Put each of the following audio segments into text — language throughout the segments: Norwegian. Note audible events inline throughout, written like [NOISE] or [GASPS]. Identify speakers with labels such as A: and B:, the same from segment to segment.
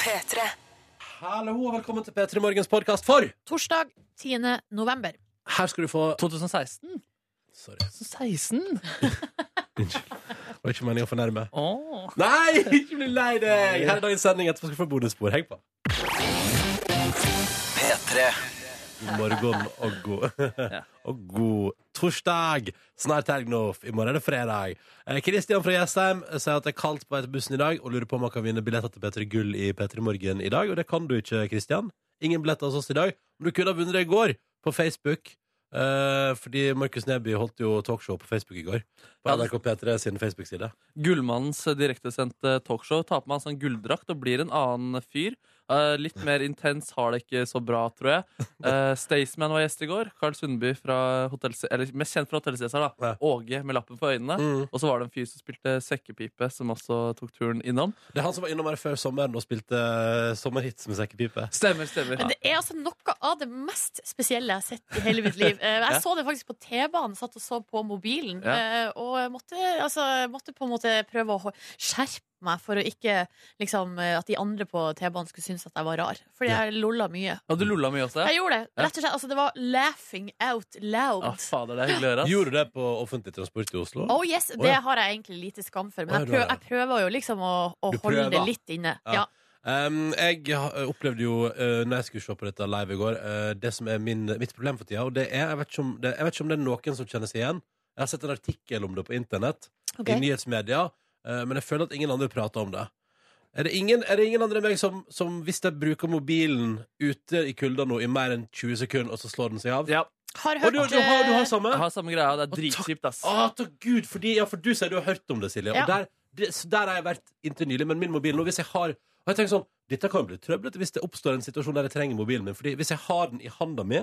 A: P3.
B: Hallo og velkommen til P3 Morgens podkast for
C: Torsdag 10. november.
B: Her skal du få
D: 2016?
B: Sorry.
D: 2016?
B: Unnskyld. Det var ikke meningen å fornærme.
D: Åh.
B: Nei, ikke bli lei deg! Her er dagens sending. Etterpå skal du få bonusspor. Heng på. God morgen og god, [LAUGHS] og god torsdag. Snart helg nå. I morgen er det fredag. Eh, Kristian fra Jessheim sier at det er kaldt på vei til bussen i dag, og lurer på om han kan vinne billetter til P3 Gull i P3 Morgen i dag. Og det kan du ikke, Kristian. Ingen billetter hos oss i dag. Men du kunne ha vunnet det i går, på Facebook. Eh, fordi Markus Neby holdt jo talkshow på Facebook i går. På
D: Ja, det-
B: NRK P3 sin Facebook-side.
D: Gullmannens direktesendte talkshow tar på meg en sånn gulldrakt og blir en annen fyr. Eh, litt mer intens har det ikke så bra, tror jeg. Uh, Staysman var gjest i går. Carl Sundby, fra Hotel C eller mest kjent fra Hotell Cæsar. da.
B: Ja.
D: Åge med lappen for øynene.
B: Mm.
D: Og så var det en fyr som spilte sekkepipe, som også tok turen innom.
B: Det er han som var innom her før sommeren og spilte eh, sommerhits med sekkepipe.
D: Stemmer, stemmer.
C: Men det er altså noe av det mest spesielle jeg har sett i hele mitt
B: [LAUGHS]
C: liv. Eh, Jeg
D: Ja.
C: så det faktisk på T-banen, satt og så på mobilen,
D: Ja.
C: eh, og jeg måtte, altså, jeg måtte på en måte prøve å ho- skjerpe meg for å ikke liksom, eh, at de andre på T-banen skulle synes at jeg var rar. Fordi jeg lolla mye.
D: Ja, du lolla mye også?
C: Jeg gjorde det.
D: Ja.
C: Rett og slett. Altså, det var laughing out loud.
B: Ah.
D: Ja, Ah, fader, det er hyggelig å høre. ass.
B: Gjorde du det på offentlig transport i Oslo?
C: Oh yes,
B: Å,
C: Det
B: ja.
C: har jeg egentlig lite skam for, men
B: Å, ja,
C: jeg
B: du
C: prøver,
B: har
C: jeg prøver jo liksom å, å
B: Du
C: holde det
B: prøver.
C: litt inne.
B: Ja.
C: Ja.
B: Um, jeg ha- opplevde jo, uh, når jeg skulle se på dette live i går, eh, det som er min, mitt problem for tida. Og det er, jeg vet, ikke om, det, jeg vet ikke om det er noen som kjenner seg igjen. Jeg har sett en artikkel om det på internett,
C: Ok.
B: i nyhetsmedia, eh, men jeg føler at ingen andre prater om det. Er det ingen, er det ingen andre enn meg som, som hvis jeg bruker mobilen ute i kulda nå i mer enn 20 sekunder, og så slår den seg av?
D: Ja,
C: Har
B: Og
C: hørt
B: du, du, har, du
C: eh,
B: har samme?
D: jeg har samme greia. Det er
B: Og takk-
D: dritkjipt, ass.
B: Å, takk Gud, fordi, ja, for du sier du har hørt om det, Silje.
C: Ja.
B: Og der, det, så der har jeg vært inntil nylig, men min mobil nå, hvis jeg har og jeg tenker sånn, Dette kan jo bli trøblete hvis det oppstår en situasjon der jeg trenger mobilen min. Fordi hvis jeg har den i handa mi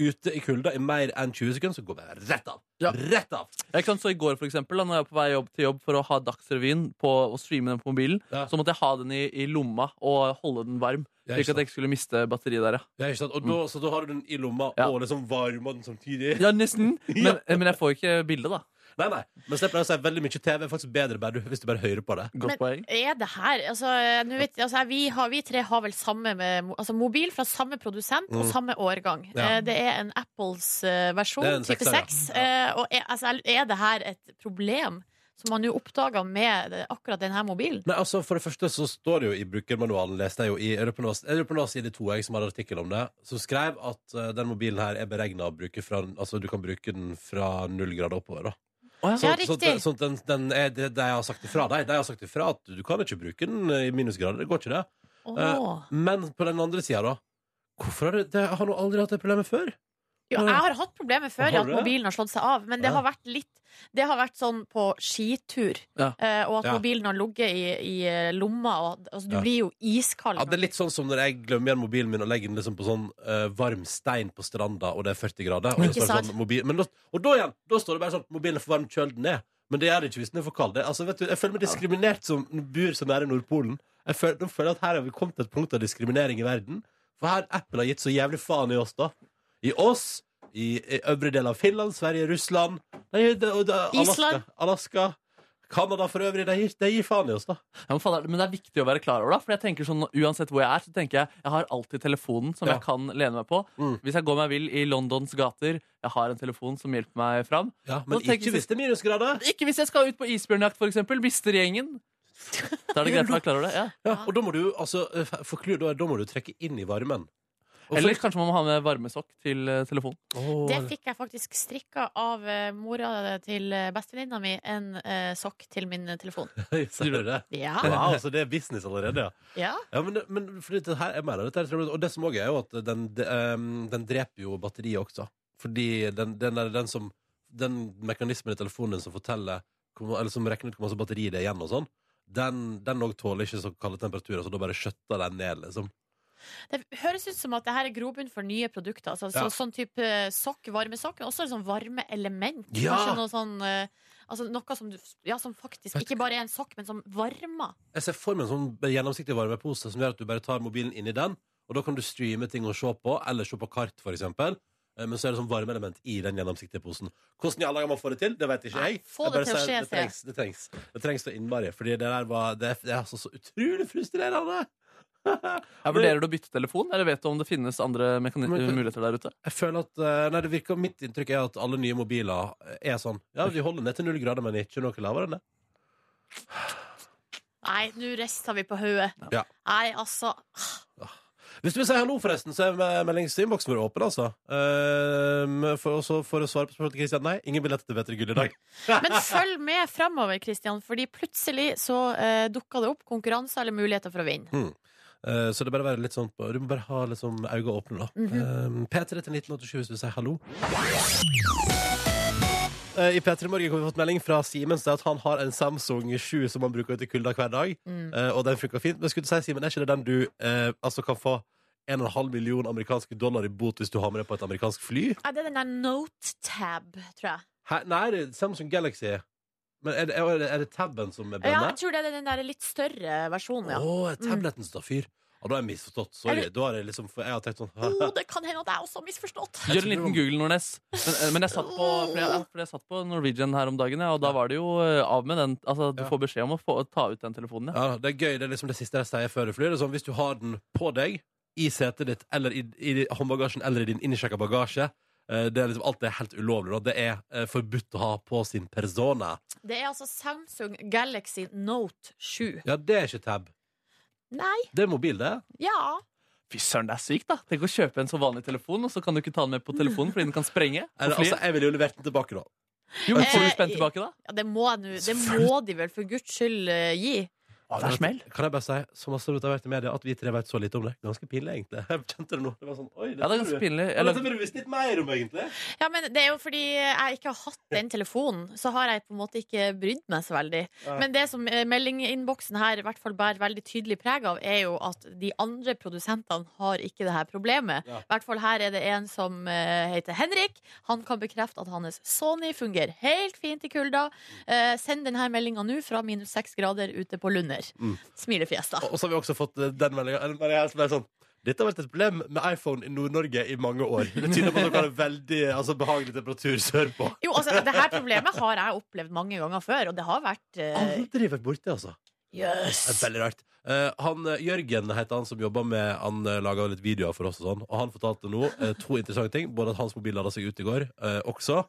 B: ute i kulda i mer enn 20 sekunder, så går jeg rett av.
D: Ja.
B: Rett av.
D: Jeg kan så i går, for eksempel, da når jeg var på vei jobb til jobb for å ha Dagsrevyen på, og streame den på mobilen,
B: Ja.
D: så måtte jeg ha den i, i lomma og holde den varm,
B: Ja,
D: slik
B: ikke
D: at jeg ikke skulle miste batteriet der, ja.
B: Ja, ikke sant? Og da, så da har du den i lomma
D: Mm. Ja.
B: og liksom varmer den samtidig.
D: Ja, nesten.
B: [LAUGHS] Ja.
D: Men, eh, men jeg får ikke bilde, da.
B: Nei, nei. Men så jeg pleier å si veldig mye TV er faktisk bedre bare du- hvis du bare hører på det.
D: Godt
C: Men-
D: poeng.
C: Er det her altså, nå vet, altså, vi, har, vi tre har vel samme med, altså, mobil fra samme produsent og
B: Mm.
C: samme årgang.
B: Ja.
C: Eh, Det er en Apples eh, versjon,
B: Det er en
C: type
B: sekser,
C: 6. Eh, og er, altså, er det her et problem som man jo oppdaga med det- akkurat denne mobilen?
B: Nei, altså For det første så står det jo i brukermanualen leste jeg jo i Europenos, Europenos side 2, jeg som hadde artikkel om det, som skrev at eh, den mobilen her er beregna å bruke fra Altså du kan bruke den fra null grader oppover. da
D: Å,
B: Så,
D: ja.
B: så,
C: Ja, riktig.
B: den, så den, den er det, det jeg har sagt ifra deg. De har sagt ifra at du kan ikke bruke den i minusgrader. Det går ikke, det.
C: Åh.
B: Men på den andre sida, da. Hvorfor har det, det Jeg har nå aldri hatt det problemet før.
C: Jo, jeg har hatt problemer før i
B: Har
C: at
B: du det?
C: mobilen har slått seg av, men det
B: Ja.
C: har vært litt det har vært sånn på skitur,
D: Ja.
C: eh, og at
B: Ja.
C: mobilen har ligget i, i eh, lomma. Og, altså, du
B: Ja.
C: blir jo iskald.
B: Ja, det er litt sånn som når jeg glemmer igjen mobilen min og legger den liksom på sånn eh, varm stein på stranda, og det er 40 grader. Og,
C: Ikke
B: det står
C: sant?
B: sånn, mobil, men da, og da igjen, da står det bare sånn mobilen er for varm, kjøl den ned. Men det gjør det ikke hvis den er for kald. Det, altså, vet du, jeg føler meg diskriminert som bor så nære Nordpolen. Jeg føler, nå føler jeg at her har vi kommet til et punkt av diskriminering i verden. For her Apple har gitt så jævlig faen i oss, da. I oss, i, i øvre del av Finland, Sverige, Russland nei, det, og det, Alaska,
C: Island.
B: Alaska Canada for øvrig. De gir, de gir faen i oss, da.
D: Ja, men, fader, men det er viktig å være klar over, da. For jeg tenker sånn, uansett hvor jeg er, så tenker jeg jeg har alltid telefonen som
B: Ja.
D: jeg kan lene meg på.
B: Mm.
D: Hvis jeg går meg vill i Londons gater, jeg har en telefon som hjelper meg fram.
B: Ja, men
D: Nå tenker
B: ikke
D: vi-
B: hvis det er minusgrader.
D: Ikke hvis jeg skal ut på isbjørnjakt, for eksempel. Mister gjengen. Da er det greit å være klar over det. ja
B: Ja, og da må du altså, eh, f- forklur, da, da må du trekke inn i varmen. [LAUGHS] Og
D: Eller kanskje man må ha med varmesokk til eh, telefonen.
B: for- Åh, [LAUGHS]
C: Det fikk jeg faktisk strikka av eh, mora til eh, bestevenninna mi, en eh, sokk til min
B: [LAUGHS]
C: telefon.
B: sier du det?
C: Ja,
B: Wow, så det er business allerede, ja.
C: ja.
B: ja men, det- men for dette her, jeg mener, dette er trøbbel. Og det som også er jo at den, de- ehm, den dreper jo batteriet også. Fordi den, den, er den, som, den mekanismen i telefonen din som forteller hvor ma- Eller som regner ut hvor masse batteri det er igjen og sånn, den, den også tåler ikke så kalde temperaturer, så da bare skjøtter den ned, liksom.
C: Det høres ut som at det her er grobunn for nye produkter. Altså, så,
B: Ja.
C: sånn type sokk, varmesokk, men også sånn varmeelement.
B: Ja.
C: Kanskje noe sånn eh, Altså noe som, du, ja, som faktisk ikke bare er en sokk, men som varmer.
B: Jeg ser for meg en sånn gjennomsiktig varmepose som gjør at du bare tar mobilen inn i den, og da kan du streame ting og se på, eller se på kart, for eksempel. Eh, Men så er det sånn varmeelement i den gjennomsiktige posen. Hvordan i alle dager man får det til, det vet ikke
C: Nei,
B: jeg.
C: få
B: Jeg
C: det
B: bare
C: til å
B: sier
C: skje,
B: det trengs, det trengs. Det trengs så innmari. Fordi det der var Det, det er altså så utrolig frustrerende!
D: Jeg vurderer du å bytte telefon, eller vet du om det finnes andre mekani-
B: Men-
D: muligheter der ute?
B: Jeg føler at eh, Nei, det virker Mitt inntrykk er at alle nye mobiler er sånn. Ja, vi holder ned til null grader, men ikke noe lavere enn det.
C: Nei, nå rister vi på hodet.
B: Ja.
C: Nei, altså
B: Hvis du vil si hallo, forresten, så er me- meldingsinnboksen vår åpen, altså. Ehm, for, også for å svare på spørsmålet til Kristian nei, ingen billetter til Vetter Gull i dag.
C: Men følg med fremover, Kristian, fordi plutselig så eh, dukker det opp konkurranser eller muligheter for å vinne.
B: Eh, så det er bare å være litt sånn på- Du må bare ha liksom øynene åpne, da. Ehm, P3 til 1987 hvis du vil si hallo. Eh, I P3 Morgen har vi fått melding fra Simen der at han har en Samsung 7 som han bruker ute i kulda hver dag.
C: Mm.
B: Eh, og den funker fint. Men skulle du si, Simen, er ikke det den du eh, altså kan få 1,5 million amerikanske dollar i bot hvis du har med deg på et amerikansk fly?
C: Nei, det er den der note-tab, tror jeg.
B: Hæ? Nei, det er Samsung Galaxy. Men er det, er det, er det tabben som er
C: Ja,
B: bønne?
C: jeg tror det er den der litt større
B: Å,
C: versjonen, ja. Mm.
B: er tabletten som tar fyr? Ja, da har jeg misforstått.
C: Er
B: Sorry.
C: det-
B: Da har jeg liksom Jeg har tenkt sånn
C: Oh, det kan hende at jeg også har misforstått.
D: Gjør en liten Google, Nordnes. Men, eh, men jeg, satt på, fordi jeg, fordi jeg satt på Norwegian her om dagen, ja, og da var det jo eh, av med den. Altså, du
B: Ja.
D: får beskjed om å få, ta ut den telefonen.
B: [LAUGHS]
D: Ja.
B: Ja, det er gøy. Det er liksom det siste jeg sier før du flyr. Det er sånn, hvis du har den på deg, i setet ditt, eller i, i håndbagasjen, eller i din innsjekka bagasje eh, det er liksom, Alt det er helt ulovlig. Da. Det er eh, forbudt å ha på sin persona.
C: Det er altså Samsung Galaxy Note 7.
B: Ja, det er ikke tab.
C: Nei,
B: Det er mobil, det.
C: ja.
D: Fy søren, det er sykt, da! Tenk å kjøpe en så vanlig telefon, og så kan du ikke ta den med på telefonen fordi den kan sprenge. på
B: Eller,
D: flyet.
B: altså, jeg ville jo levert den tilbake, da.
D: jo, men Får
C: Eh,
D: du spent tilbake, da?
C: ja det, må jeg nå- det må de vel for guds skyld eh, gi.
D: det er smell.
B: Kan jeg bare si, så masse rot har vært i media, at vi tre vet så lite om det. Ganske pinlig, egentlig. [LAUGHS] Jeg kjente det nå. Det var sånn, oi,
D: Ja, det er ganske pinlig.
B: Ja,
D: Eller,
B: dette burde vi visst litt mer om, egentlig.
C: Ja, men Det er jo fordi jeg ikke har hatt den telefonen, så har jeg på en måte ikke brydd meg så veldig.
B: Nei.
C: Men det som eh, meldinginnboksen her i hvert fall bærer veldig tydelig preg av, er jo at de andre produsentene har ikke det her problemet.
B: Ja.
C: I hvert fall her er det en som eh, heter Henrik. Han kan bekrefte at hans Sony fungerer helt fint i kulda. Eh, send denne meldinga nå fra minus seks grader ute på Lunder.
B: Mm.
C: Smilefjes, da.
B: Og og så har vi også fått eh, den meldinga. En melding her som er sånn dette har vært et problem med iPhone i Nord-Norge i mange år. Det tyder på at dere har en veldig altså, behagelig temperatur sørpå.
C: Jo, altså, det her problemet har jeg opplevd mange ganger før, og det har vært eh,
B: Aldri vært borti, altså. Det er
C: Yes!
B: veldig rart. Eh, han, eh, Jørgen heter han som jobber med Han uh, laga litt videoer for oss og sånn. Og han fortalte nå eh, to interessante ting. Både at hans mobil lada seg ut i går, eh, også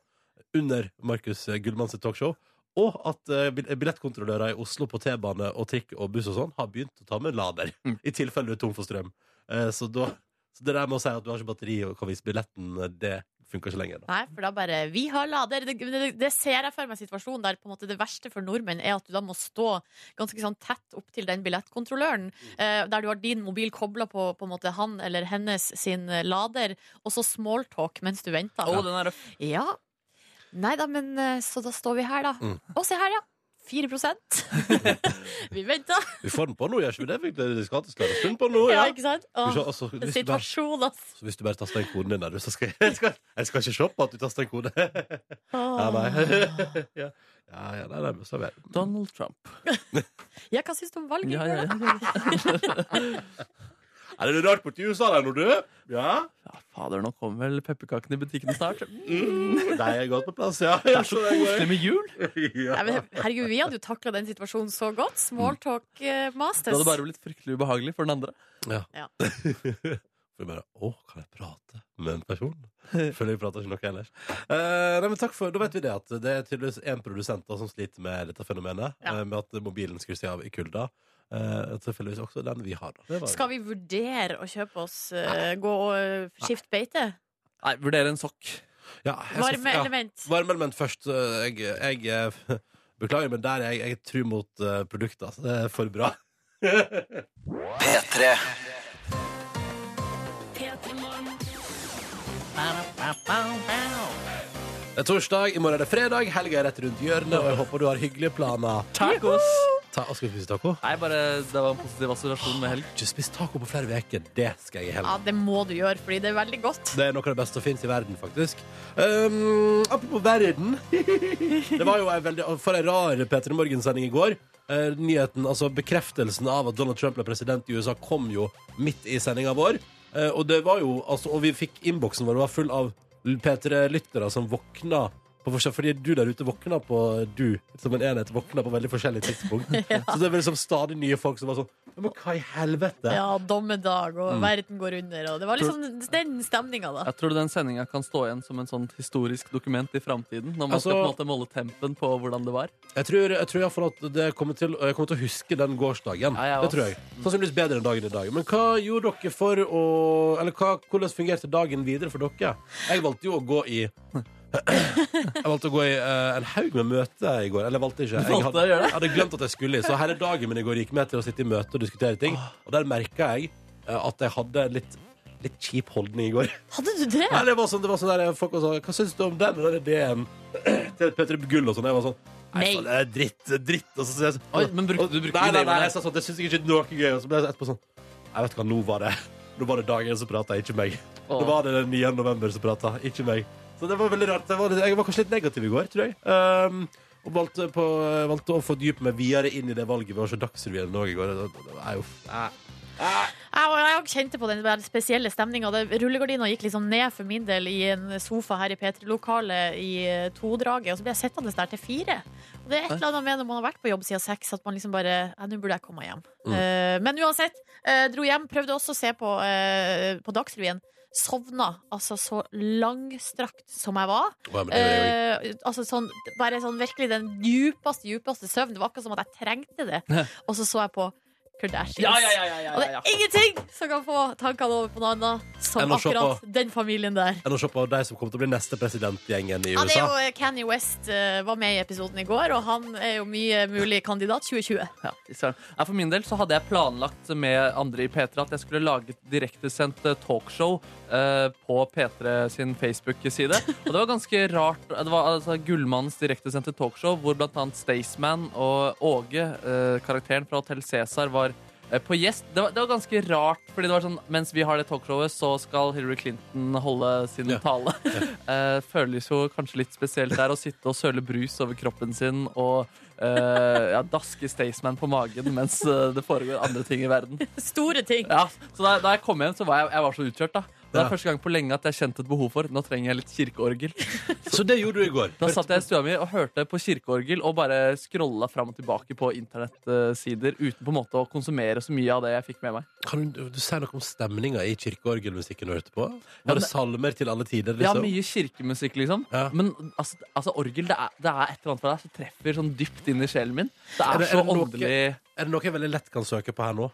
B: under Markus eh, Gullmanns talkshow. Og at eh, bil- billettkontrollører i Oslo på T-bane og trikk og buss og sånn har begynt å ta med lader.
D: Mm.
B: I tilfelle du er tom for strøm. Eh, så, da, så det der med å si at du har ikke batteri og kan vise billetten, eh, det funker ikke lenger. Da.
C: Nei, for da bare Vi har lader. Det, det, det ser jeg for meg situasjonen der på en måte det verste for nordmenn er at du da må stå ganske sånn tett opp til den billettkontrolløren, eh, der du har din mobil kobla på, på en måte han eller hennes sin eh, lader, og så smalltalk mens du venter.
D: Å, den er røff.
C: Ja. Nei da, men eh, så da står vi her, da.
B: Mm.
C: Å, se her, ja. 4
B: [LAUGHS]
C: Vi venter.
B: Vi får den på nå, gjør ikke vi det? Vi vi skal ha til skal ha en stund på nå,
C: Ja,
B: ja.
C: ikke sant?
B: Skal vi se,
C: Åh,
B: altså, hvis du bare-
C: situasjon, altså.
B: Så hvis du bare taster inn koden din der, du, så skal jeg, [LAUGHS] skal, jeg skal ikke se på at du taster inn kode. [LAUGHS] ja, nei. [LAUGHS] ja, ja, ja, nei, nei, men så er det.
D: Donald Trump.
C: Ja, hva syns du om valget?
D: Ja, ja,
C: Bjørnar?
D: ja.
B: Er det noe rart borti USA der nå, du? Ja.
D: ja fader, nå kommer vel pepperkakene i butikkene snart. Det
B: Mm. Nei, jeg er godt på plass, ja. [LAUGHS] ja
D: er så koselig med jul!
C: Nei, men herregud, vi hadde jo takla den situasjonen så godt. Smalltalk eh,
D: Det
C: masters.
D: hadde bare blitt fryktelig ubehagelig for den andre.
B: For jeg bare, å, kan jeg prate med en person? Føler jeg prater ikke noe ellers. Eh, nei, men takk for, da vet vi det at det er tydeligvis en produsent da, som sliter med dette fenomenet,
C: Ja.
B: eh, med at mobilen skulle si av i kulda. Uh, tilfelligvis også den vi har da. Det var-
C: Skal vi vurdere å kjøpe oss eh, Gå og eh, skifte beite?
D: Nei, vurdere en sokk.
B: Ja, jeg skal-
C: Varme
B: ja.
C: element.
B: Varmeelement først. øh, Jeg, jeg eh, [LAUGHS] beklager, men der er jeg, jeg tru mot eh, produktet. altså. Det er for bra.
A: P3
B: Det er torsdag, i morgen er det fredag, helga er rett rundt hjørnet, og jeg håper du har hyggelige planer.
D: Tacos!
B: Ta, og skal vi spise taco?
D: Nei, bare, det var en positiv assosiasjon med helg.
B: Ikke spist taco på flere uker. Det skal jeg i helga.
C: Ja, det må du gjøre, fordi det er veldig godt.
B: Det er noe av det beste som finnes i verden, faktisk. Um, apropos verden Det var jo en veldig, for en rar Peter Morgen-sending i går. Eh, nyheten, altså Bekreftelsen av at Donald Trump ble president i USA, kom jo midt i sendinga vår. Eh, og det var jo, altså, og vi fikk innboksen vår var full av P3-lyttere som våkner på forskjell, fordi du der ute våkner på du som en enhet, våkner på veldig forskjellig tidspunkt. Så det er vel liksom stadig nye folk som bare sånn «Ja, Men hva i helvete?
C: Ja, dommedag og verden går under og Det var liksom den stemninga, da.
D: Mm. Jeg tror den sendinga kan stå igjen som en sånn historisk dokument i framtiden. Når man
B: Altså-
D: skal på en måte måle tempen på hvordan det var.
B: Jeg tror, jeg tror i hvert fall at det kommer til, jeg kommer til å huske den gårsdagen.
D: Ja, Mm. jeg
B: det
D: også.
B: tror jeg. Sannsynligvis bedre enn dagen i dag. Men hva gjorde dere for å Eller hva, hvordan fungerte dagen videre for dere? Jeg valgte jo å gå i [CLEARS THROAT] Jeg valgte å gå i eh, en haug med møter i går. Eller jeg valgte ikke. Jeg
D: valgte å gjøre det?
B: jeg hadde glemt at jeg skulle i, så hele dagen min i går gikk med til å sitte i møte og diskutere ting.
D: Ah.
B: Og der merka jeg eh, at jeg hadde en litt, litt kjip holdning i går.
C: Hadde du det?
B: Nei, det var sånn, det var sånn der, folk var sånn Hva syns du om den og den ideen [CLEARS THROAT] til Petter Gull og sånn? Jeg var sånn Nei,
C: Nei.
B: faen, det er dritt, det er dritt. Og så sier jeg sånn
D: Oi, men brukte-
B: og-
D: du brukte
B: Nei, nei,
D: de
B: nei,
D: ordene.
B: jeg sa sånn, det syns jeg ikke er noe gøy. Og så ble jeg etterpå sånn Nei, vet du hva, nå var det Nå var det dagen som prata, ikke meg.
D: Åh.
B: Nå var det den 9. november som prata, ikke meg. Så det var veldig rart. Jeg var, litt, jeg var kanskje litt negativ i går, tror jeg. Ehm, og valgte, på, valgte å fordype meg videre inn i det valget ved å se Dagsrevyen nå i går. Det- det- det var jo- Nei.
C: Jeg, var- jeg kjente på den der spesielle stemninga. Rullegardina gikk liksom ned for min del i en sofa her i P3-lokalet i eh, todraget, og så ble jeg sittende der til fire. Og det er et eller annet med når man har vært på jobb siden seks, at man liksom bare Ja, nå burde jeg komme hjem. Eh, men uansett, eh, dro hjem. Prøvde også å se på, eh, på Dagsrevyen. Sovna altså så langstrakt som jeg var.
B: Hva, men det er jo-
C: Eh, altså sånn, bare sånn virkelig den djupeste, djupeste søvn. Det var akkurat som at jeg trengte det. Og så så jeg på Kardashians. Og det er ingenting som kan få tankene over på noe annet som
B: Enn å se
C: akkurat den familien der.
B: Enn å se på de som kommer til å bli neste presidentgjengen i
C: Ja, det er
B: USA.
C: jo Kanye West eh, var med i episoden i går, og han er jo mye mulig kandidat 2020.
D: Ja, fy søren. Nei, for min del så hadde jeg planlagt med andre i P3 at jeg skulle lage et direktesendt eh, talkshow eh, på P3 sin Facebook-side. Og det var ganske rart. Det var altså Gullmannens direktesendte talkshow hvor blant annet Staysman og Åge, eh, karakteren fra Hotell Cæsar, var eh, på gjest. Det var, det var ganske rart, fordi det var sånn mens vi har det talkshowet, så skal Hillary Clinton holde sin
B: Ja.
D: tale. [LAUGHS] Eh, føles jo kanskje litt spesielt der å sitte og søle brus over kroppen sin og eh, ja, daske Staysman på magen mens eh, det foregår andre ting i verden.
C: [LAUGHS] Store ting.
D: Ja, så da, da jeg kom hjem, så var jeg, jeg var så utkjørt. da Det
B: Ja.
D: er første gang på lenge at jeg kjente et behov for Nå trenger jeg litt kirkeorgel.
B: Så det gjorde du i går.
D: Da satt jeg i stua mi og hørte på kirkeorgel og bare scrolla fram og tilbake på internettsider uten på en måte å konsumere så mye av det jeg fikk med meg.
B: Kan du, du si noe om stemninga i kirkeorgelmusikken du hørte på?
D: Ja,
B: Var det
D: men-
B: salmer til alle tider?
D: Ja,
B: Liksom?
D: mye kirkemusikk, liksom.
B: Ja.
D: Men altså, altså orgel, det er, det er et eller annet for deg som treffer sånn dypt inn i sjelen min. Det
B: Er
D: er,
B: det- er
D: så
B: det noe-
D: åndelig.
B: Er det noe jeg veldig lett kan søke på her nå?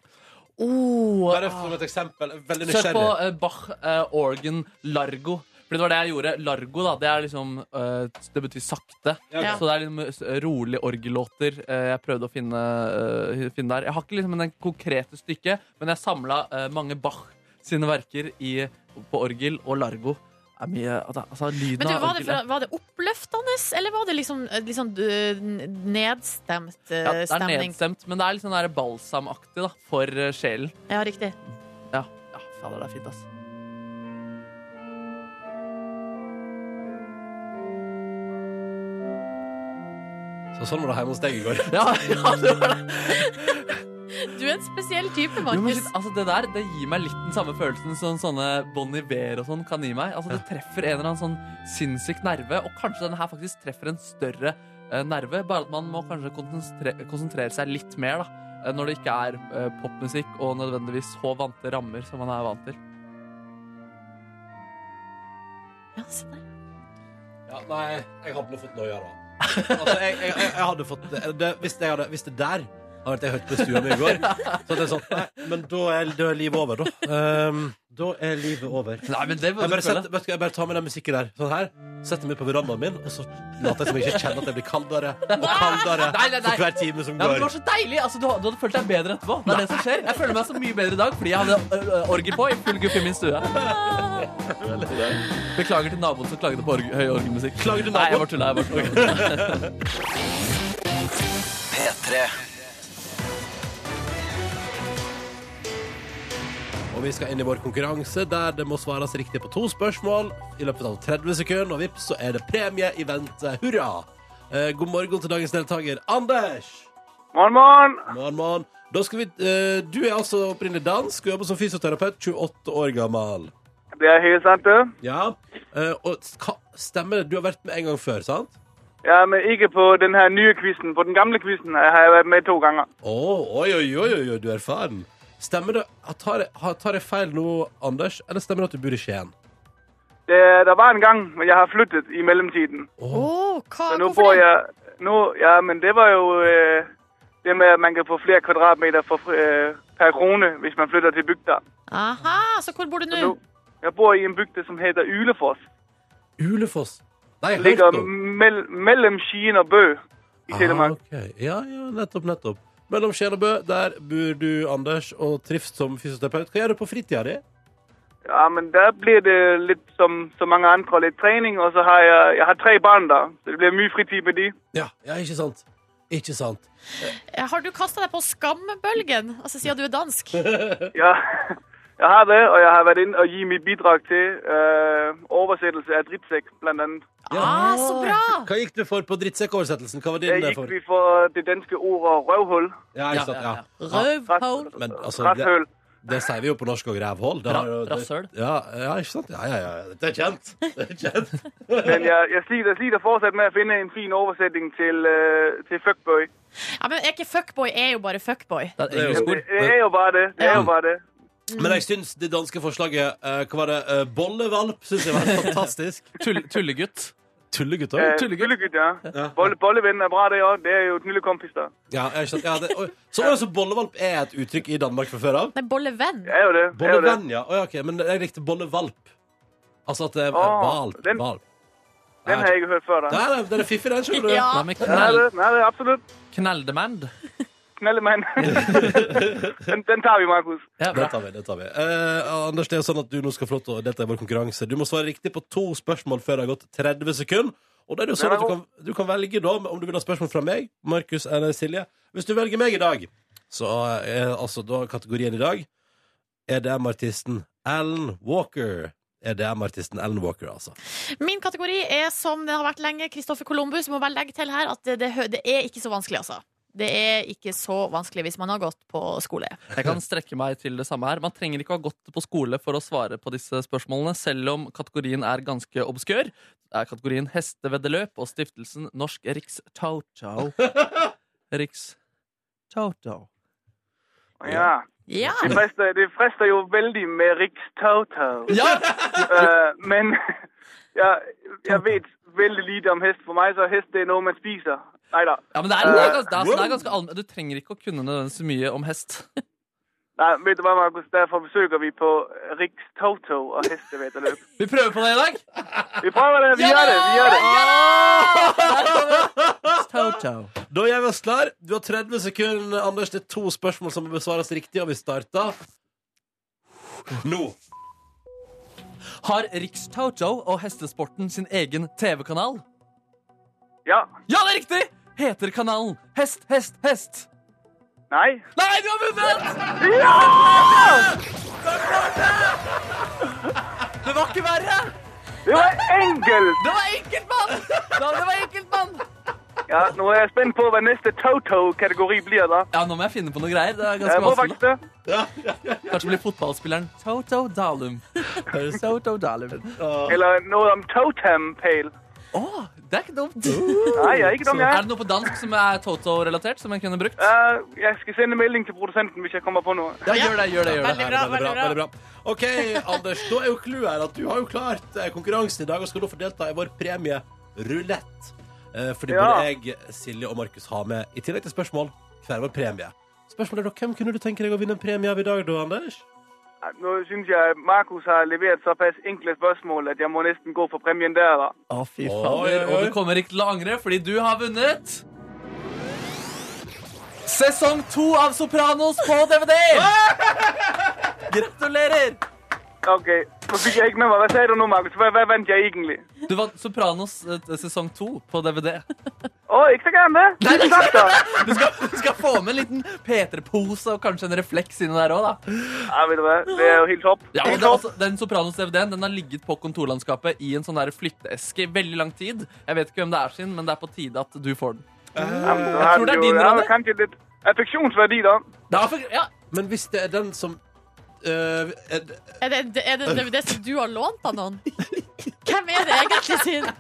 D: Oh,
B: Bare for et eksempel. jeg er Veldig
D: Søk på
B: nysgjerrig.
D: eh, Bach eh, organ largo. Fordi det var det jeg gjorde. Largo, da, det er liksom eh, Det betyr sakte.
C: Ja.
D: Så det er liksom rolige orgellåter eh, jeg prøvde å finne, eh, finne der. Jeg har ikke liksom den konkrete stykket, men jeg samla mange Bach sine verker i, på orgel og largo. Det Er mye, altså, lyden
C: Men du,
D: av
C: var, det
D: orgel
C: fra,
D: er-
C: var det oppløftende, eller var det liksom, liksom eh, nedstemt eh,
D: ja, det er
C: stemning?
D: nedstemt, men det er litt sånn der balsamaktig da, for eh, sjelen.
C: Ja, riktig.
D: Ja, ja fader, det er fint,
C: [LAUGHS]
D: ass.
B: Så sånn var det hjemme hos deg i går. [LAUGHS]
D: Ja, ja, det var det.
C: Du er en spesiell type,
D: Jo, men
C: Markus.
D: shit, altså det der det gir meg litt den samme følelsen som sånne Bon Iver og sånn kan gi meg. Altså Det treffer en eller annen sånn sinnssyk nerve, og kanskje denne her faktisk treffer en større eh, nerve. Bare at man må kanskje konsentre konsentrere seg litt mer da eh, når det ikke er eh, popmusikk og nødvendigvis så vante rammer som man er vant til.
C: Ja, se der.
B: Ja, nei, jeg hadde nå fått noia, da. Altså, jeg, jeg, jeg, jeg hadde fått det, hvis, jeg hadde, hvis det der hadde vært det jeg hørte på stua mi i
D: [LAUGHS]
B: går, så hadde jeg sånn Nei, men da er, da er livet over, da. Um, da er livet over.
D: Nei, men det
B: Jeg bare, setter, vet du, hva, jeg bare tar med den musikken der, sånn her, setter meg på verandaen min, og så later jeg som jeg ikke kjenner at jeg blir kaldere og kaldere
D: Nei, nei, nei.
B: for hver time som
D: Ja, men
B: går.
D: det var så deilig! Altså, du, du hadde følt deg bedre etterpå. Det er det som skjer. Jeg føler meg så mye bedre i dag fordi jeg hadde ø, ø, orgel på i full guffe i min stue. Beklager til naboen som klagde på org høy orgelmusikk.
B: Klager du
D: Nei, jeg
B: naboen?
D: bare tulla. jeg bare tulla.
A: P3
B: Og vi skal inn i vår konkurranse der det må svares riktig på to spørsmål i løpet av 30 sekunder, og vips, så er det premie i vente. Hurra! Eh, god morgen til dagens deltaker, Anders.
E: Morgen, morgen!
B: Morgen, morgen. Da skal vi, eh, du er altså opprinnelig dansk og jobber som fysioterapeut, 28 år gammel.
E: Jeg
A: Det er helt sant, det.
B: Ja. Eh, og hva, stemmer det? Du har vært med en gang før, sant?
A: Ja, men ikke på den her nye quizen. På den gamle quizen har jeg vært med to ganger.
B: Åh, oi, oi, oi, oi, oi, du er erfaren. Stemmer det? har- Tar jeg, har- tar jeg feil nå, Anders? Eller stemmer det at du bor i Skien?
A: Det, der var en gang, men jeg har flyttet i mellomtiden.
C: Åh, hva,
A: Så nå
C: hvorfor
A: bor
C: det?
A: jeg... Nå, ja, men det var jo øh, det med, at man kan få flere kvadratmeter for, øh, per krone, hvis man flytter til bygda.
C: Aha, så hvor bor du nå?
A: Nu, jeg bor i en bygde, som heter Ylefoss.
B: Ulefoss. Nei, jeg
A: Ligger
B: hørte om.
A: mell mellem Skien og Bø i Telemark.
B: Ah, ok. Ja, ja, nettopp, nettopp. Mellom Skien og Bø, der bor du, Anders, og trives som fysioterapeut. Hva gjør du på fritida di?
A: Ja, men der blir det litt som så mange andre, litt trening, og så har jeg, jeg har tre barn der, så det blir mye fritid med de.
B: Ja, ja, ikke sant? Ikke sant?
C: Har du kasta deg på skambølgen? Altså siden du er dansk?
A: Ja, [LAUGHS] jeg har det, og jeg har vært inn og gi mitt bidrag til øh, oversettelse av drittsekk, blant annet.
C: Ah, så bra!
B: Hva gikk du for på drittsekkoversettelsen? Hva var din eh,
A: Der gikk
B: for?
A: vi for øh, det danske ordet røvhull.
B: Ja, ikke sant, ja.
C: Røvhål.
B: Men altså, det,
A: Ratthøl.
B: det sier vi jo på norsk og rævhold. Det har jo- det-
D: Rasshøl.
B: Ja, ja, ikke sant? Ja, ja, ja. Det er kjent. Det er kjent.
A: Men jeg, jeg sliter, sliter fortsatt med å finne en fin oversetting til, øh, til fuckboy.
C: Ja, men er ikke fuckboy er jo bare fuckboy.
D: Det er et
B: Det er jo-
D: engelsk
A: Det
D: ord.
A: er jo bare det, det er jo bare det.
B: Men jeg syns det danske forslaget eh, Hva var det? eh, bollevalp syns jeg var helt fantastisk.
D: Tull- Tullegutt.
B: Tullegutt
A: Eh,
B: òg.
D: Tullegutt.
A: Tullegutt, ja.
B: Ja.
A: Bolle, bollevennen er bra det, ja. Det er jo knullekompis der.
B: Ja, jeg skjønner. ja, det- oi. så altså, bollevalp er et uttrykk i Danmark fra før av?
C: Nei, bollevenn.
A: Det er jo det. det er jo det.
B: Bollevenn, ja. Oi, ok, Men jeg likte bollevalp. Altså at det er
A: Åh,
B: valp.
A: Ah, den-
B: valp.
A: Den har jeg ikke hørt før da.
B: Nei, nei, den er fiffig, den, skjønner du.
C: Ja.
D: Hva med
A: Ja, det er
D: knall,
A: det. Nei, det er absolutt.
D: knalldemand?
A: [LAUGHS] Knallemand. den, den tar vi, Markus.
D: Ja,
B: Det
D: bra.
B: tar vi. det tar vi Eh, Anders, det er sånn at du nå skal få lov til å delta i vår konkurranse. Du må svare riktig på to spørsmål før det har gått 30 sekunder. Og da er det jo sånn at
A: Den
B: du
A: er
B: kan, du kan velge da om du vil ha spørsmål fra meg, Markus eller Silje. Hvis du velger meg i dag, så er altså da kategorien i dag EDM-artisten Alan Walker. EDM-artisten Alan Walker, altså.
C: Min kategori er som det har vært lenge, Kristoffer Columbus. Må bare legge til her at det, det, hø- det er ikke så vanskelig, altså. Det er ikke så vanskelig hvis man har gått på skole.
D: Jeg kan strekke meg til det samme her. Man trenger ikke å ha gått på skole for å svare på disse spørsmålene, selv om kategorien er ganske obskør. Det er kategorien hesteveddeløp og stiftelsen Norsk Rikstoto. [LAUGHS] Rikstoto.
A: Ja.
C: Ja!
A: Det frister, det frister jo veldig med Riks Toto.
D: Ja!
A: Øh, men [LAUGHS] ja, jeg vet veldig lite om hest. For meg så er hest det er noe man spiser. Nei da.
D: ja men det er, det er, gans- det er, det er ganske allmenn. Du trenger ikke å kunne nødvendigvis så mye om hest.
A: Nei, vet du hva, Markus? Derfor besøker vi på Riks Toto og hesteveddeløp.
D: Vi prøver på det i dag!
A: Vi prøver det! Vi gjør det! vi gjør det.
D: Toto.
B: Da gjør vi oss klar. Du har 30 sekunder, Anders. Det er to spørsmål som må besvares riktig, og vi starter nå.
D: Har Rikstoto og hestesporten sin egen TV-kanal?
A: Ja.
D: Ja, det er riktig! Heter kanalen Hest, Hest, Hest.
A: Nei.
D: Nei, du har vunnet!
A: Ja!
D: Det var ikke verre!
A: Det var enkelt!
D: Det var enkelt, mann! Ja, det var enkelt, mann!
A: Ja, Nå er jeg spent på hva neste Toto-kategori blir. da. Eh,
D: Ja, nå må jeg finne på noe greier. Det er ganske
A: Jeg må
D: vanskelig.
A: faktisk det.
D: Kanskje bli fotballspilleren Toto Dalum. Toto Dalum.
A: Eller noe om Totem Pale.
D: Å, det er ikke dumt.
A: Nei, jeg er ikke dum,
D: Er
A: jeg.
D: det noe på dansk som er Toto-relatert, som jeg kunne brukt?
A: Eh, jeg skal sende melding til produsenten hvis jeg kommer på noe.
D: Ja, gjør det, gjør det, gjør det.
C: Veldig bra. veldig bra.
B: OK, Anders. Da er jo clouet her at du har jo klart eh, konkurransen i dag og skal nå få delta i vår premie rulett. Eh, Fordi
A: Ja.
B: både jeg, Silje og Markus har med, i tillegg til spørsmål, hver vår premie. Spørsmålet er da, Hvem kunne du tenke deg å vinne en premie av i dag, da, Anders?
A: Ja, Nå synes jeg Markus har levert såpass enkle spørsmål at jeg må nesten gå for premien der, da.
D: Å, fy
B: Oi,
D: fader.
B: oi.
D: Og du kommer ikke til å angre, fordi du har vunnet sesong to av Sopranos på DVD! [LAUGHS] Gratulerer!
A: OK. Nå fikk jeg ikke med meg. Hva sier du nå, Markus? Hva, hva vant jeg egentlig?
D: Du vant Sopranos eh, sesong to på DVD.
A: Å, ikke så
B: [LAUGHS]
A: gærent, det. Tusen takk, da.
D: Du skal, du skal få med en liten P3-pose og kanskje en refleks inni der òg, da.
A: Ja, vet du hva. Det er jo helt topp.
D: Ja, og det, er
A: Helt topp.
D: altså, den Sopranos-DVD-en den har ligget på kontorlandskapet i en sånn der flytteeske i veldig lang tid. Jeg vet ikke hvem det er sin, men det er på tide at du får den.
A: Ja, men da
D: Jeg
A: har
D: tror
A: du
D: det er
A: jo-
D: din,
A: ja,
D: Ronny.
A: Kanskje litt affeksjonsverdi, da.
D: Det er for, ja,
B: Men hvis det er den som øh, er-
C: Er det er det, er det, det som du har lånt av noen? Hvem er det egentlig sin?
B: øh,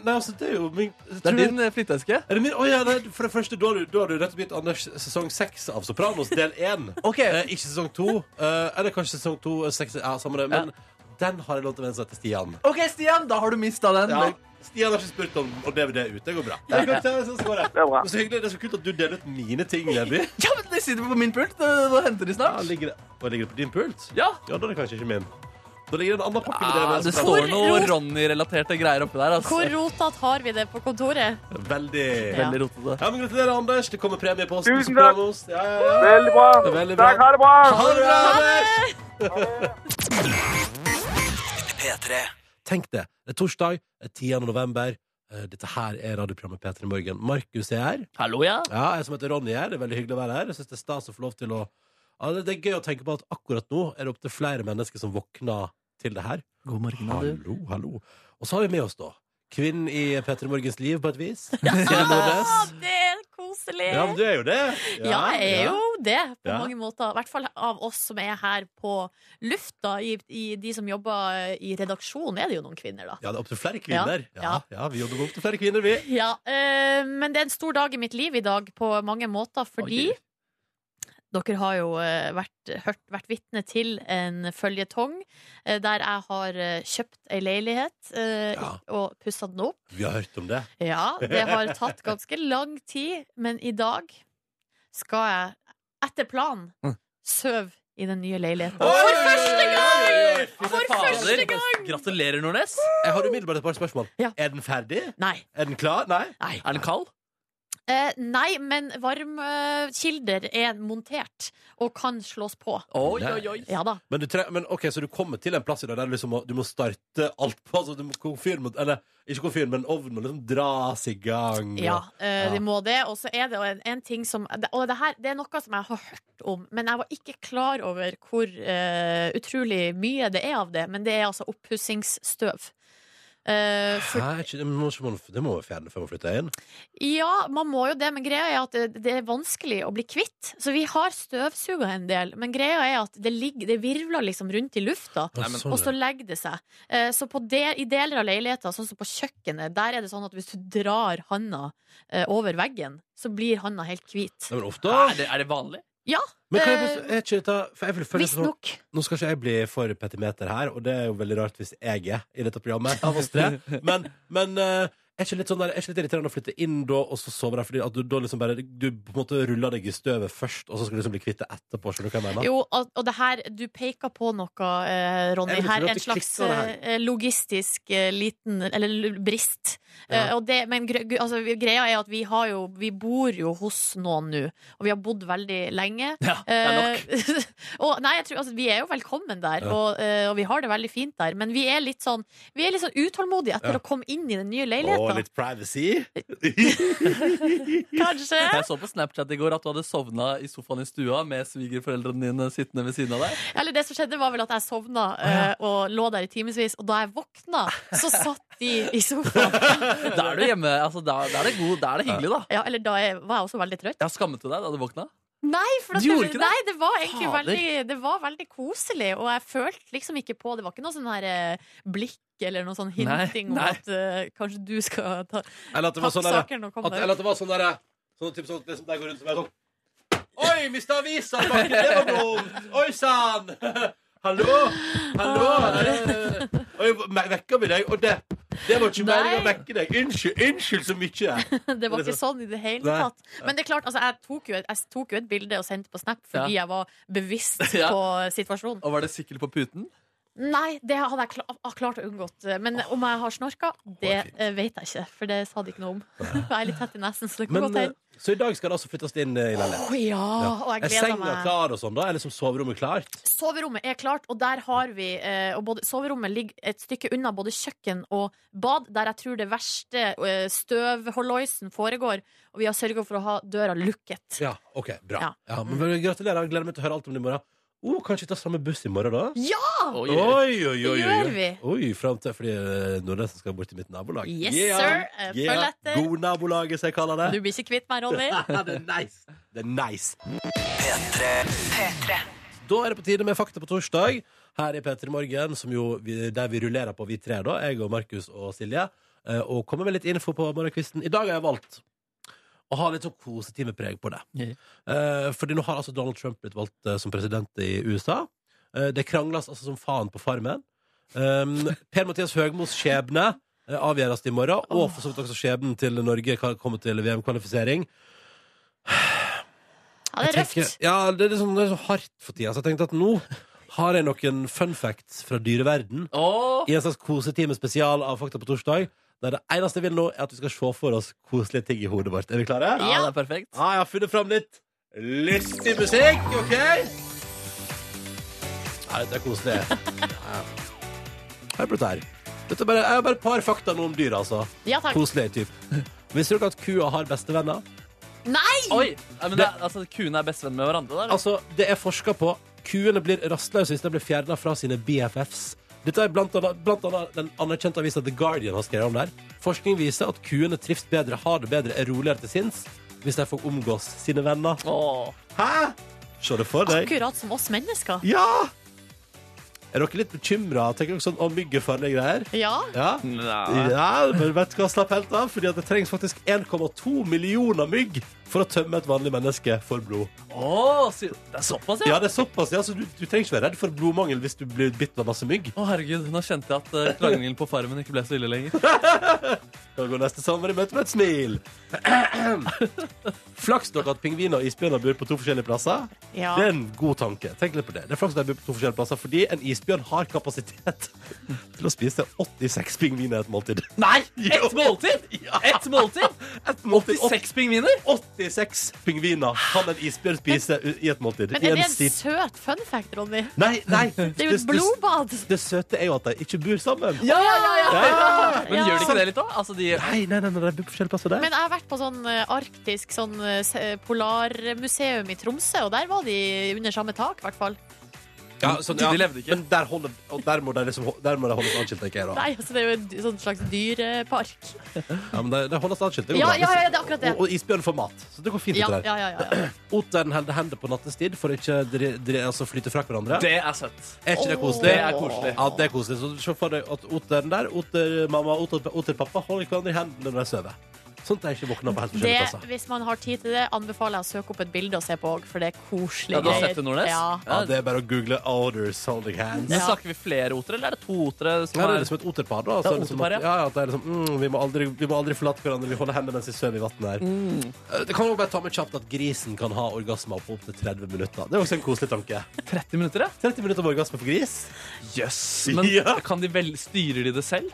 B: Nei, altså, det er jo min
D: Det er din eh, flytteske.
B: Er det min? Å ja, nei, for det første, da har du, da har du rett og slett Anders sesong 6 av Sopranos, del 1.
D: Ok.
B: Eh, ikke sesong 2. Eh, eller kanskje sesong 2, eh, seks- ja, samme det. Men den har jeg lov til å venne seg til Stian.
D: OK, Stian, da har du mista den.
B: Ja. Stian har ikke spurt om å dele det ut. Det går bra. Det går bra, sånn går det.
A: Det er bra.
B: Men så hyggelig, det er så kult at du deler ut mine ting, Neby.
D: Ja, men De sitter på min pult. eh, Nå henter de
B: Ja,
D: snart.
B: ligger det, Hva ligger det på din pult?
D: Ja.
B: Ja, da er det kanskje ikke min. Da ligger det en annen pakke med
D: Ah,
B: det.
D: det
B: med Sopranos.
D: står noe
C: rot-
D: Ronny-relaterte greier oppi der. Altså.
C: Hvor rotete har vi det på kontoret?
B: Veldig.
C: Ja.
D: Veldig rotete.
B: Ja, men Gratulerer, Anders. Det kommer premie på oss.
A: Tusen takk.
B: Sopranos. Ja, ja, ja.
A: Veldig bra.
B: Det er veldig bra.
A: Takk, ha det bra.
B: Ha det bra,
C: Ha
B: Anders.
C: det!
B: Tenk det. Det er torsdag, det er 10. november. Eh, Dette her er radioprogrammet P3 Morgen. Markus er her.
D: Hallo, ja.
B: Ja, jeg som heter Ronny er her. Det er veldig hyggelig å være her. Jeg synes det er stas å få lov til å ja, det- Det er gøy å tenke på at akkurat nå er det opptil flere mennesker som våkner til det her.
D: God morgen, da, du.
B: Hallo, hallo. Og så har vi med oss, da, kvinnen i P3 Morgens liv, på et
C: [LAUGHS]
B: vis. Silje Nordnes.
C: Det er koselig.
B: Ja, men du er jo det.
C: Ja, jeg er jo det, på
B: Ja.
C: mange måter. I hvert fall av oss som er her på lufta. I, i de som jobber eh, i redaksjon, er det jo noen kvinner, da.
B: Ja, det er opptil flere kvinner.
C: Ja,
B: Ja, ja vi jobber med opptil flere kvinner, vi.
C: Ja, eh, men det er en stor dag i mitt liv i dag på mange måter, fordi
D: Oi.
C: dere har jo eh, vært, hørt, vært vitne til en føljetong eh, der jeg har eh, kjøpt ei leilighet eh,
B: Ja.
C: og pussa den opp.
B: Vi har hørt om det.
C: Ja, det har tatt ganske lang tid, men i dag skal jeg, etter planen, søve i den nye leiligheten. For første gang! For første
D: Fader.
C: gang!
D: Gratulerer, Nordnes.
B: Jeg har umiddelbart et par spørsmål.
C: Ja.
B: Er den ferdig?
C: Nei.
B: Er den klar? Nei?
C: Nei.
D: Er den kald?
C: Eh, nei, men varmekilder er montert og kan slås på.
D: Oi, oi, oi.
C: Ja da.
B: Men, du tre, men ok, så du kommer til en plass i dag der du, liksom må, du må starte alt på altså, du må, komfyren må, Eller ikke komfyren, men ovnen må liksom dras i gang. og-
C: Ja, eh,
B: Ja.
C: de må det. Og så er det jo en, en ting som Og det her det er noe som jeg har hørt om, men jeg var ikke klar over hvor eh, utrolig mye det er av det. Men det er altså oppussingsstøv. Eh, for,
B: Hæ, ikke, det, må, ikke man- det må vi fjerne før man flytter inn.
C: ja, man må jo det, men greia er at det, det er vanskelig å bli kvitt. Så vi har støvsuga en del, men greia er at det, ligger, det virvler liksom rundt i lufta.
B: Ja,
D: Nei, men-
B: sånn,
C: Og
B: ja.
C: så legger det seg. Eh, Så på del- i deler av leiligheter, sånn som på kjøkkenet, der er det sånn at hvis du drar handa eh, over veggen, så blir handa helt hvit.
B: Nei, men
D: Er
B: ofte
D: det, er det vanlig?
B: Men kan jeg
C: Eh,
B: bare, er ikke dette for jeg vil føle sånn,
C: Visstnok.
B: Nå skal ikke jeg bli for petimeter her, og det er jo veldig rart hvis jeg er i dette programmet. Av oss tre Men, men eh, er ikke litt sånn der, er ikke litt irriterende å flytte inn da, og så sove der? Fordi at du da liksom bare Du på en måte ruller deg i støvet først, og så skal du liksom bli kvitt det etterpå. Skjønner du hva jeg mener?
C: Jo, og, og det her Du peker på noe, eh, Ronny,
B: Jeg vil
C: her.
B: tro at
C: En
B: det
C: slags
B: klikker, det
C: eh, logistisk eh, liten Eller l- brist. Eh,
B: Ja.
C: og det, men gre- gu- altså, vi- greia er at vi har jo Vi bor jo hos noen nå, og vi har bodd veldig lenge.
D: Ja, det er nok.
C: Eh, [LAUGHS] og, nei, jeg tror, altså, vi er jo velkommen der,
B: Ja.
C: og, eh, og vi har det veldig fint der. Men vi er litt sånn Vi er litt sånn utålmodige etter
B: Ja.
C: å komme inn i den nye
B: Og
C: leiligheten.
B: litt
C: [LAUGHS]
B: privacy.
C: Kanskje.
D: Jeg så på Snapchat i går at du hadde sovna i sofaen i stua med svigerforeldrene dine sittende ved siden av deg.
C: Eller det som skjedde var vel at jeg sovna
B: ja.
C: eh, og lå der i timevis, og da jeg våkna, så satt de i sofaen.
D: Da er du hjemme. Altså, da, da, er det god, da er det hyggelig, da.
C: Ja, eller da jeg, var jeg også veldig trøtt.
D: Jeg har skammet til deg da du våkna.
C: Nei, for at
D: Du gjorde ikke det?
C: Nei, det var egentlig
D: Fader.
C: veldig, det var veldig koselig, og jeg følte liksom ikke på Det var ikke noe sånn her eh, blikk eller noe sånn
D: Nei,
C: hinting om
D: nei.
C: at eh, kanskje du skal ta
B: Eller at det var
C: takke
B: sånn der,
C: saken og komme
B: at,
C: deg
B: eller at
C: ut.
B: det var sånn der, sånn, typ, sånn, liksom, der går rundt som er sånn Oi, mista avisa! i bakken, Det var dumt! Oi sann! [LAUGHS] Hallo! Hallo!
C: Ah.
B: Eh, Oi, me- vekker vi deg? Og det Det var ikke
C: Nei.
B: meningen å vekke deg. Unnskyld, unnskyld så mye!
C: [LAUGHS] Det var ikke sånn i det hele
B: Nei.
C: tatt. Men det er klart, altså, jeg, tok jo, et- jeg tok jo et bilde og sendte på Snap fordi jeg var bevisst
D: Ja.
C: på situasjonen.
D: Og var det sykkel på puten?
C: Nei, det hadde jeg kla- har klart å unngått. Men om jeg har snorka, det eh, vet jeg ikke. For det sa de ikke noe om. [LAUGHS] Jeg er litt tett i nesen, så det kan
B: Men,
C: [LAUGHS] godt
B: eh,
C: hende.
B: så i dag skal det altså flyttes inn eh, i
C: Å
B: leiligheten.
C: ja! Og jeg
B: Er
C: gleder
B: senga
C: meg.
B: klar og sånn, da? Er liksom soverommet klart?
C: Soverommet er klart, og der har vi eh, og både, Soverommet ligger et stykke unna både kjøkken og bad, der jeg tror det verste eh, støvholloisen foregår. Og vi har sørga for å ha døra lukket.
B: Ja, ok, bra
C: Ja.
B: ja, men vel, Gratulerer, jeg gleder meg til å høre alt om det i morgen Oh, kanskje vi tar samme buss i morgen, da?
C: Ja,
D: Oi,
B: Oi, oi, oi,
C: det
B: oi,
C: gjør
B: oi.
C: vi!
B: Oi, frem til fordi eh, Nordnesen skal bort til mitt nabolag.
C: Yes, sir. Eh, følg etter.
B: God nabolaget, som jeg kaller det.
C: Du blir ikke kvitt meg, Ronny.
B: [LAUGHS] det er nice. Det er nice. Da er det på tide med Fakta på torsdag her i P3 Morgen, som jo vi, der vi rullerer på, vi tre, da. Jeg og Markus og Silje. eh, Og kommer med litt info på morgenkvisten. I dag har jeg valgt å ha litt sånn kosetimepreg på det.
D: Ja.
B: Eh, Fordi nå har altså Donald Trump blitt valgt eh, som president i USA. Eh, Det krangles altså som faen på Farmen. Um, per Mathias Høgmos skjebne eh, avgjøres i morgen, og for så vidt også skjebnen til Norge kan komme til VM-kvalifisering.
C: Ja, det
B: Jeg
C: er
B: tenker-
C: røft.
B: Ja, det er, liksom, det er så hardt for tida. Så jeg tenkte at nå har jeg noen fun facts fra dyreverden
D: Åh,
B: i en slags kosetime spesial av Fakta på torsdag. Der det eneste jeg vil nå, er at vi skal se for oss koselige ting i hodet vårt. Er vi klare?
D: ja, Ah, det er perfekt.
B: Ja, jeg har funnet fram litt lystig musikk, OK? Ja, dette er
C: [LAUGHS]
B: koselig. Ja. Hør på dette her. Dette er bare, jeg har bare et par fakta nå om dyr, altså.
C: Ja takk.
B: Koselig typ. Visste dere at kua har bestevenner?
C: Nei!
D: Oi, nei, men det, er- altså, Kuene er bestevenn med hverandre der.
B: Altså, det er forska på. Kuene blir rastløse hvis de blir fjerna fra sine BFFs. Dette er blant annet, blant annet den anerkjente avisa The Guardian har skrevet om det her. Forskning viser at kuene trives bedre, har det bedre, er roligere til sinns hvis de får omgås sine venner.
D: Åh.
B: Hæ? Se det for deg.
C: Akkurat som oss mennesker.
B: Ja! Er dere litt bekymra? Tenker dere sånn om mygg er farlige greier?
C: Ja.
B: Ja.
D: Nei.
B: ja, men vet du hva, slapp helt av, fordi at det trengs faktisk 1,2 millioner mygg for å tømme et vanlig menneske for blod.
D: Åh, sy- det er såpass, ja?
B: Ja, det er såpass. Ja, så du, du trenger ikke være redd for blodmangel hvis du blir bitt av masse mygg.
D: Å, herregud, nå kjente jeg at eh, krangelen på Farmen ikke ble så ille lenger.
B: Kan gå neste sommer i møte med et smil. [CLEARS THROAT] Flaks dere at pingviner og isbjørner bor på to forskjellige plasser.
C: ja.
B: Det er en god tanke. Tenk litt på det. Det er flaks at de bor på to forskjellige plasser, fordi en isbjørn har kapasitet [LAUGHS] til å spise 86 pingviner i et måltid. [LAUGHS]
D: Nei! Ett måltid! Ett måltid!
B: Et måltid,
D: 86 pingviner!
B: 86 pingviner kan en isbjørn spise u- i et måltid.
C: Men
B: I
C: er
B: en
C: det en
B: sit-
C: søt fun fact, Ronny?
B: Nei, nei.
C: [LAUGHS] Det er jo et
B: det-
C: blodbad.
B: Det søte er jo at de ikke bor sammen.
D: Ja, ja, ja.
B: Ja.
D: Men gjør de ikke det litt, da? Altså, de
B: Nei, nei, nei, nei, de bor på forskjellige plasser der.
C: Men jeg har vært på sånn eh, arktisk sånn eh, s- eh, polarmuseum i Tromsø, og der var de under samme tak, i hvert fall.
B: Ja, sånn,
D: De
B: ja.
D: levde ikke.
B: Men der, holder, og der må de liksom, der må de holdes atskilt, tenker jeg. da
C: Nei, altså det er jo en d- sånn slags dyrepark.
B: ja, men de, de holdes atskilt, det går
C: Ja,
B: bra.
C: ja, ja, det er akkurat det.
B: Og, og isbjørn får mat. Så det går fint.
C: Ja,
B: ut
C: ja,
B: der
C: ja. ja, ja.
B: Oteren holder hender på nattestid for å ikke dri, dri, altså flyte fra hverandre.
D: Det er søtt.
B: er ikke det
C: Åh.
B: koselig?
D: Det er koselig.
B: Ja, det er koselig. Så se for deg at oteren der, otermamma og oter, oterpappa holder hverandre i hendene når de sover. Sånn at de ikke våkner på helt
C: Det,
B: forskjellige plasser.
C: hvis man har tid til det, anbefaler jeg å søke opp et bilde og se på òg, for det er
D: Ja,
C: koselige
D: du har sett det, Nordnes?
C: Ja.
B: Ja, det er bare å google 'odors holding hands'.
D: Men
C: Ja.
D: Snakker vi flere otere, eller er det to otere? som
B: Her er
D: er...
B: det liksom et oterpar. da
D: Det er
B: Så liksom at-
D: oterpar,
B: ja, ja, at det er liksom, mm, vi, må aldri, vi må aldri forlate hverandre, vi holder hendene mens vi sover i vannet her. Eh, Det kan jo bare ta med kjapt at grisen kan ha orgasmer på opptil 30 minutter. Det er også en koselig tanke.
D: 30 minutter, ja?
B: 30 minutter om orgasme for gris? Yes.
D: Men
B: ja.
D: kan de vel, styrer de det selv?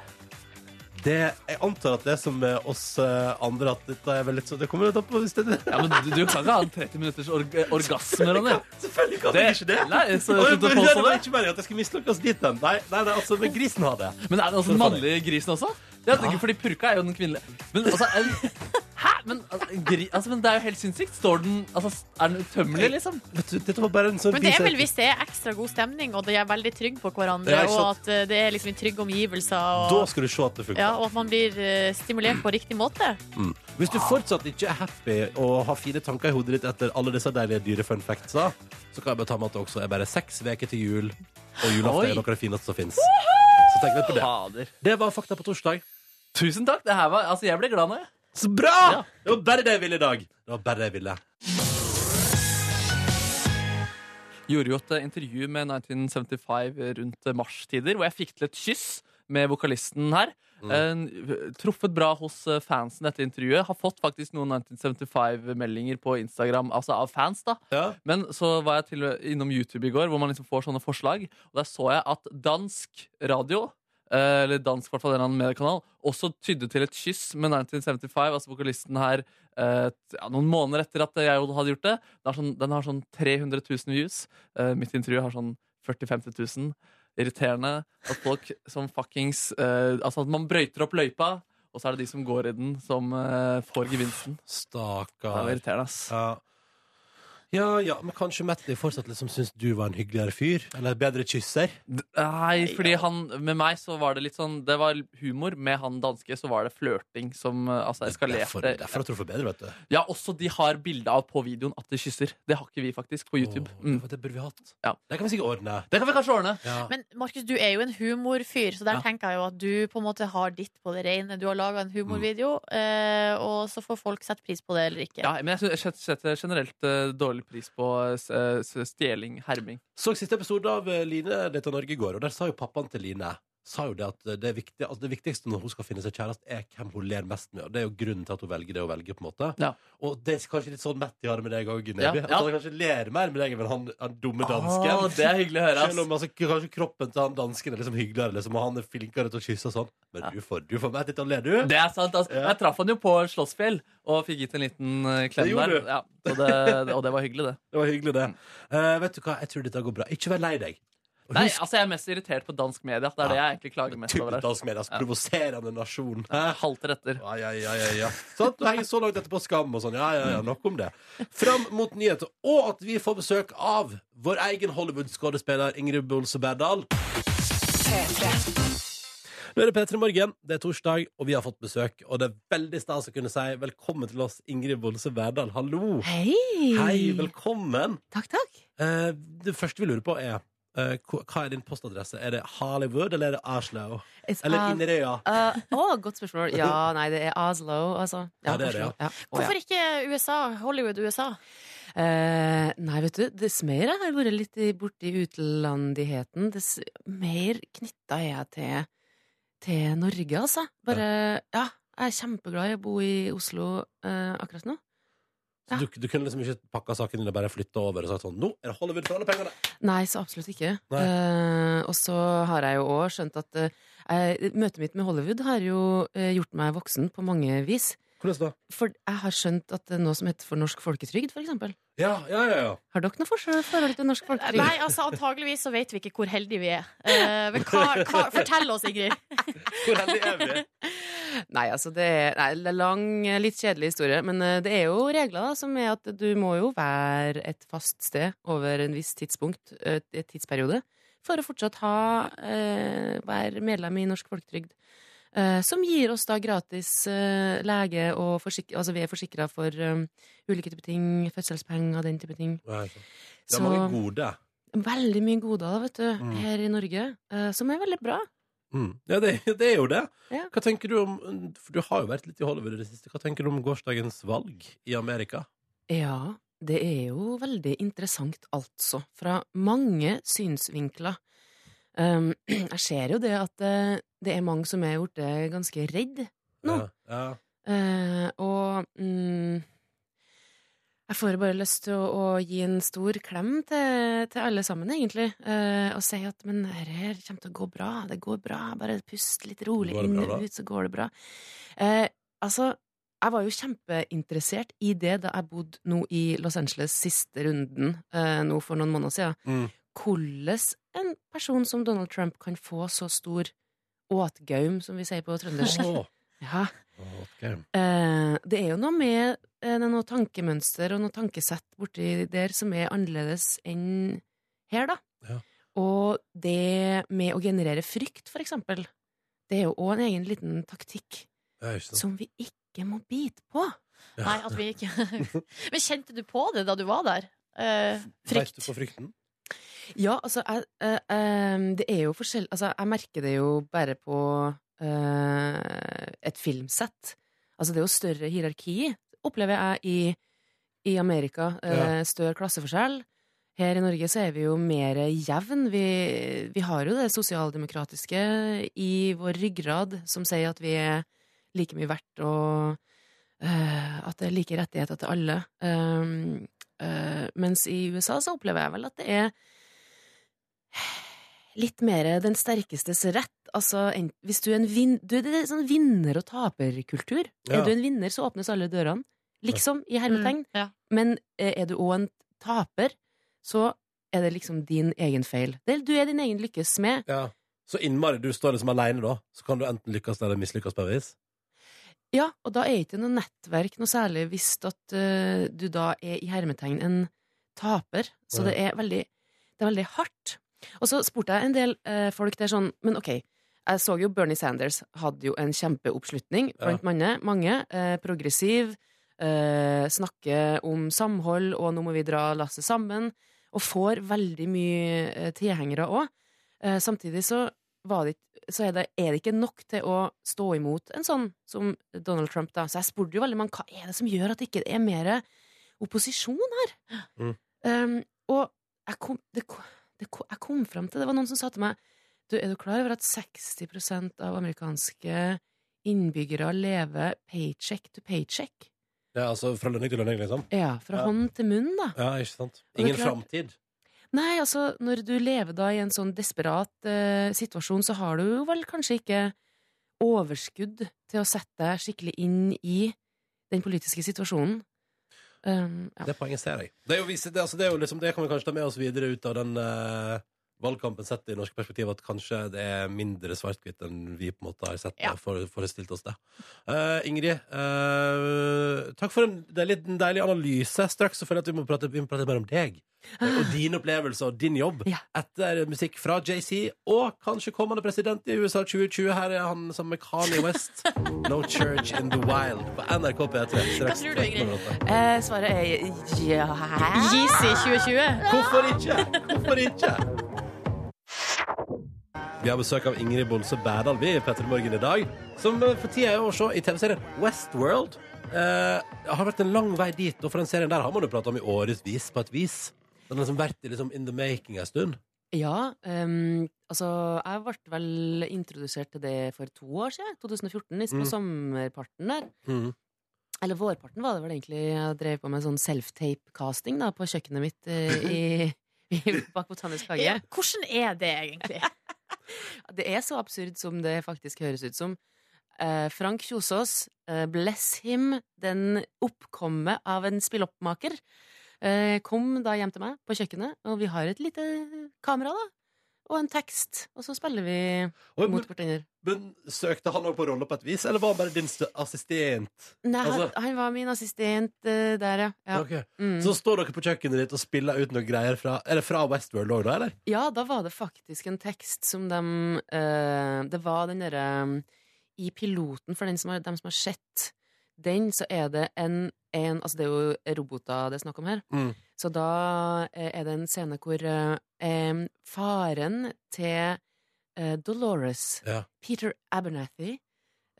B: det, jeg antar at det er som med oss eh, andre, at dette er vel litt sånn Det kommer litt an på hvis det [LAUGHS]
D: Ja, men Du, du kan ikke ha en 30 minutters org orgasme, Ronny.
B: Selvfølgelig kan
D: Det-
B: det ikke det.
D: Nei,
B: Og
D: så
B: jeg-
D: jeg slutter å
B: det
D: påstå
B: var
D: det.
B: ikke meningen at jeg skulle mislykkes dit hen. Nei, nei, nei, altså, men grisen har det.
D: Men er det også den mannlige grisen også? Jeg tenker, fordi Purka er jo den kvinnelige. Men altså, en, [LAUGHS] hæ? Men, altså, en gri, altså, men det er jo helt sinnssykt. Står den altså, Er den utømmelig, liksom?
B: Vet du, dette var bare en sånn
C: Men det er
B: gris-
C: vel hvis det er ekstra god stemning, og de er veldig trygge på hverandre,
B: Ja, ikke
C: og
B: sant.
C: at eh, det er liksom i trygge omgivelser,
B: Da
C: og,
B: skal du se at det funker.
C: ja, og at man blir eh, stimulert på riktig måte.
B: Hvis du fortsatt ikke er happy og har fine tanker i hodet ditt etter alle disse deilige dyre-fun factsa, så kan jeg bare ta med at det også er bare seks uker til jul, og julaften
D: Oi.
B: er noe av det fineste som fins. Så tenk litt på det.
D: Fader.
B: Det var fakta på torsdag.
D: Tusen takk. Det her var, altså, jeg ble glad nå, jeg.
B: Så bra! Det var bare det jeg ville i dag. Det var bare det jeg ville.
D: gjorde jo et eh, intervju med 1975 rundt eh, marstider, hvor jeg fikk til et kyss med vokalisten her. Eh, truffet bra hos eh, fansen etter intervjuet. Har fått faktisk noen 1975-meldinger på Instagram, altså av fans, da.
B: Ja.
D: Men så var jeg til, innom YouTube i går, hvor man liksom får sånne forslag. Og der så jeg at dansk radio, eh, eller dansk i hvert fall en eller annen mediekanal, også tydde til et kyss med 1975, altså vokalisten her, eh, t- ja, noen måneder etter at jeg hadde gjort det. Den har sånn, den har sånn 300 000 views. Eh, mitt intervju har sånn 40 000-50 000. Irriterende at folk som fuckings eh, Altså at man brøyter opp løypa, og så er det de som går i den, som eh, får gevinsten. Det er jo
B: Stakkar.
D: irriterende, ass.
B: Ja. Ja, ja, men kanskje Metley fortsatt liksom syns du var en hyggeligere fyr? Eller bedre kysser?
D: Nei, fordi han Med meg så var det litt sånn Det var humor. Med han danske så var det flørting som eh, altså,
B: Derfor,
D: eskalerte.
B: derfor at du får bedre, vet du.
D: Ja, også de har bilde av på videoen at de kysser. Det har ikke vi faktisk på YouTube.
B: Åh,
D: Mm.
B: det, det burde vi hatt.
D: Ja.
B: Det kan vi sikkert ordne.
D: Det kan vi kanskje ordne.
B: Ja.
C: Men Markus, du er jo en humorfyr, så der
B: Ja. Mm.
C: tenker jeg jo at du på en måte har ditt på det rene. Du har laga en humorvideo, eh, og så får folk sette pris på det eller ikke.
D: Ja, men jeg synes- jeg setter generelt eh, dårlig pris på eh, s- eh, s- stjeling, herming.
B: Så siste episode av eh, Line Data Norge i går, og der sa jo pappaen til Line sa jo det at eh, det, er viktig, altså det viktigste når hun skal finne seg kjæreste, er hvem hun ler mest med. Og det er jo grunnen til at hun velger det hun velger. på en måte
D: Ja.
B: Og det er kanskje litt sånn Matti har det med deg òg,
D: Ja,
B: Gunneby. At
D: ja.
B: han kanskje ler mer med deg enn han, han dumme
D: Åh,
B: dansken.
D: det er hyggelig å høre.
B: Selv
D: Ass.
B: om altså, kanskje kroppen til han dansken er liksom hyggeligere, liksom, og han er flinkere til å kysse og sånn. Men
D: Ja.
B: du får, du får Matti til å le, du.
D: Det er sant. altså. ass.
B: Ja.
D: Jeg traff han jo på Slåssfjell og fikk gitt en liten eh, klem
B: Det gjorde
D: der.
B: du.
D: Ja, og, det, og det var hyggelig, det.
B: Det var hyggelig, det. Eh, vet du hva, jeg tror dette går bra. Ikke vær lei deg. Og
D: Nei,
B: husk-
D: altså Jeg er mest irritert på dansk media. Det er det jeg egentlig klager mest over.
B: Typisk
D: her
B: dansk medias provoserende nasjon. Hæ?
D: Jeg Halter etter.
B: Ja, ja, ja, ja, ja. Sant? Du henger så langt etterpå skam og sånn. Ja, ja, ja, nok om det. Fram mot nyheter, og at vi får besøk av vår egen Hollywood-skådespiller Ingrid Bolse Berdal. Nå er det P3 Morgen, det er torsdag, og vi har fått besøk. Og det er veldig stas å kunne si velkommen til oss, Ingrid Bolse Berdal. Hallo!
C: Hei.
B: Hei, velkommen!
C: Takk, takk.
B: Eh, det første vi lurer på, er eh, hva- hva er din postadresse? Er det Hollywood, eller er det Oslo?
E: It's
B: Eller
E: Os-
B: Inderøya?
E: Uh, å, godt spørsmål. Ja, nei, det er Oslo, altså.
B: Ja, det er det,
E: Oslo. ja. Å, ja.
C: Hvorfor ikke USA? Hollywood USA?
E: Eh, nei, vet du, dess mer jeg har vært litt i- borti utlandigheten, dess mer knytta er jeg til, til Norge, altså. Bare, ja, jeg er kjempeglad i å bo i Oslo eh, akkurat nå.
B: Så du, du kunne liksom ikke pakka saken din og bare flytta over og sagt sånn Nå er det Hollywood for alle pengene!
E: Nei, så absolutt ikke.
B: Nei.
E: Eh, og så har jeg jo òg skjønt at eh, jeg- møtet mitt med Hollywood har jo eh, gjort meg voksen på mange vis.
B: Hvordan da?
E: For jeg har skjønt at det er noe som heter for norsk folketrygd, for eksempel.
B: Ja, ja, ja, ja.
E: Har dere noe forskjell- forhold til norsk folketrygd?
C: Nei, altså antageligvis så vet vi ikke hvor heldige vi er. Eh, men hva, hva, fortell oss, Ingrid.
B: Hvor heldig er vi?
E: Nei, altså det er nei, det er lang, litt kjedelig historie, men eh, det er jo regler da, som er at du må jo være et fast sted over en viss tidspunkt, eh, et tidsperiode, for å fortsatt ha, eh, være medlem i Norsk Folketrygd, eh, som gir oss da gratis eh, lege, og forsik altså vi er forsikra for eh, ulike typer ting, fødselspenger og den type ting.
B: Ja, ikke sant. Det
E: Så
B: er mange gode.
E: veldig mye goder da, vet du,
B: Mm.
E: her i Norge, eh, som er veldig bra.
B: Mm. Ja, det, det er jo det.
E: Ja.
B: Hva tenker du om For du har jo vært litt i Hollywood i det siste. Hva tenker du om gårsdagens valg i Amerika?
E: Ja, det er jo veldig interessant, altså. Fra mange synsvinkler. Um, [CLEARS THROAT] jeg ser jo det at eh, det er mange som er gjort det ganske redd. Nå.
B: Ja, ja.
E: Eh, og mm, jeg får bare lyst til å, å gi en stor klem til, til alle sammen, egentlig. eh, og si at men her, her kommer til å gå bra. Det går bra. Bare pust litt rolig
B: Går det
E: inn
B: bra, da?
E: og ut, så går det bra. Eh, altså, jeg var jo kjempeinteressert i det da jeg bodde nå i Los Angeles siste runden eh, nå for noen måneder siden.
B: Mm.
E: Hvordan en person som Donald Trump kan få så stor åtgaum, som vi sier på
B: [LAUGHS]
E: trøndersk.
B: Åh.
E: Ja.
B: Åh, ok.
E: Eh, det er jo noe med eh, noe tankemønster og noe tankesett borti der som er annerledes enn her, da.
B: Ja.
E: Og det med å generere frykt, for eksempel, det er jo òg en egen liten taktikk
B: Ja, ikke sant.
E: som vi ikke må bite på.
B: Ja.
C: Nei, at vi ikke [LAUGHS] Men kjente du på det da du var der? Eh,
B: Vet du
C: frykt?
B: på frykten?
E: Ja, altså, jeg, eh, eh, det er jo forskjell... Altså, jeg merker det jo bare på eh, et filmsett. Altså, det er jo større hierarki, opplever jeg, i, i Amerika. Eh, Større klasseforskjell. Her i Norge så er vi jo mer jevn. Vi, vi har jo det sosialdemokratiske i vår ryggrad, som sier at vi er like mye verdt, og eh, at det er like rettigheter til alle. Um, eh, mens i USA så opplever jeg vel at det er litt mer den sterkestes rett. Altså, en, hvis du er en vin, du, det er sånn vinner- og taperkultur.
B: Ja.
E: Er du en vinner, så åpnes alle dørene. Liksom, i hermetegn.
C: Mm, ja.
E: Men eh, er du òg en taper, så er det liksom din egen feil. Det, er- du er din egen lykkes smed.
B: Ja. Så innmari du står liksom alene da, så kan du enten lykkes eller mislykkes på et vis.
E: Ja, og da er ikke noe nettverk noe særlig hvis at eh, du da er i hermetegn en taper. Så det er veldig, det er veldig hardt. Og så spurte jeg en del eh, folk der sånn Men OK, jeg så jo Bernie Sanders hadde jo en kjempeoppslutning
B: Ja.
E: blant mange. mange eh, progressiv. Eh, snakker om samhold, og nå må vi dra lasset sammen. Og får veldig mye eh, tilhengere òg. Eh, samtidig så, var det, ikke- så er, det, er det ikke nok til å stå imot en sånn som Donald Trump, da. Så jeg spurte jo veldig mange hva er det som gjør at det ikke er mer opposisjon her.
B: Mm.
E: Um, og jeg kom, det, ko- det, ko- jeg kom fram til Det var noen som sa til meg du, Er du klar over at 60 av amerikanske innbyggere lever paycheck to paycheck?
B: Ja, altså fra lønning til lønning, liksom?
E: Ja, fra
B: Ja.
E: hånd til munn, da.
B: Ja, ikke sant?
E: det er
B: Ingen
E: klart-
B: framtid?
E: Nei, altså, når du lever da i en sånn desperat eh, situasjon, så har du jo vel kanskje ikke overskudd til å sette deg skikkelig inn i den politiske situasjonen. Um, ja.
B: Det poenget ser jeg. Det, er jo, visse- det, altså, det, er jo liksom, det kan vi kanskje ta med oss videre ut av den eh, valgkampen sett i norsk perspektiv, at kanskje det er mindre svart-hvitt enn vi på en måte har sett
C: Ja.
B: og for- forestilt oss det. Eh, Ingrid, eh, takk for en deilig, en deilig analyse. Straks så føler jeg at vi må prate, vi må prate mer om deg. eh, Og din opplevelse og din
C: [LAUGHS]
B: jobb
E: Ja.
B: etter musikk fra JC og kanskje kommende president i USA 2020. Her er han som med Kanye
C: [LAUGHS]
B: West. No Church in the Wild på NRK P3.
C: Hva tror du, Ingrid?
E: Eh, svaret er ja.
C: Yeezy 2020.
B: Hvorfor ikke? Hvorfor ikke? Vi har besøk av Ingrid Bolse Berdal vi, i Petter Morgen i dag, som eh, for tida er å se i TV-serien Westworld. Eh, det har vært en lang vei dit, og for den serien der har man jo prata om i årevis på et vis. Den har liksom vært i liksom in the making en stund.
E: Ja, um, altså jeg ble vel introdusert til det for to år siden, 2014, i- på
B: Mm.
E: sommerparten der. Eller vårparten var det vel egentlig. Jeg drev på med sånn self-tape-casting da, på kjøkkenet mitt [LAUGHS] eh, i, i, bak Botanisk hage.
C: Ja, hvordan er det egentlig?
E: Det er så absurd som det faktisk høres ut som. Eh, Frank Kjosås, eh, bless him, den oppkommet av en spilloppmaker, eh, kom da hjem til meg på kjøkkenet, og vi har et lite kamera, da. Og en tekst, og så spiller vi
B: Og, men,
E: mot hverandre.
B: men søkte han òg på rolle på et vis, eller var han bare din st- assistent?
E: Nei, han,
B: altså-
E: han var min assistent eh, der, ja. Ja,
B: Ok.
E: mm.
B: Så står dere på kjøkkenet ditt og spiller ut noe greier fra, er det fra Westworld òg, da, eller?
E: ja da var det faktisk en tekst som de Det var den derre eh, I piloten, for den som har, dem som har sett den, så er det en, en Altså, det er jo roboter det er snakk om her.
B: Mm.
E: Så da eh, er det en scene hvor eh, em, faren til eh, Dolores,
B: Ja.
E: Peter Abernathy,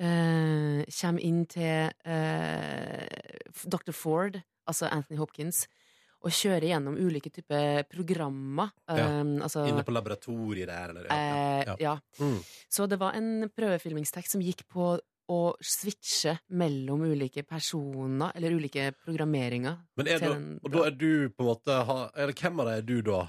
E: eh, kommer inn til eh, f- Dr. Ford, altså Anthony Hopkins, og kjører gjennom ulike typer programmer. em, altså,
B: Inne på laboratoriet der, eller?
E: eh,
B: ja.
E: ja.
B: Mm.
E: Så det var en prøvefilmingstekst som gikk på å switche mellom ulike personer, eller ulike programmeringer.
B: Men er
E: til
B: da,
E: den-
B: og da er du på en måte ha- Eller hvem av deg er du da?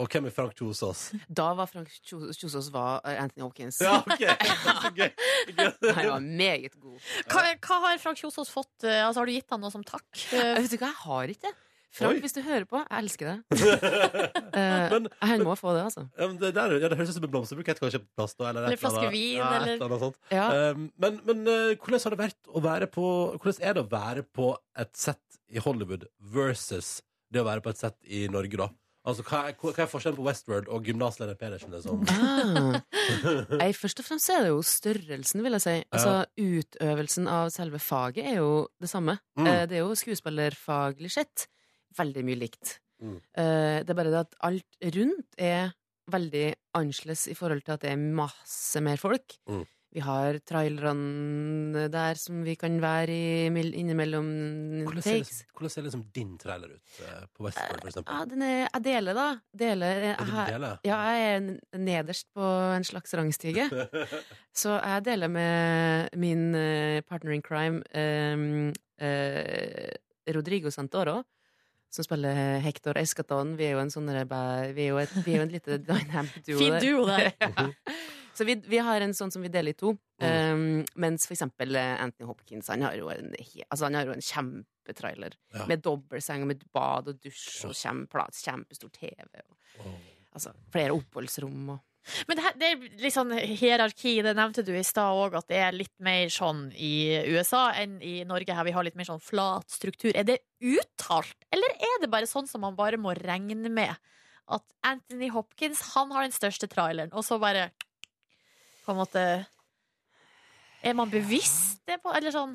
B: Og hvem er Frank Kjosås?
E: Da var Frank Kjo- Kjosås var eh, Anthony Hopkins.
B: Ja, OK! [LAUGHS] Så gøy.
E: [LAUGHS] Han var meget god.
C: Hva, hva har Frank Kjosås fått? eh, Altså, har du gitt han noe som takk?
E: Eh,
C: Eh,
E: Vet du hva, jeg har ikke det. Frank,
B: Oi.
E: hvis du hører på, jeg elsker det.
B: [LAUGHS] Men-
E: han må få det, altså.
B: Ja, men det, der, ja, det høres ut som en blomsterbukett, kanskje? på Plast, da, eller, et
C: Eller flaske
B: annet.
C: vin,
B: ja,
C: eller-
B: et eller annet sånt.
E: Ja.
B: Um, men men eh, hvordan har det vært å være på Hvordan er det å være på et sett i Hollywood versus det å være på et sett i Norge, da? Altså, Hva er, hva er forskjellen på Westworld og gymnasleder Pedersen? Liksom?
E: Ah. Nei, først og fremst er det jo størrelsen, vil jeg si. Altså, Utøvelsen av selve faget er jo det samme.
B: Mm.
E: Eh, Det er jo skuespillerfaglig sett veldig mye likt.
B: Mm.
E: Eh, Det er bare det at alt rundt er veldig annerledes i forhold til at det er masse mer folk.
B: Mm.
E: Vi har trailerne der som vi kan være i mill- innimellom
B: Hvordan ser,
E: takes.
B: liksom, hvordan ser liksom din trailer ut eh, på Westworld, for eksempel?
E: Ja, den er, jeg deler, da. Deler, jeg,
B: Er det
E: har-
B: du deler?
E: ja, jeg er n- nederst på en slags rangstige. Så jeg deler med min eh, partner in crime, ehm, eh, Rodrigo Santoro, som spiller Hector Escaton. Vi er jo en sånn der bæ- Vi er jo, et, vi er jo
C: [LAUGHS]
E: en lite dynamic duo.
C: Fin
E: der. [LAUGHS]
C: duo, [LAUGHS] det.
E: Ja. Så vi, vi har en sånn som vi deler i to. ehm, mens for eksempel eh, Anthony Hopkins han har jo en, he- altså han har jo en kjempetrailer.
B: Ja.
E: Med dobbeltseng og med bad og dusj og kjempeplass, kjempestor TV.
B: [LAUGHS]
E: Og,
B: Åh.
E: altså, flere oppholdsrom og
C: Men det, her, det er litt sånn hierarki, det nevnte du i stad òg, at det er litt mer sånn i USA enn i Norge, her vi har litt mer sånn flat struktur. Er det uttalt, eller er det bare sånn som man bare må regne med? At Anthony Hopkins, han har den største traileren, og så bare På en måte Er man bevisst det på Eller sånn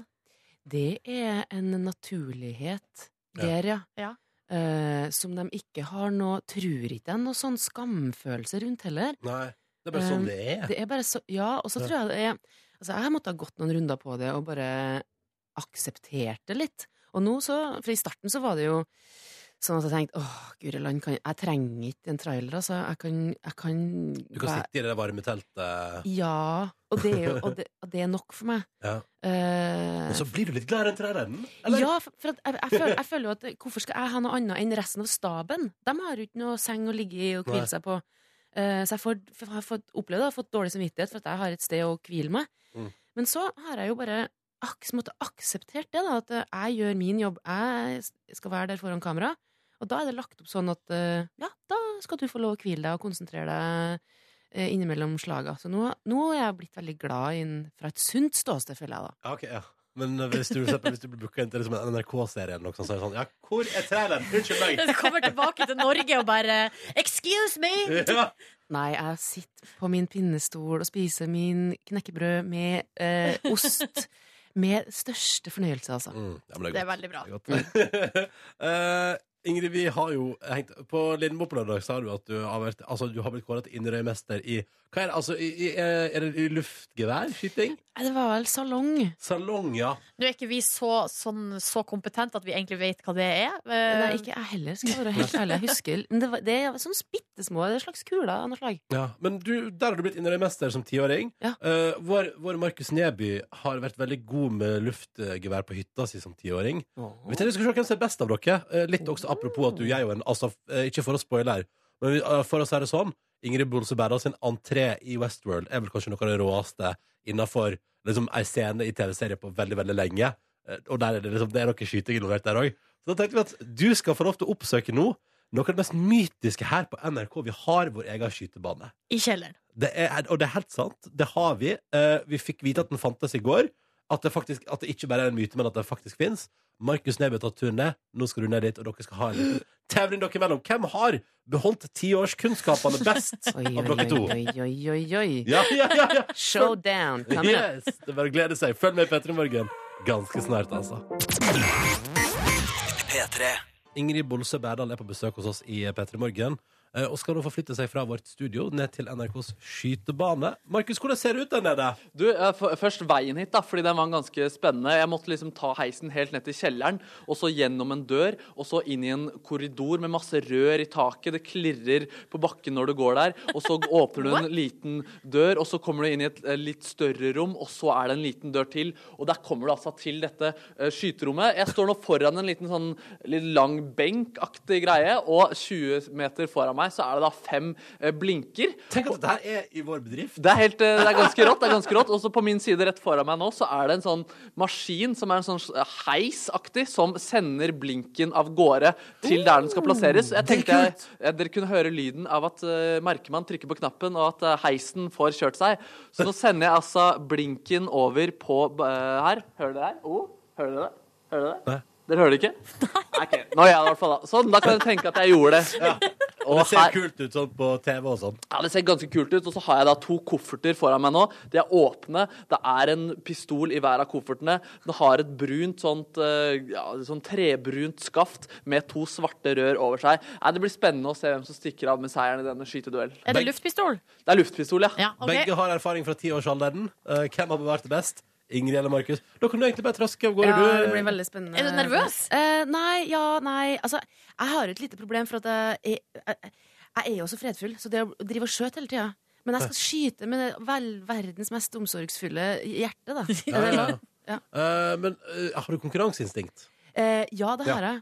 E: Det er en naturlighet der, ja.
C: Ja.
E: Eh, som de ikke har noe Tror ikke det er noe sånn skamfølelse rundt heller.
B: Nei. Det er bare sånn det er.
E: Det er bare så Ja, og så
B: Ja.
E: tror jeg det er Altså, jeg måtte ha gått noen runder på det og bare akseptert det litt. Og nå så For i starten så var det jo sånn at jeg tenkte åh, guri land, kan, jeg trenger ikke en trailer, altså. Jeg kan, jeg kan
B: Du kan
E: være-
B: sitte i det der varme teltet,
E: Ja. Og det er jo og det, og det er nok for meg.
B: ja.
E: Eh,
B: og så blir du litt gladere enn trærne? Eller?
E: Ja, for, for at jeg, jeg, føler, jeg føler jo at eh, hvorfor skal jeg ha noe annet enn resten av staben? De har jo ikke noe seng å ligge i og hvile
B: Nei.
E: seg på. Eh, så jeg får, f- har fått opplevd og fått dårlig samvittighet for at jeg har et sted å hvile meg.
B: Mm.
E: Men så har jeg jo bare aks, måtte akseptert det, da, at eh, jeg gjør min jobb. Jeg s- skal være der foran kamera. Og da er det lagt opp sånn at eh, ja, da skal du få lov å hvile deg og konsentrere deg eh, innimellom slaga. Så nå, nå er jeg blitt veldig glad inn fra et sunt ståsted, føler jeg da.
B: Ja, ok, ja. Men hvis du, for eksempel, hvis du blir booka inn til liksom en NRK-serie, eller noe sånt, så er det sånn Ja, hvor er traileren? Unnskyld
E: [LAUGHS]
B: meg!
C: Du kommer tilbake til Norge og bare Excuse me!
B: Ja.
E: Nei, jeg sitter på min pinnestol og spiser min knekkebrød med eh,
B: [LAUGHS]
E: ost. Med største fornøyelse, altså.
B: Mm, ja, men det er godt.
C: Det er veldig bra.
B: Det er godt. [LAUGHS] Eh, Ingrid, vi har jo hengt På Lindmo på lørdag sa du at du har, vært, altså, du har blitt kåret til Inderøy-mester i Hva er det? Altså, i, i, eh, er det i luftgevær? Skyting?
E: Nei, Det var vel salong.
B: Salong, ja.
C: Nå er ikke vi så, sånn, så kompetente at vi egentlig vet hva det er.
E: Nei,
C: Eh,
E: ikke jeg heller, skal jeg være helt ærlig. Jeg husker Men det, var, det er sånn bittesmå Det er slags kuler av noe slag.
B: Men du, der har du blitt Inderøy-mester som tiåring.
E: Ja.
B: Eh, vår vår Markus Neby har vært veldig god med luftgevær på hytta si som tiåring. Vi tenkte vi skulle se hvem som er best av dere. Eh, Litt også apropos at du, jeg og en Altså, eh, ikke for å spoile her, men vi- eh, for å si det sånn Ingrid Bolse Berdal sin entré i Westworld er vel kanskje noe av det råeste innafor liksom, ei scene i TV-serie på veldig, veldig lenge. Eh, Og der er det liksom, det er noe skyting involvert der òg. Så da tenkte vi at du skal få lov til å oppsøke nå noe av det mest mytiske her på NRK. Vi har vår egen skytebane.
C: I kjelleren.
B: Det er, og det er helt sant. Det har vi. Eh, vi fikk vite at den fantes i går. At det, faktisk, at det ikke bare er en myte, men at det faktisk fins. Markus Neby har tatt turen ned. Nå skal du ned dit, og dere skal ha en liten [GASPS] tevling dere imellom. Hvem har beholdt tiårskunnskapene best
E: [GASPS] Oi,
B: av
E: oi,
B: dere to?
E: oi, oi, oi, oi.
B: Ja, ja, ja, ja.
E: Showdown! Kamera.
B: Yes, det er bare å glede seg. Følg med i P3 Morgen ganske snart, altså. Ingrid Bolsø Berdal er på besøk hos oss i P3 Morgen. eh, Og skal nå forflytte seg fra vårt studio ned til NRKs skytebane. Markus, hvordan ser det ut der nede?
D: Du, eh, f- Først veien hit, da, fordi den var ganske spennende. Jeg måtte liksom ta heisen helt ned til kjelleren, og så gjennom en dør, og så inn i en korridor med masse rør i taket. Det klirrer på bakken når du går der. Og så åpner du en liten dør, og så kommer du inn i et eh, litt større rom, og så er det en liten dør til. Og der kommer du altså til dette eh, skyterommet. Jeg står nå foran en liten sånn litt lang benkaktig greie, og 20 meter foran meg så er det da fem eh, blinker.
B: Tenk at dette her er i vår bedrift.
D: Det er, helt, eh, det er ganske rått. det er ganske rått Og så på min side rett foran meg nå Så er det en sånn maskin som er en sånn eh, heisaktig som sender blinken av gårde til der
B: Oh!
D: den skal plasseres. Jeg tenkte jeg, eh, dere kunne høre lyden av at eh, merkemann trykker på knappen, og at eh, heisen får kjørt seg. Så nå sender jeg altså blinken over på eh, her. Hører dere det her? Oh, hører dere det? Hører dere det?
B: Nei.
D: Dere hører det ikke? Nei. Nå gjør jeg det i hvert fall, da. Sånn, da kan dere tenke at jeg gjorde det. Og
B: Det ser
D: her-
B: kult ut sånn på TV og sånn.
D: ja, Det ser ganske kult ut. Og så har jeg da to kofferter foran meg nå. De er åpne. Det er en pistol i hver av koffertene. Den har et brunt sånt eh, ja, sånn trebrunt skaft med to svarte rør over seg. Nei, det blir spennende å se hvem som stikker av med seieren i denne skyteduellen.
C: Er det
B: Begge-
C: luftpistol?
D: Det er luftpistol, ja.
C: Ja, ok.
B: Begge har erfaring fra tiårsalderen. Eh, Hvem har bevart det best? Ingrid eller Markus? Da kan du egentlig bare traske av gårde.
E: Ja,
B: du.
E: det blir veldig spennende.
C: Er du nervøs?
E: Eh, nei, ja, nei. Altså, jeg har jo et lite problem, for at jeg, er- jeg, jeg er jo så fredfull. Så det å drive og skjøte hele tida Men jeg skal skyte med det vel, verdens mest omsorgsfulle hjerte, da.
B: Ja, ja, ja.
E: [LAUGHS] Ja.
B: Eh, men eh, har du konkurranseinstinkt?
E: Eh, ja, det har jeg.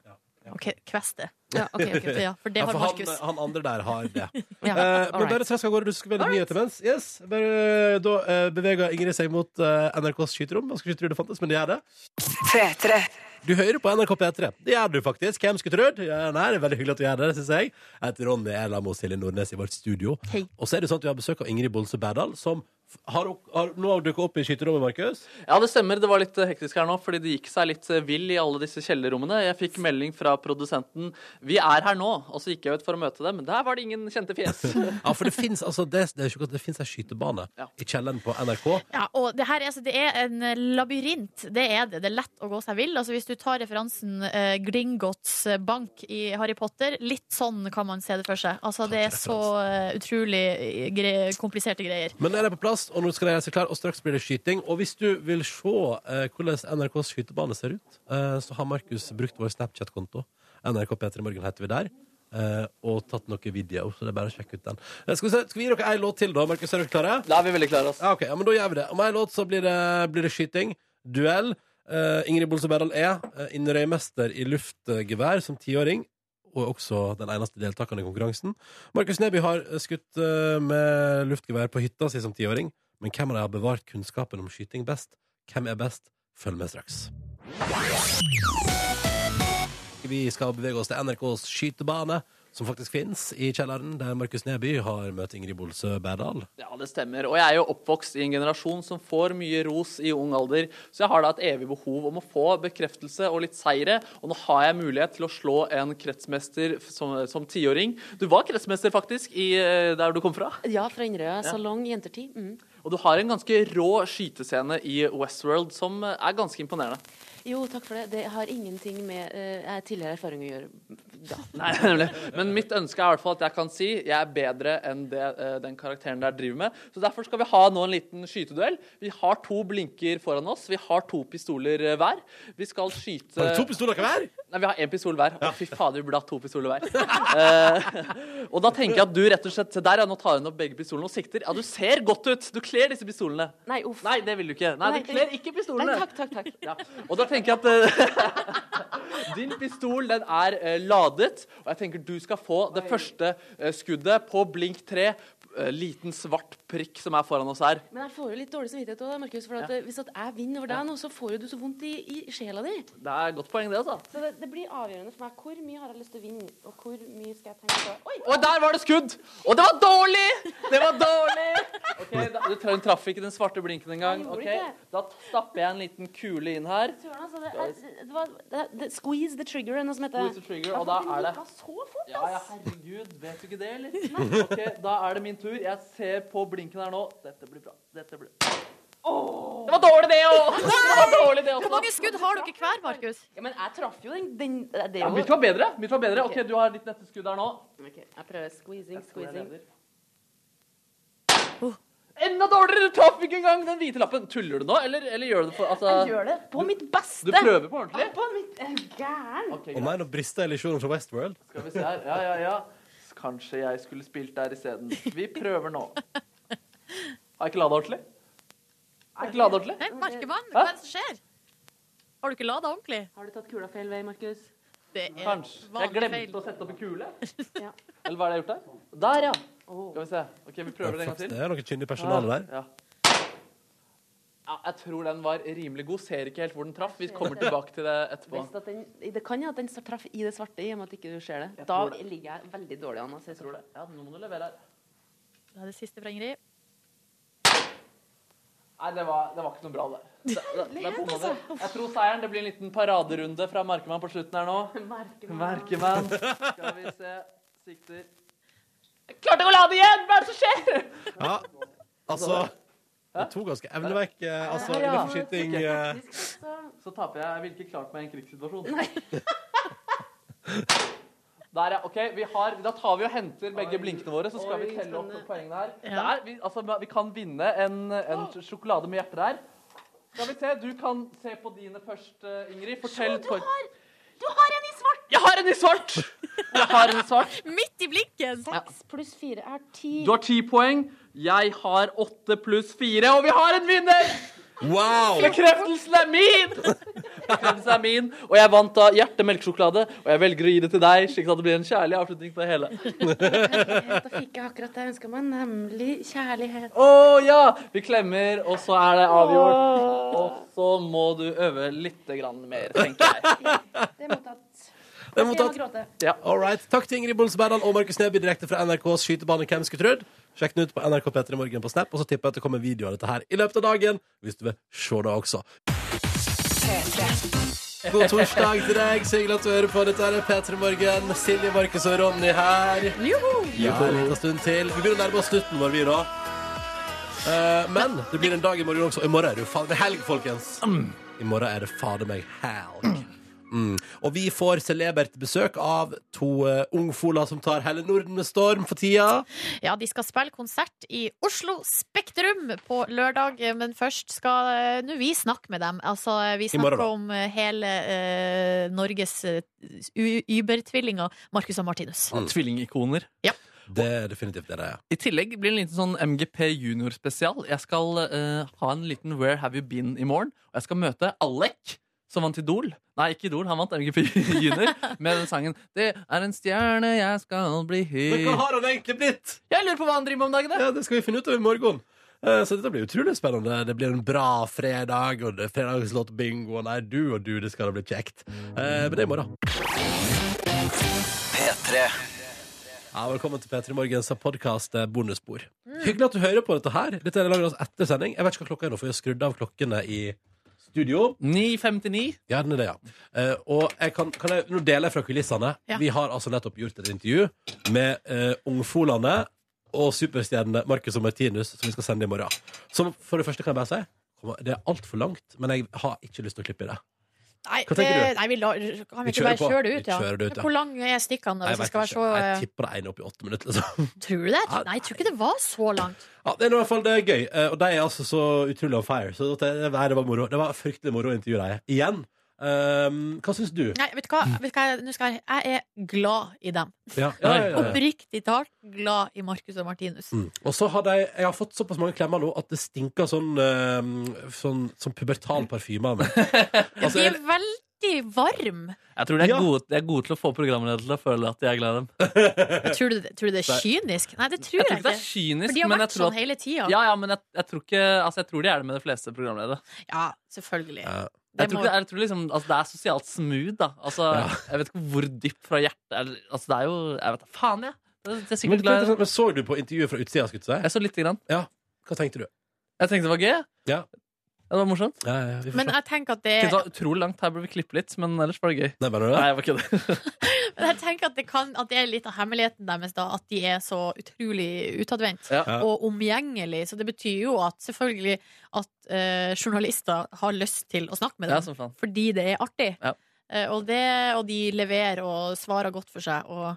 C: Ok, kveste.
E: Ja, ok, ok, ok.
C: Ja, for det
B: Ja,
C: har
B: for
C: Markus.
B: han, han andre der har
C: [LAUGHS]
B: det. Eh,
E: Ja,
B: men
E: alright.
B: bare trask av gårde, du skal velge nyheter mens. Yes, bare, da eh, beveger Ingrid seg mot eh, NRKs skyterom. Man skulle ikke tro det fantes, men det gjør det. Du hører på NRK P3. Det gjør du faktisk. Hvem skulle trodd? Ja, nei, det er veldig hyggelig at du gjør det, syns jeg. Jeg heter Ronny Erlam og Silje Nordnes i vårt studio.
C: Hei.
B: Og så er det sånn at vi har besøk av Ingrid Bolse Berdal, som f- har, har, nå har dukket opp i skyterrommet, Markus.
D: Ja, det stemmer. Det var litt eh, hektisk her nå, fordi det gikk seg litt eh, vill i alle disse kjellerrommene. Jeg fikk melding fra produsenten 'Vi er her nå', og så gikk jeg ut for å møte dem. Der var det ingen kjente fjes.
B: [LAUGHS] Ja, for det fins altså, det, det er ikke godt, det finnes ei skytebane
D: Ja.
B: i kjelleren på NRK.
C: Ja, og det her er, altså, det er en labyrint. Det er det. Det er lett å gå seg vill. Altså, hvis du tar referansen eh, Gringotts bank i Harry Potter, litt sånn kan man se det for seg. Altså, det er så eh, utrolig eh, gre kompliserte greier.
B: Men nå er det på plass, og nå skal det gjøre seg klar, og straks blir det skyting. Og hvis du vil se eh, hvordan NRKs skytebane ser ut, eh, så har Markus brukt vår Snapchat-konto. NRK P3 Morgen heter vi der. Eh, og tatt noen videoer, så det er bare å sjekke ut den. Eh, skal, vi se, skal vi gi dere ei låt til, da? Markus, er dere klare?
D: Da er vi veldig klare, altså.
B: Ja, Ah, ok, ja, men da gjør vi det. Om ei låt så blir det, blir det skyting, duell. Eh, Ingrid Bolse Berdal er uh, innrøymester i luftgevær som tiåring. Og er også den eneste deltakeren i konkurransen. Markus Neby har eh, skutt eh, med luftgevær på hytta si som tiåring. Men hvem av dem har bevart kunnskapen om skyting best? Hvem er best? Følg med straks. Vi skal bevege oss til NRKs skytebane, som faktisk fins i kjelleren, der Markus Neby har møtt Ingrid Bolse Berdal.
D: Ja, det stemmer. Og jeg er jo oppvokst i en generasjon som får mye ros i ung alder, så jeg har da et evig behov om å få bekreftelse og litt seire. Og nå har jeg mulighet til å slå en kretsmester f- som, som tiåring. Du var kretsmester, faktisk, i eh, der du kom fra.
E: [LAUGHS] Ja, fra Inderøya salong jentertid. Mm.
D: Og du har en ganske rå skytescene i Westworld som eh, er ganske imponerende.
E: Jo, takk for det. Det har ingenting med eh, tidligere erfaring å gjøre. Da.
D: Nei, [LAUGHS] nemlig. Men mitt ønske er i hvert fall at jeg kan si jeg er bedre enn det eh, den karakteren der driver med. Så derfor skal vi ha nå en liten skyteduell. Vi har to blinker foran oss. Vi har to pistoler eh, hver. Vi skal skyte
B: Har du to pistoler hver?
D: Nei, vi har én pistol hver. Å, fy fader, vi burde hatt to pistoler hver. Eh, [LAUGHS] og da tenker jeg at du rett og slett Se der, ja. Nå tar hun opp begge pistolene og sikter. Ja, du ser godt ut. Du kler disse pistolene.
E: Nei, uff.
D: Nei, det vil du ikke. Nei,
E: Nei,
D: du kler ikke pistolene.
E: Nei, takk, takk, takk.
D: Ja. Og da tenker jeg at eh, [LAUGHS] din pistol den er eh, ladet, og jeg tenker du skal få det første eh, skuddet på blink 3. eh, liten svart prikk som er foran oss her.
E: Men jeg får jo litt dårlig samvittighet òg, Markus. For at, eh, hvis at jeg vinner over deg nå, så får jo du så vondt i, i sjela di.
D: Det er et godt poeng, det, altså.
E: Så det, det blir avgjørende for meg. Hvor mye har jeg lyst til å vinne, og hvor mye skal jeg tenke på Oi!
D: Og der var det skudd! Og det var dårlig! Det var dårlig! Ok, da, Du tra- hun traff ikke den svarte blinken engang.
E: Nei, gjorde
D: Ok,
E: ikke.
D: Da stapper jeg en liten kule inn her.
E: Søren, altså, det, er, det var, det, det, squeeze the trigger, eller noe som heter.
D: Squeeze the trigger, og da er det-
E: gikk av så fort,
D: Ja, ja,
E: ass!
D: herregud. Vet du ikke det, eller? Ok, Da er det min tur. Jeg ser på blinken her nå. Dette blir bra. Dette blir Det var dårlig, det òg! Det var dårlig, det
C: Hvor
D: også.
C: mange skudd har dere hver, Markus?
E: Ja, men jeg traff jo den, den Det
D: Ja,
E: er jo
D: mitt var bedre. Mitt var bedre. Ok, Du har ditt neste skudd her nå.
E: Ok, Jeg prøver squeezing, squeezing.
D: Enda dårligere! Du traff ikke engang den hvite lappen. Tuller du nå, eller, eller gjør du det for
E: Jeg
D: altså,
E: gjør det på mitt beste!
D: Du prøver på ordentlig?
E: På mitt er du Gæren!
D: Ok,
B: Å
D: greit.
B: nei, nå brister illusjonen fra Westworld.
D: Skal vi se her. Ja, ja, ja. Kanskje jeg skulle spilt der isteden. Vi prøver nå. Har jeg ikke lada ordentlig? Har jeg ikke lada ordentlig?
C: Nei, merker man? Hva er det som skjer? Har du ikke lada ordentlig?
E: Har du tatt kula feil vei, Markus?
C: Det er
D: Kanskje. Jeg
C: vanlig feil.
D: glemte å sette opp en kule?
E: Ja.
D: Eller hva er det jeg har gjort der? Der, ja.
E: Åh.
D: Skal vi se. Ok, Vi prøver det en gang
B: Det
D: til.
B: er noe kyndig personale eh, der.
D: Ja. Ja, jeg tror den var rimelig god. Ser ikke helt hvor den traff. Vi kommer tilbake til det etterpå.
E: Best at den, det kan jo at den traff i det svarte, i og med at ikke du ser det.
D: Jeg
E: Da
D: tror det.
E: ligger jeg veldig dårlig an. Altså, jeg
D: Tror det. Ja, nå må du levere her.
C: Det er det siste fra Ingrid.
D: Nei, det var, det var ikke noe bra, det. det, det, det bomma vi. jeg tror seieren Det blir en liten paraderunde fra Markemann på slutten her nå. Merkemann. Skal vi se. Sikter. Jeg klarte ikke å la det igjen! Hva er det som skjer?
B: Ja, altså Det tok ganske evneverk, eh, altså,
D: Ja, ja.
B: innenfor skyting. eh.
D: Så taper jeg. Jeg ville ikke klart meg i en krigssituasjon. [LAUGHS] Der, ja. Ok, vi har, Da tar vi og henter begge blinkene våre, så skal vi telle opp poengene her.
C: Ja.
D: Der, vi, altså, vi kan vinne en, en sjokolade med hjerter her. Skal vi se, Du kan se på dine først, eh, Ingrid. Fortell. Du har, en i svart! Jeg har en i svart! Jeg har en i svart.
C: Midt i blinken!
E: Seks pluss fire er ti.
D: Du har ti poeng. Jeg har åtte pluss fire, og vi har en vinner!
B: Wow!
D: Bekreftelsen er min! Pølsa er min, og jeg vant da hjertemelksjokolade, og jeg velger å gi det til deg, slik at det blir en kjærlig avslutning på det hele.
E: Da fikk jeg akkurat det jeg ønska meg, nemlig kjærlighet.
D: Å ja! Vi klemmer, og så er det [LAUGHS] avgjort. Og så må du øve litt grann mer, tenker jeg.
F: Det er mottatt.
B: Det er mottatt.
F: Jeg må gråte.
B: All right. Takk til Ingrid Bolse Berdal og Markus Neby direkte fra NRKs skytebane Hvem skulle trodd? Sjekk den ut på NRK P3 Morgen på Snap, og så tipper jeg at det kommer video av dette her i løpet av dagen, hvis du vil se det også. God torsdag til deg, så hyggelig at du hører på. Dette er P3 Morgen. Silje, Markus og Ronny her. Ja, en liten stund til. Vi begynner å nærme oss slutten vår, vi, da. Eh, men det blir en dag i morgen også. I morgen er det jo fader meg helg, folkens. I morgen er det fader meg helg. Mm. Og vi får celebert besøk av to eh, ungfoler som tar hele Norden med storm for tida.
C: Ja, de skal spille konsert i Oslo Spektrum på lørdag, men først skal eh, nå vi snakke med dem. Altså, eh, vi
B: morgen,
C: snakker
B: da.
C: om eh, hele eh, Norges eh, u- Uber-tvillinger, Marcus og Martinus.
D: Mm. Tvillingikoner.
B: Det er definitivt det det er.
D: I tillegg blir det en liten sånn MGP Junior spesial. Jeg skal eh, ha en liten Where Have You Been i morgen. Og jeg skal møte Alek, som vant Idol. Nei, ikke Idol, han vant MGP Junior med den sangen 'Det er en stjerne, jeg skal bli
B: Men hva
D: høy'.
B: har han egentlig blitt?
D: Jeg lurer på hva han driver med om dagen. da.
B: Ja, Det skal vi finne ut av i morgen. Eh, Så dette blir utrolig spennende. Det blir en bra fredag, og det er fredagslåt bingo. og Nei, du og du, det skal da bli kjekt. Eh, Men det er i morgen. Ja, velkommen til P3 Morgens podkast Bonusbord. Hyggelig at du hører på dette her. Dette er laget oss etter sending. Jeg vet ikke hva klokka er nå, for vi har skrudd av klokkene i studio.
D: 9.59.
B: Ja, den er det, ja. Eh, og jeg kan, kan jeg, nå deler jeg fra kulissene.
C: Ja.
B: Vi har altså nettopp gjort et intervju med eh, ungfolene og superstjernene Marcus og Martinus, som vi skal sende i morgen. Som for det første kan jeg bare si kommer- det er altfor langt, men jeg har ikke lyst til å klippe i det.
C: Nei,
B: Hva tenker
C: det- Nei, vi lar, kan vi,
B: Vi
C: ikke bare
B: kjører på.
C: kjøre det ut,
B: Vi
C: ja.
B: kjører det ut, ja.
C: Hvor lang er stikkene? da,
B: Jeg,
C: Hvis det
B: vet
C: skal være
B: ikke.
C: så
B: jeg
C: eh,
B: tipper det ene opp i åtte minutter. Liksom.
C: Tror du det?
B: Ja,
C: Nei, jeg tror ikke det var så langt.
B: Ja, det er i hvert fall det er gøy. Eh, og de er altså så utrolig on fire. Så det, det, var- det var moro. Det var fryktelig moro å intervjue deg igjen. Um, hva syns du?
C: Nei, vet du hva? Vet du hva? jeg- Nå skal jeg, jeg er glad i dem.
B: Ja, ja, ja, ja.
C: Oppriktig talt glad i Marcus og Martinus.
B: Mm. Og så har de, jeg har fått såpass mange klemmer nå at det stinker sånn, eh, sånn, sånn pubertal parfyme av meg. [LAUGHS] Altså,
C: De er
B: jeg-
C: veldig varme.
D: Jeg tror de er,
B: Ja.
D: gode, de er gode til å få programledere til å føle at de er glad i dem.
C: Tror du, det- tror du det er kynisk? Nei, det tror jeg,
D: Jeg tror ikke det er
C: ikke.
D: kynisk,
C: For de har
D: men jeg
C: vært
D: tror
C: sånn
D: at
C: hele tida. Ja.
D: ja, ja, men jeg, jeg, tror ikke, altså jeg tror de er det med de fleste programledere.
C: selvfølgelig.
B: Ja.
D: Jeg
C: Det
D: tror,
C: må,
D: ikke, jeg tror liksom, altså Det er sosialt smooth, da. Altså,
B: Ja.
D: Jeg vet ikke hvor dypt fra hjertet er- altså, Det er jo jeg vet, da Faen, jeg! Det er- det er
B: men,
D: sikkert
B: det er
D: glad i-
B: interessant, men så du på intervjuet fra utsida? skulle jeg
D: Jeg så lite grann.
B: si? Hva tenkte du?
D: Jeg tenkte det var gøy. jeg.
B: Ja.
D: Ja, det var morsomt.
B: Ja, ja, vi får
C: men
B: se.
C: jeg tenker at det
D: Det var utrolig langt. Her burde vi klippe litt, men ellers var det gøy.
B: Nei, mener du
D: Nei,
B: det?
D: jeg var kødder.
C: Men [LAUGHS] jeg tenker at det, kan, at det er litt av hemmeligheten deres, da, at de er så utrolig utadvendt.
D: Ja.
B: Ja.
C: Og omgjengelig, så det betyr jo at selvfølgelig at eh, journalister har lyst til å snakke med
D: [LAUGHS] Ja,
C: dem.
D: som faen.
C: Fordi det er artig.
D: Ja.
C: Eh, og, det, og de leverer og svarer godt for seg. Og,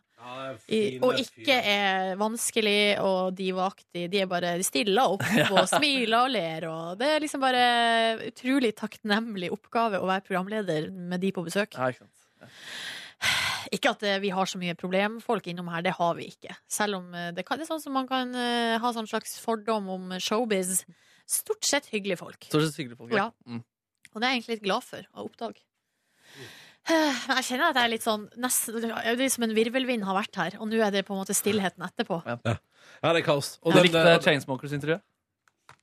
C: i, og ikke er vanskelig og divaktig. De er bare de stiller opp og smiler og ler. Og det er liksom bare utrolig takknemlig oppgave å være programleder med de på besøk.
D: Ja, ikke sant.
C: Ikke at eh, vi har så mye problemfolk innom her, det har vi ikke. Selv om eh, det, kan, det er sånn som man kan eh, ha sånn slags fordom om showbiz. Stort sett hyggelige folk.
D: Stort sett hyggelige folk.
C: Ja.
D: Mm.
C: Og det er jeg egentlig litt glad for å oppdage. Eh, Men jeg kjenner at jeg er litt sånn nesten, Det er som en virvelvind har vært her, og nå er det på en måte stillheten etterpå.
B: Ja, det er kaos. Og
D: Du
B: den,
D: likte
B: eh,
D: Chainsmokers-intervjuet?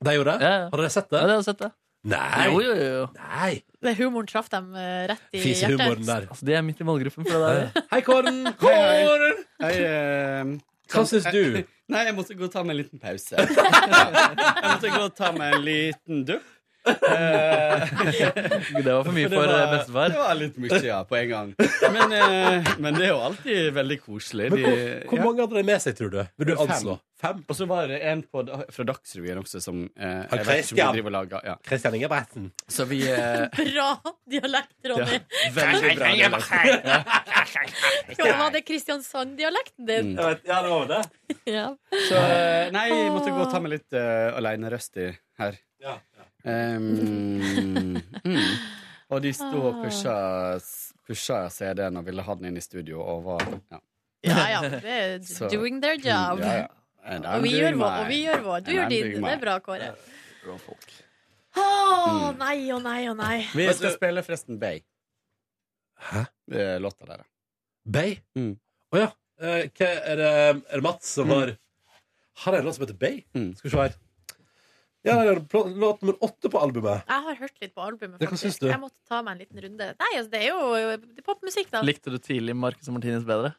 B: de gjorde det?
D: Ja, ja.
B: Har dere sett
D: Ja,
B: det?
D: det har jeg sett, det.
B: Nei!
D: Jo, jo, jo.
B: Nei.
C: Det Humoren traff dem eh, rett i
B: Fisehumoren
C: hjertet.
B: der.
D: Altså, de er midt i målgruppen for det der.
B: Hei, Kåren!
G: Hei, hei.
B: Kåren!
G: Jeg, eh,
B: Hva syns du?
G: Nei, jeg måtte gå og ta meg en liten [LAUGHS] pause. Jeg måtte gå og ta meg en liten dupp. Eh,
D: Det var [LAUGHS] for mye
G: det
D: for eh,
G: var-
D: bestefar.
G: Det var litt mye, ja, på en gang. Men, eh, men det er jo alltid veldig koselig.
B: Men hvor,
G: De-
B: hvor
G: ja.
B: mange hadde de med seg, tror du? Vil du
G: Fem.
B: anslå? Fem?
G: Og så var det en på, fra Dagsrevyen også som eh,
B: Han
G: jeg vet ikke om
B: Christian.
G: de driver og lager. Ja.
B: Kristian Ingebretsen.
G: Så vi
C: [LAUGHS]
G: eh,
C: Bra dialekt, Ronny!
G: Veldig bra.
C: [LAUGHS] Skal det være det Kristiansand-dialekten din?
G: Mm.
B: Ja, det var det.
C: Ja.
G: Så eh, nei, jeg måtte gå og ta meg litt uh, aleinerøst i her.
B: Ja,
C: [LAUGHS]
G: Ehm, mm. Og de sto
C: Ah.
G: og pusha, pusha CD-en og ville ha den inn i studio, og var ja.
C: ja
B: [LAUGHS]
C: ja, det er
G: Så- Mm,
C: doing their job.
G: Ja, ja. And I'm
C: Og vi gjør
G: doing
C: vår, og
G: mine.
C: vi gjør vår. Du
G: And
C: gjør
G: I'm
C: din.
G: doing
C: Det er
G: mine.
C: bra, Kåre. Å
G: Mm.
C: nei, å nei, å nei.
B: Vi
G: Jeg skal spille forresten Bay.
B: Hæ?
G: Eh, Låta der.
B: Bay? Å
G: Mm.
B: ja. Eh, hva, er, det, er det Mats som har Har en låt som heter Bay?
G: Mm.
B: Skal vi se her. Ja, det er pl- låt nummer åtte på albumet.
C: Jeg har hørt litt på albumet.
B: Ja, hva
C: faktisk.
B: syns du?
C: Jeg måtte ta meg en liten runde. Nei, altså, det er jo det er popmusikk, da.
D: Likte du tidlig Marcus og Martinus bedre?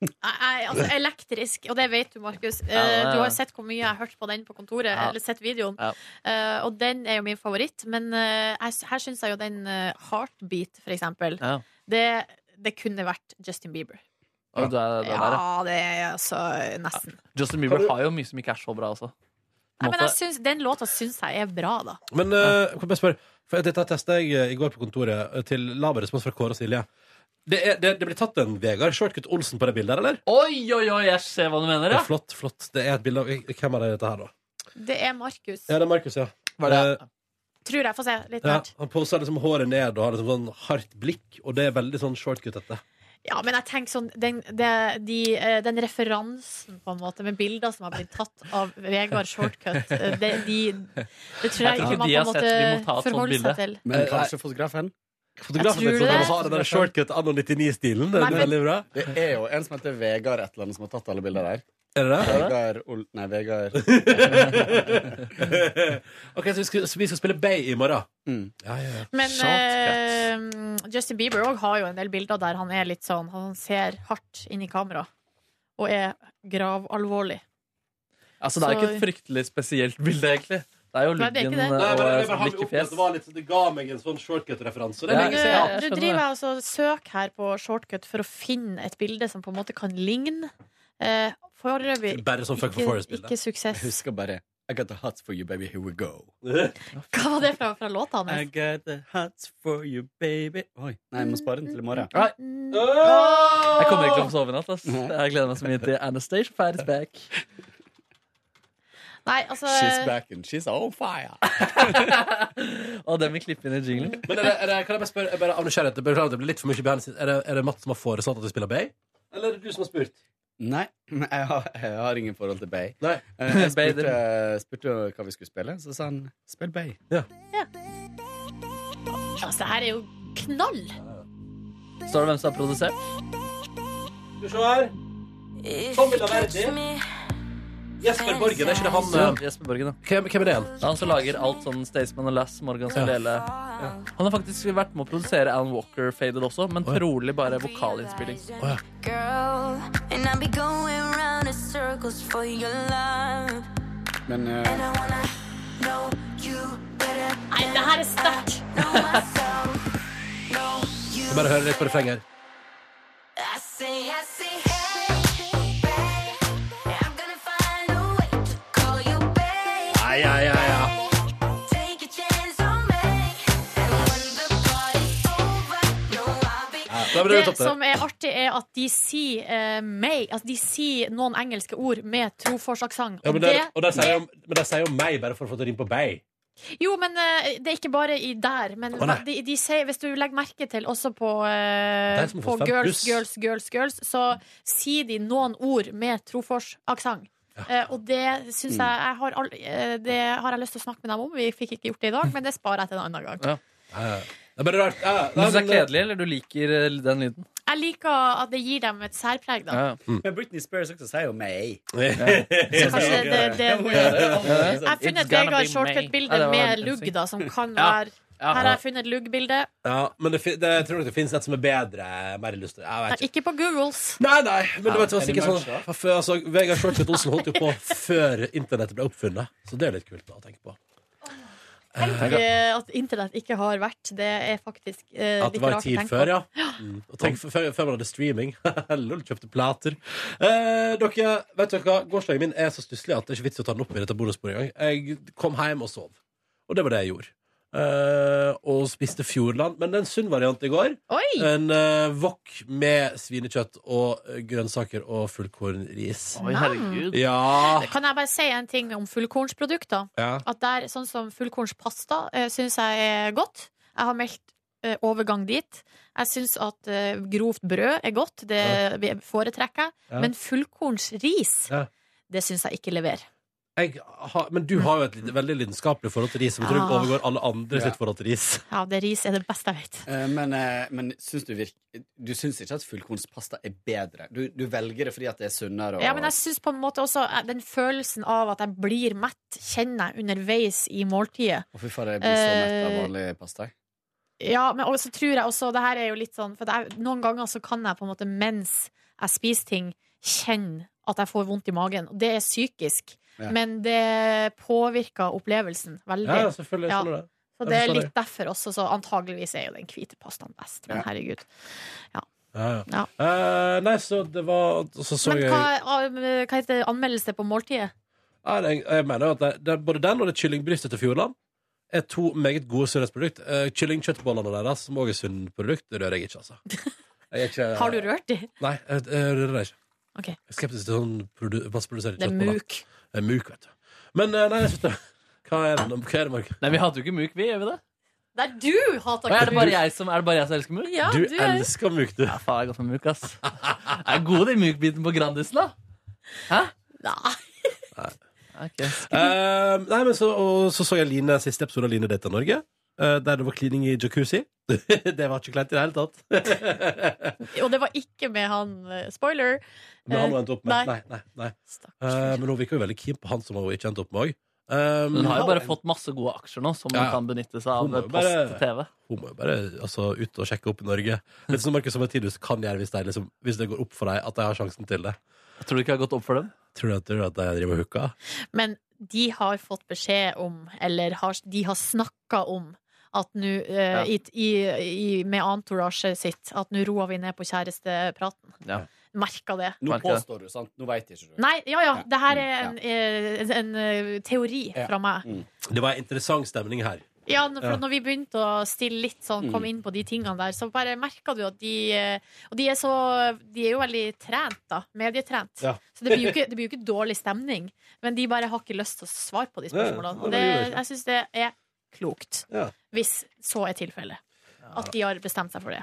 C: Jeg, jeg,
D: [LAUGHS]
C: altså, elektrisk, og det vet du, Markus. Eh,
D: Ja, det er-
C: Du har sett hvor mye jeg har hørt på den på kontoret.
D: Ja.
C: Eller sett videoen.
D: Ja.
C: Eh, og den er jo min favoritt. Men eh, jeg, s- her syns jeg jo den eh, Heartbeat, for eksempel,
D: Ja.
C: det, det kunne vært Justin Bieber.
D: Og Du er, det der, ja.
C: Ja, det er altså nesten.
D: Justin Bieber
B: Har du-
D: har jo mye som ikke er så bra, altså. På
C: Nei,
D: en
C: men jeg
D: måte-
C: syns, den låta syns jeg er bra, da.
B: Men eh, kan jeg bare spørre For dette testa jeg eh, i går på kontoret eh, til laber respons fra Kåre og Silje. Det, er, det, det blir tatt en Vegard Shortcut Olsen på det bildet, her, eller?
D: Oi, oi, oi, jeg ser hva du mener,
B: Det
D: ja!
B: er flott, flott. Det er et bilde av Hvem er det dette her, da?
C: Det er Markus.
B: Ja, det er Markus, ja. Eh,
D: Var det?
C: Tror jeg. Få se litt
B: ja.
C: hvert.
B: Han poser liksom håret ned og har liksom sånn hardt blikk, og det er veldig sånn shortcut-ete.
C: Ja, men jeg tenker sånn den, det- de, eh, den referansen på en måte med bilder som har blitt tatt av Vegard Shortcut, eh, det, de, det tror jeg
D: Jeg tror
C: ikke man
D: de
C: på en
D: har sett- de må
C: måte
D: ta et sånt
C: forholder
D: bilde.
C: seg til.
G: Men
B: Eh,
G: kanskje fotografen?
B: Fotografen
C: Jeg
B: liksom,
C: tror det.
B: han har den der shortcut anno 99-stilen. Det
C: Nei,
B: er
C: men-
B: veldig bra.
G: Det er jo en som heter Vegard et eller annet, som har tatt alle bilder der.
B: Er det det?
G: Vegard Ol... Nei, Vegard
B: [LAUGHS] ok, så vi skal, så vi skal spille Bay i morgen.
G: Mm.
B: Ja, ja, ja.
C: Men
D: Shortcut.
C: eh, Justin Bieber òg har jo en del bilder der han er litt sånn Han ser hardt inn i kamera og er gravalvorlig.
D: Altså, det er jo ikke et fryktelig spesielt bilde, egentlig. Det er jo
C: Nei, det er ikke
D: luggen
C: det.
B: Nei, men
D: eh,
B: jeg
D: og
B: bare har meg opp,
D: blikkefjes.
B: det, var litt, sånn- det ga meg en sånn shortcut-referanse. og Det
D: Ja.
B: er
C: Du,
B: lenge siden.
D: jeg
C: du
D: skjønner
C: driver altså søk her på Shortcut for å finne et bilde som på en måte kan ligne. Eh, Foreløpig
B: Bare sånn Fuck
C: ikke,
B: for Forest-bilde. [LAUGHS]
C: ikke
G: Jeg
C: suksess.
G: husker bare I got the hots for you, baby, here we go.
C: Hva var det fra, fra låta
G: I
C: hans?
G: got the hots for you, baby Oi, Nei, jeg må spare den til i morgen.
D: Nei,
C: Mm.
D: jeg
B: Jeg
D: kommer ikke til å sove i natt. ass. Jeg gleder meg så mye til Anastacia Fires Back.
C: Nei, altså
G: She's back and she's on fire.
D: Og den vil klippe inn i jinglen.
B: Men er det, er det, kan jeg bare spørre, jeg bare av nysgjerrighet, jeg beklager at det blir litt for mye behind the scenes. Er det, er det Matt som har foreslått at vi spiller Bay? Eller er det du som har spurt?
G: Nei, men jeg har, jeg har ingen forhold til Bay.
B: Nei. [LAUGHS]
G: Eh, Jeg
D: Bay,
G: spurte, eh, spurte hva vi skulle spille, så sa han spill Bay.
C: Altså, det her er jo knall!
D: Står det hvem som har produsert?
B: Skal vi se her. Tommy Laverdi. Jesper Borgen, er ikke det han
D: Så,
B: eh,
D: Jesper Borgen, da.
B: Hvem, hvem er det igjen?
D: Han som lager alt sånn Staysman og Lass, Morgan Solele. Han har faktisk vært med å produsere Alan Walker Faded også, men
B: Oi.
D: trolig bare vokalinnspilling.
B: Å, ja.
F: Girl, and I'll be going round in circles for your love.
G: Men eh,
F: And I wanna know you better.
C: Nei, det her er sterkt!
F: Know myself. Know you.
B: Vi Bare hør litt på refrenget. her.
F: I say, I say, hey, babe. I'm gonna find a way to call you babe.
B: Ja, ja, ja, ja.
F: Take a chance on me. And when the party's over, know I'll be.
B: Da blir
C: Det
B: det topp, det.
C: som er artig, er at de sier eh, meg Altså, de sier noen engelske ord med trofors-aksent.
B: Ja,
C: Og
B: men
C: det
B: der, og der sier jo, men der sier jo meg bare for å få det inn på Bay.
C: Jo, men eh, det er ikke bare i der. Men
B: Å, nei.
C: de, de sier, hvis du legger merke til også på, eh,
B: Det er som å
C: på
B: få fem
C: girls,
B: pluss.
C: girls, girls, girls, så sier de noen ord med trofors-aksent. Eh, og det syns jeg, jeg har all, eh, Det har jeg lyst til å snakke med dem om. Vi fikk ikke gjort det i dag, men det sparer jeg til en annen gang.
B: Det er bare rart. Ja,
D: Men
B: ja,
D: synes det er
B: men-
D: kjedelig, eller du liker eh, den lyden?
C: Jeg liker at det gir dem et særpreg, da.
D: Ja, ja.
G: men Britney Spears også sier jo May.
B: [LAUGHS]
C: Så kanskje Altså, det, det,
G: Hun
C: det,
G: gjør det. altså.
C: Jeg har funnet
D: It's
C: et
D: gonna
C: Vegard
D: be May.
C: Shortcut-bilde
D: Ja, det var
C: med
D: en
C: lugg,
D: syng.
C: da, som kan
D: Ja.
C: være
D: Ja.
C: Her har jeg funnet lugg-bilde.
B: Ja, men det, fin- det, jeg tror nok det finnes et som er bedre. Mer illustrert. Jeg vet ikke.
C: Ikke på Googles.
B: Nei, nei, men du vet, det var
G: er det
B: sikkert
G: merch,
B: sånn for før, altså, Vegard Shortcut Olsen holdt jo på før internettet ble oppfunnet. Så det er litt kult da, å tenke på.
C: Tenk eh, at internett ikke har vært. Det er faktisk eh,
B: At det
C: litt
B: var en
C: rart å
B: tid
C: tenke
B: før,
C: på.
B: ja. Mm. Og tenk f- før, før man hadde streaming. [LAUGHS] Lol, kjøpte plater. Eh, dere, vet dere hva? Gårsdagen min er så stusslig at det er ikke vits i å ta den opp i dette bonussporet engang. Jeg kom hjem og sov. Og det var det jeg gjorde. Eh, og spiste Fjordland. Men det er en sunn variant i går.
C: Oi!
B: En uh, wok med svinekjøtt og eh, grønnsaker og fullkornris.
D: Oi, herregud.
B: Ja.
C: Kan jeg bare si en ting om fullkornsprodukter?
B: ja.
C: At der, sånn som fullkornspasta uh, syns jeg er godt. Jeg har meldt eh, overgang dit. Jeg syns at eh, grovt brød er godt. Det foretrekker jeg.
B: Ja.
C: Men fullkornsris,
B: Ja.
C: det syns jeg ikke leverer.
B: jeg har, men du har jo et lite, veldig lidenskapelig forhold til ris, som jeg tror
C: Ah.
B: overgår alle andre
G: Ja.
B: sitt forhold til ris.
C: Ja, det ris er det beste jeg vet.
G: Eh, Men, eh, men syns du, virk, du syns ikke at fullkornspasta er bedre? Du, du velger det fordi at det er sunnere? Og,
C: Ja, men jeg syns på en måte også eh, den følelsen av at jeg blir mett, kjenner jeg underveis i måltidet.
G: Å, fy faen, jeg blir så mett av
C: Eh,
G: vanlig pasta.
C: Ja, men også tror jeg også Det her er jo litt sånn For jeg, noen ganger så kan jeg på en måte mens jeg spiser ting, kjenne at jeg får vondt i magen. Og Det er psykisk.
G: Ja.
C: Men det påvirker opplevelsen veldig.
B: Ja, selvfølgelig.
C: Ja.
B: jeg skjønner det.
C: så
B: jeg
C: det er
B: forstår det.
C: litt derfor også, så antageligvis er jo den hvite pastaen best. Men
G: Ja.
C: herregud.
B: Ja, ja.
C: Ja.
B: Eh, nei, så det var Så så
C: Men
B: jeg
C: hva, ah, hva heter det? Anmeldelse på måltidet?
B: Nei, det- jeg mener jo at det, det, både den og det kyllingbrystet til Fjordland er to meget gode sunnhetsprodukt. Eh, kyllingkjøttbollene deres, som også er sunne produkt, det rører jeg ikke, altså. Jeg er ikke-
C: Har du rørt i?
B: Nei, eh, jeg, jeg rører det ikke.
C: Ok.
B: Jeg er skeptisk til sånn produ- masseproduserte
C: Det er
B: kjøttboller.
C: muk.
B: Det er Eh, muk, vet du. Men eh, nei, jeg synes det Hva er det, hva er det Mark?
D: Nei, vi hadde jo ikke muk, vi. Gjør vi det?
C: Det er du hater
D: Og er, det bare jeg som, er det bare jeg som elsker muk?
C: [LAUGHS] Ja,
B: du
C: Ah, du er
B: elsker muk, du.
D: Ja, faen, jeg er godt med muk, ass. Jeg er god i mukbiten på Grandisen, da.
C: Nei.
D: Ok.
B: Eh, nei, men så, og, så så jeg Line, siste episode av Line Data Norge. eh, der det var klining i jacuzzi. [LAUGHS] det var ikke kleint i det hele tatt.
C: Og det var ikke med han eh, Spoiler. Eh,
B: Men han endte opp med
C: Nei.
B: Nei, nei, nei. Eh,
C: Stakkars.
B: men hun virker jo veldig keen på han som hun ikke endte opp med Eh, òg.
D: Hun har jo bare fått masse gode aksjer nå, som hun
B: Ja.
D: kan benytte seg
B: Hun
D: av
B: må jo
D: post
B: bare-
D: til TV.
B: Hun må jo bare altså, ut og sjekke opp i Norge. Litt som Marcus Martinus kan gjøre hvis det, er liksom, hvis det går opp for deg at de har sjansen til det.
D: Jeg tror du ikke jeg har gått opp for dem?
B: Tror du at, tror du at jeg driver og hooker?
C: Men de har fått beskjed om, eller har, de har snakka om, at nå eh, i, i, i, med entourage sitt, at nå roer vi ned på kjærestepraten.
D: Ja.
C: Merka det.
G: Nå
D: merker jeg.
G: påstår du, sant? Nå veit ikke du.
C: Nei, ja ja,
G: Ja.
C: det her er
G: Mm,
C: en, eh, en eh, teori
G: Ja.
C: fra meg.
B: Det var en interessant stemning her.
C: Ja, n- for
B: Ja.
C: når vi begynte å stille litt sånn, kom
G: Mm.
C: inn på de tingene der, så bare merka du at de eh, Og de er så De er jo veldig trent, da. Medietrent.
B: Ja.
C: Så det blir, jo ikke, det blir jo ikke dårlig stemning. Men de bare har ikke lyst til å svare på de spørsmålene.
B: Ja, det
C: Og det,
B: gjør det ikke.
C: jeg syns det er klokt.
B: Ja.
C: Hvis så er tilfellet. At de har bestemt seg for det.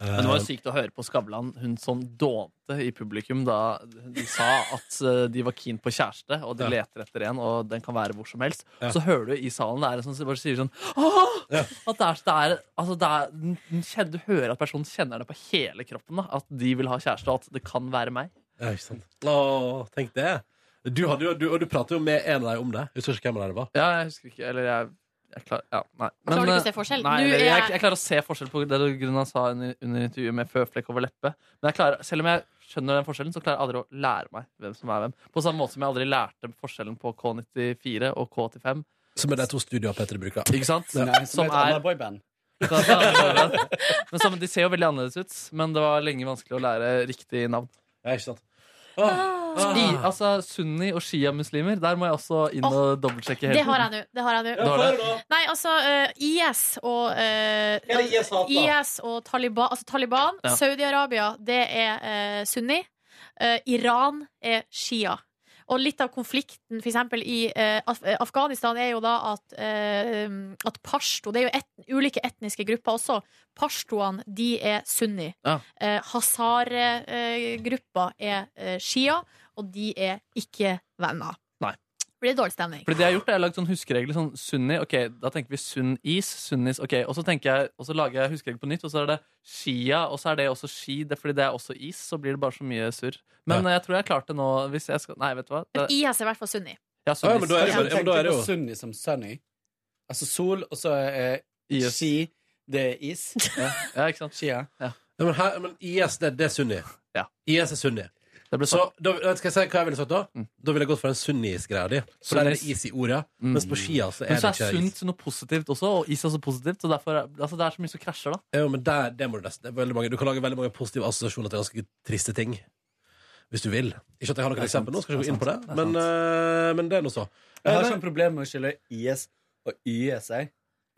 B: Eh,
D: Men det var jo sykt å høre på Skavlan. Hun sånn dånte i publikum da de sa at eh, de var keen på kjæreste, og de
B: Ja.
D: leter etter en, og den kan være hvor som helst.
B: Ja.
D: Så hører du i salen det er en sånn som bare sier sånn Åh!
B: Ja.
D: At det er, det er, altså det er, den- den kjen- Du hører at personen kjenner det på hele kroppen, da, at de vil ha kjæreste, og at det kan være meg.
B: Ja, ikke sant. Å, tenk det. Du, hadde jo, du, og du pratet jo med en av dem om det. Jeg husker ikke hvem av dem det var.
D: Ja, jeg husker ikke. Eller jeg, jeg klar, ja, nei.
C: Klarer du ikke å
D: eh,
C: se forskjell?
D: Nei,
C: Nå
D: eller,
C: er
D: jeg,
C: jeg-
D: jeg klarer å se forskjell på det du grunnen sa under, under intervjuet med føflekk over leppe. Men jeg klarer, selv om jeg skjønner den forskjellen, så klarer jeg aldri å lære meg hvem som er hvem. På samme måte som jeg aldri lærte forskjellen på K94 og K85.
B: Som er de to studioene Petter bruker.
D: Ikke
C: [LAUGHS]
D: sant?
G: Nei,
D: Som
G: som et
D: er-
G: annet boyband.
D: Men sammen, De ser jo veldig annerledes ut, men det var lenge vanskelig å lære riktig navn.
B: Ja, ikke sant. Å, ah.
C: Ah.
D: I, altså Sunni- og shia-muslimer, der må jeg også inn og dobbeltsjekke. hele
C: Det har
D: tiden.
C: jeg nå. Det har jeg nå.
D: Du har det?
C: Nei, altså eh, IS og eh,
B: Hva er det IS hater?
C: IS og Taliban, altså Taliban
D: Ja.
C: Saudi-Arabia, det er eh, sunni. Eh, Iran er shia. Og litt av konflikten for eksempel i eh, Af eh, Afghanistan er jo da at, eh, at pashto Det er jo et, ulike etniske grupper også. Pashtoene, de er sunni.
D: Ja.
C: Eh, Hazare-gruppa er eh, shia, og de er ikke venner.
D: Nei.
C: Blir det dårlig stemning?
D: Fordi det jeg har gjort, er jeg har lagd sånn huskeregler. Sånn sunni, ok, da tenker vi sunnis, sunnis, ok. Og så, tenker jeg, og så lager jeg huskeregler på nytt, og så er det shia, og så er det også shi. Det er fordi det er også is, så blir det bare så mye surr. Men eh, jeg tror jeg klarte nå hvis jeg skal, Nei, vet du hva?
C: Men
D: Det,
C: IS er i hvert fall sunni.
D: ja,
B: Ja, men
D: sunnis.
B: da er det,
G: Jeg
B: bare- ja, men da er
G: tenkte
B: det
G: på
B: jo
G: sunny som sunny. Altså sol, og så eh, er
D: Is.
G: ski, det er is.
D: Ja, ja, ikke sant?
G: Skia.
B: ja, men, her, men IS, det, det er sunni.
D: Ja.
B: IS er sunni.
D: Det ble
B: Så
D: sagt.
B: da, skal jeg si hva jeg ville sagt da?
D: Mm.
B: Da ville jeg gått for den sunnis-greia di. For der er det
D: Sunnis.
B: is i ordet.
D: Mm.
B: Mens på skia så
D: Men
B: er
D: så
B: det
D: er
B: ikke is.
D: sunt noe positivt også, og is er også positivt. Så derfor, er- altså, det er så mye som krasjer, da.
B: Jo, men der, det må du nesten det er veldig mange, Du kan lage veldig mange positive assosiasjoner til ganske triste ting. Hvis du vil. Ikke at jeg har noe
D: Det er sant.
B: eksempel nå, skal ikke
D: Det
B: gå
D: er
B: inn på det,
D: sant. Det er
B: men,
D: sant.
B: øh, men det er nå så. Eh,
G: Jeg har sånn problem med å skille IS og YS, jeg.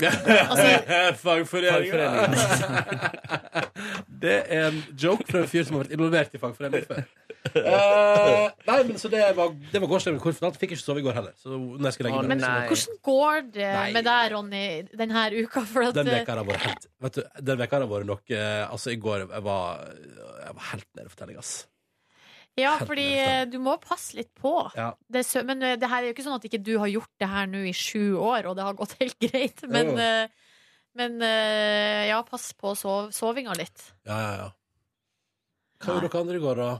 B: Eh, Det er en joke fra en fyr som har vært involvert i fagforening før. Eh, nei, men så det var, det var gårsdagen. Hvor fortalt, Fikk ikke sove i går heller. Så når jeg skulle legge meg
C: Men
D: Nei.
C: hvordan går det
B: eh, Nei.
C: med deg, Ronny, denne uka? For at, eh,
B: Den veka har vært helt Vet du, den veka har vært nok eh, Altså, i går jeg var jeg var helt nede for telling, ass.
C: Ja,
B: Helt
C: fordi
B: nøytralt.
C: eh, du må passe litt på.
B: Ja.
C: Det, er sø- men eh, det her er jo ikke sånn at ikke du har gjort det her nå i sju år, og det har gått helt [LAUGHS] greit. Men,
B: Jo.
C: eh, men eh, ja, pass på sov, sovinga litt.
B: Ja, ja, ja. Hva gjorde dere andre i går, da?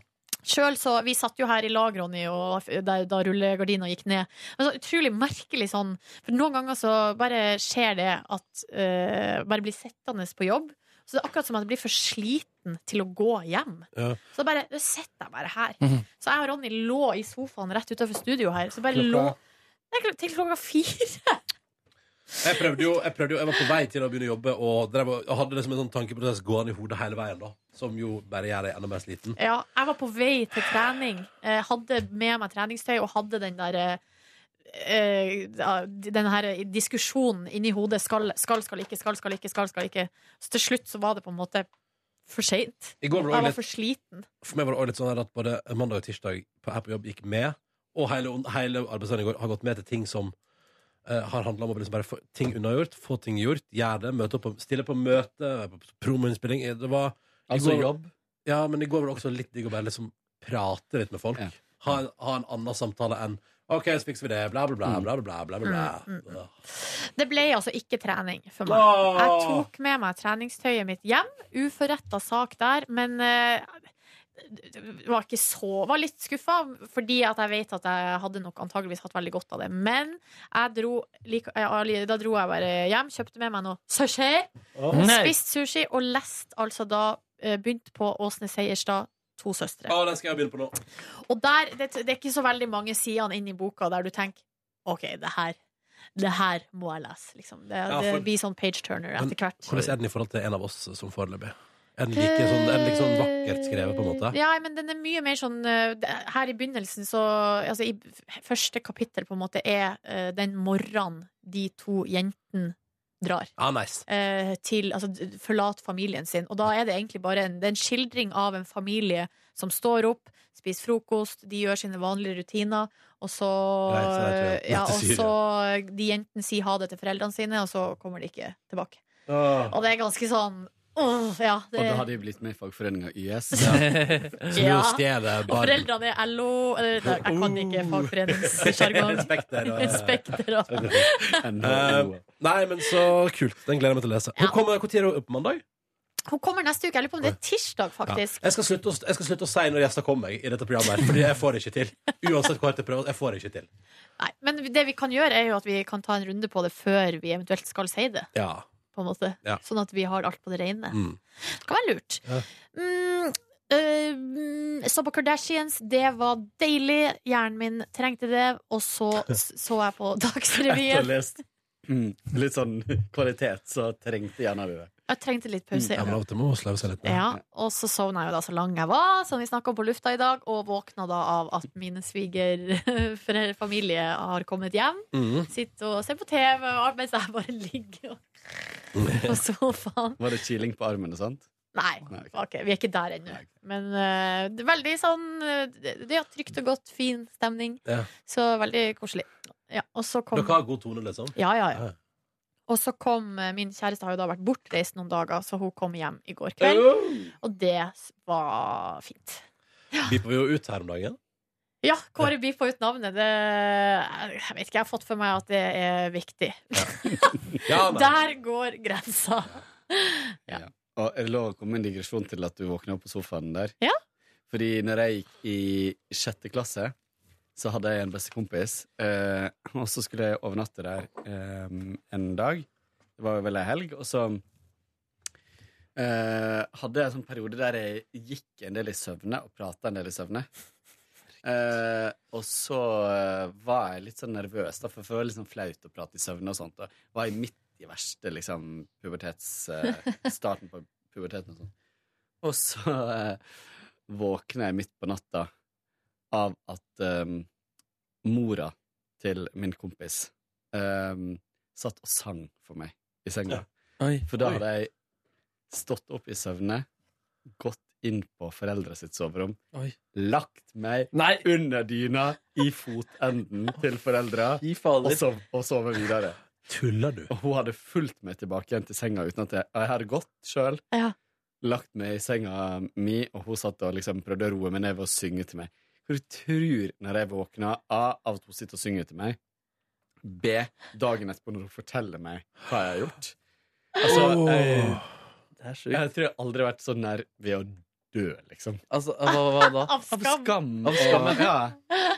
C: Selv så, Vi satt jo her i lag, Ronny, og f- da, da rullegardina gikk ned. Men så Utrolig merkelig sånn. For noen ganger så bare skjer det at eh, Bare blir sittende på jobb. Så det er akkurat som at jeg blir for sliten til å gå hjem.
B: Ja.
C: Så bare da sitter jeg bare her.
D: Mhm.
C: Så jeg og Ronny lå i sofaen rett utenfor studio her. Så bare lå
G: Klokka-
C: Nei, kl- Til klokka fire. [LAUGHS]
B: Jeg prøvde, jo, jeg prøvde jo, jeg var på vei til å begynne å jobbe og, drev, og og hadde liksom en sånn tankeprosess gående i hodet hele veien, da. Som jo bare gjør deg enda mer sliten.
C: Ja, jeg var på vei til trening. Eh, hadde med meg treningstøy og hadde den der eh, eh, ja, den her diskusjonen inni hodet. Skal, skal, skal ikke, skal, skal ikke, skal, skal ikke. Så til slutt så var det på en måte for seint.
B: I går var det også
C: Jeg var
B: litt,
C: for sliten.
B: for meg var det også litt sånn her at både mandag og tirsdag på, her på jobb gikk med, og hele, hele arbeidsdagen i går har gått med til ting som eh, har handla om å liksom bare få ting unnagjort, få ting gjort, gjøre det, møte opp på, stille på møte, være på promoinnspilling. Det var i
G: Altså
B: går-
G: jobb.
B: Ja, men i går var det også litt digg å bare liksom prate litt med folk.
G: Ja.
B: Ha, en- ha en annen samtale enn OK, så fikser vi det. Bla, bla, bla.
G: Mm.
B: bla, bla, bla, bla, bla.
C: Mm, Det ble altså ikke trening for meg.
B: Åh!
C: Jeg tok med meg treningstøyet mitt hjem. Uforretta sak der, men eh, det var ikke så Var litt skuffa, fordi at jeg vet at jeg hadde nok antageligvis hatt veldig godt av det. Men jeg dro, like, eh, da dro jeg bare hjem, kjøpte med meg noe sushi, spist sushi og leste altså da eh, Begynt på Åsne Seierstad, To søstre.
B: Å, den skal jeg begynne på nå.
C: Og der, det, det er ikke så veldig mange sidene inni boka der du tenker OK, det her, det her må jeg lese. Liksom. Det,
B: Ja, for-
C: det blir sånn page turner
B: Men
C: etter hvert.
B: Hvordan er den i forhold til en av oss som foreløpig? Er den like, sånn, er den like sånn vakkert skrevet, på en måte?
C: Ja, men den er mye mer sånn eh, det- Her i begynnelsen, så Altså, i f- første kapittel, på en måte, er eh, den morgenen de to jentene drar.
B: Ja, Ah, nice.
C: eh, til Altså d- forlate familien sin. Og da er det egentlig bare en, det er en skildring av en familie som står opp, spiser frokost, de gjør sine vanlige rutiner, og så
B: Reiser deg til-
C: ja,
B: til
C: Og
B: Syria.
C: så de jentene sier ha det til foreldrene sine, og så kommer de ikke tilbake. Og det er ganske sånn åh, ja,
G: Og
C: det,
G: da hadde jeg blitt med i fagforeninga YS. [LAUGHS]
B: Så nå
C: Ja.
B: stjeler
C: Og
B: barn
C: foreldrene er LO eller, nei, Jeg kan ikke
B: [LAUGHS]
C: fagforeningssjargong.
B: Respekter og-
C: Respekter og
G: NHO.
B: Nei, men så kult. Den gleder jeg meg til å lese. Hun
C: Ja.
B: kommer, Når er hun opp på mandag?
C: Hun kommer neste uke. Jeg lurer på om det er
B: Ja.
C: tirsdag, faktisk.
B: Jeg, skal slutte å, jeg skal slutte å si når gjester kommer i dette programmet, her, Fordi jeg får det ikke til. Uansett hvor hardt jeg prøver. Jeg får det ikke til.
C: Nei, men det vi kan gjøre, er jo at vi kan ta en runde på det før vi eventuelt skal si det.
B: Ja.
C: på en måte.
B: Ja.
C: Sånn at vi har alt på det rene.
B: Mm.
C: Det kan være lurt.
B: Ja.
C: Mm, øh, mm, så på Kardashians, det var deilig. Hjernen min trengte det. Og så s- så jeg på
G: Etter å ha
C: Dagsrevyen.
G: lest mm, litt sånn [LAUGHS] kvalitet, så trengte gjerne du det.
C: Jeg trengte litt pause.
B: Ja, men
C: Ja.
B: av og til Mm, må man sløve seg litt ned.
C: Ja, og så sovna jeg jo da så lang jeg var, som vi snakka om på lufta i dag, og våkna da av at mine [LAUGHS] svigerfamilie har kommet hjem.
B: Mhm.
C: Sitter og ser på TV og- mens jeg bare ligger og- [LAUGHS] på sofaen.
G: Var det kiling på armen og sånt?
C: Nei,
G: Nei, ok.
C: ok, vi er ikke der ennå.
G: Nei, ok.
C: Men eh, det er veldig sånn eh, det, det er trygt og godt, fin stemning.
B: Ja.
C: Så veldig koselig. Ja, og så kom
B: Dere har god tone, liksom?
C: ja, ja, ja.
B: Ja.
C: Og så kom eh, Min kjæreste har jo da vært bortreist noen dager, så hun kom hjem i går kveld. Og det s- var fint.
B: Beeper vi jo ut her om dagen?
C: Ja, Kåre Bifa ut navnet. Det, eh, jeg vet ikke, jeg har fått for meg at det er viktig.
B: Ja, nei.
C: Der går grensa.
G: Og jeg vil også komme med en digresjon til at du våkna opp på sofaen der.
C: Ja.
G: Fordi når jeg gikk i sjette klasse, så hadde jeg en bestekompis. Eh, og så skulle jeg overnatte der eh, en dag. Det var vel ei helg. Og så eh, hadde jeg en sånn periode der jeg gikk en del i søvne og prata en del i søvne. Eh, og så eh, var jeg litt sånn nervøs, da, for det var litt sånn flaut å prate i søvne og sånt. Og var jeg midt i verste liksom, pubertets eh, Starten på puberteten og sånn. Og så eh, våkner jeg midt på natta av at eh, mora til min kompis eh, satt og sang for meg i senga.
B: Ja.
D: Oi.
G: For da hadde jeg stått opp i søvne, gått inn på foreldre sitt soverom,
D: Oi.
G: lagt meg
D: Nei!
G: under dyna i fotenden til foreldra
D: Fy
G: og,
D: fader.
G: sov, og sove videre.
B: Tuller du?
G: Og hun hadde fulgt meg tilbake igjen til senga uten at jeg, og jeg hadde gått sjøl.
C: Ja.
G: lagt meg i senga mi, og hun satt og liksom prøvde å roe meg ned ved å synge til meg. Hva du tror når jeg våkner A, av at hun sitter og synger til meg, B, dagen etterpå når hun forteller meg hva jeg har gjort. Altså, jeg,
D: Det er sjukt.
G: jeg tror jeg aldri har vært så nær ved å dø, liksom.
D: Altså, hva, hva da?
C: Av skam!
G: Av skam, ja.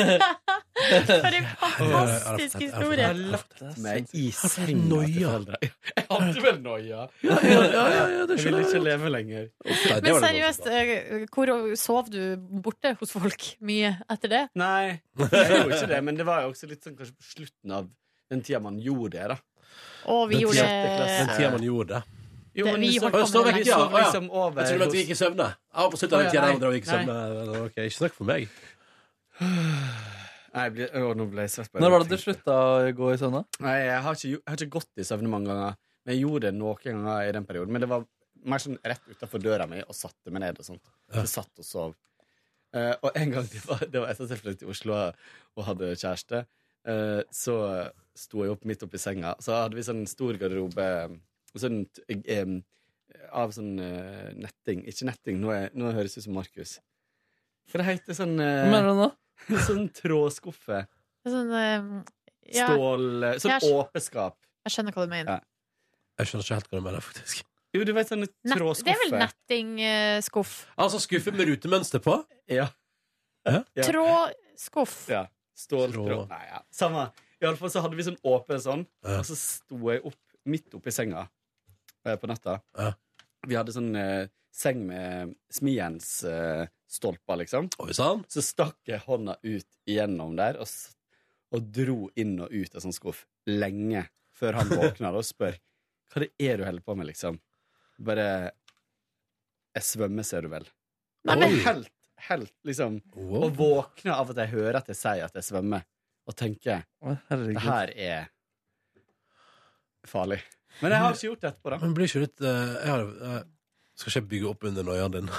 C: For en fantastisk historie.
B: Jeg har lagt
G: Meg i
B: Har du fått
G: senga til
B: noia?
G: foreldre. Jeg hadde vel noia. Jeg ville ikke leve lenger.
C: Men seriøst, eh, hvor sov du borte hos folk mye etter det?
G: Nei, jeg gjorde ikke det, men det var jo også litt sånn kanskje på slutten av den tida man gjorde det, da.
C: Og vi
B: Den
C: gjorde
G: tiende klasse.
B: Den tida man gjorde det.
G: Jo,
C: Det-
G: men
C: vi
G: liksom-
C: holdt på med
G: Sov
C: det
G: vekk,
B: lenge.
G: ja, og liksom over
B: Jeg trodde at du gikk i søvne. Jeg var på slutten av den tida der andre og gikk i søvne. Ok, ikke snakk for meg.
G: Nei, jeg blir- å, nå ble jeg svett. bare
D: Når var
G: jeg
D: det du
G: tenkte.
D: slutta å gå i søvne?
G: Nei, jeg har, ikke, gjo- jeg har ikke gått i søvne mange ganger. Men jeg gjorde det noen ganger i den perioden. Men det var mer sånn rett utafor døra mi og satte meg ned og sånt. Så jeg satt og sov. Eh, og en gang det var, det var etter at jeg flyttet til Oslo og hadde kjæreste, eh, så sto jeg opp midt oppi senga. Så hadde vi sånn stor garderobe sånn, t- em, av sånn eh, netting. Ikke netting, nå, er, nå høres jeg ut som Markus. Hva det heter sånn,
D: Hva mener
G: eh,
D: du nå?
G: [LAUGHS] sånn trådskuffe?
C: Sånn, eh, ja,
G: Stål Sånn
C: Jeg
G: åpeskap.
C: jeg skjønner hva du mener.
G: Ja.
B: Jeg skjønner ikke helt hva du mener, faktisk.
G: Jo, du vet sånne
C: Nett,
G: trådskuffer.
C: det er
B: eh.
C: vel eh, nettingskuff.
B: Altså skuffe med rutemønster på.
G: Ja. Ja.
C: Trådskuff.
G: ja. Ståltråd.
B: Tråd.
G: Nei, ja. Samme. Iallfall så hadde vi sånn åpen sånn,
B: Ja.
G: og så sto jeg opp midt oppi senga eh, på natta.
B: Ja.
G: Vi hadde sånn eh, seng med smijernsstolper, eh, stolper, liksom.
B: Oi sann.
G: Så stakk jeg hånda ut igjennom der og, s- og dro inn og ut av sånn skuff lenge før han våkna da og spør hva det er du holder på med, liksom. Bare Jeg svømmer, ser du vel.
C: Nei,
G: Og
C: men-
G: helt, helt, liksom Og
B: Wow.
G: våkner av at jeg hører at jeg sier at jeg svømmer, og tenker
D: Å,
G: det
D: Herregud.
G: her er farlig. Men jeg har ikke gjort det etterpå, da.
B: Men blir ikke litt eh, jeg har, eh, Skal ikke jeg bygge opp under noiaen [LAUGHS] din?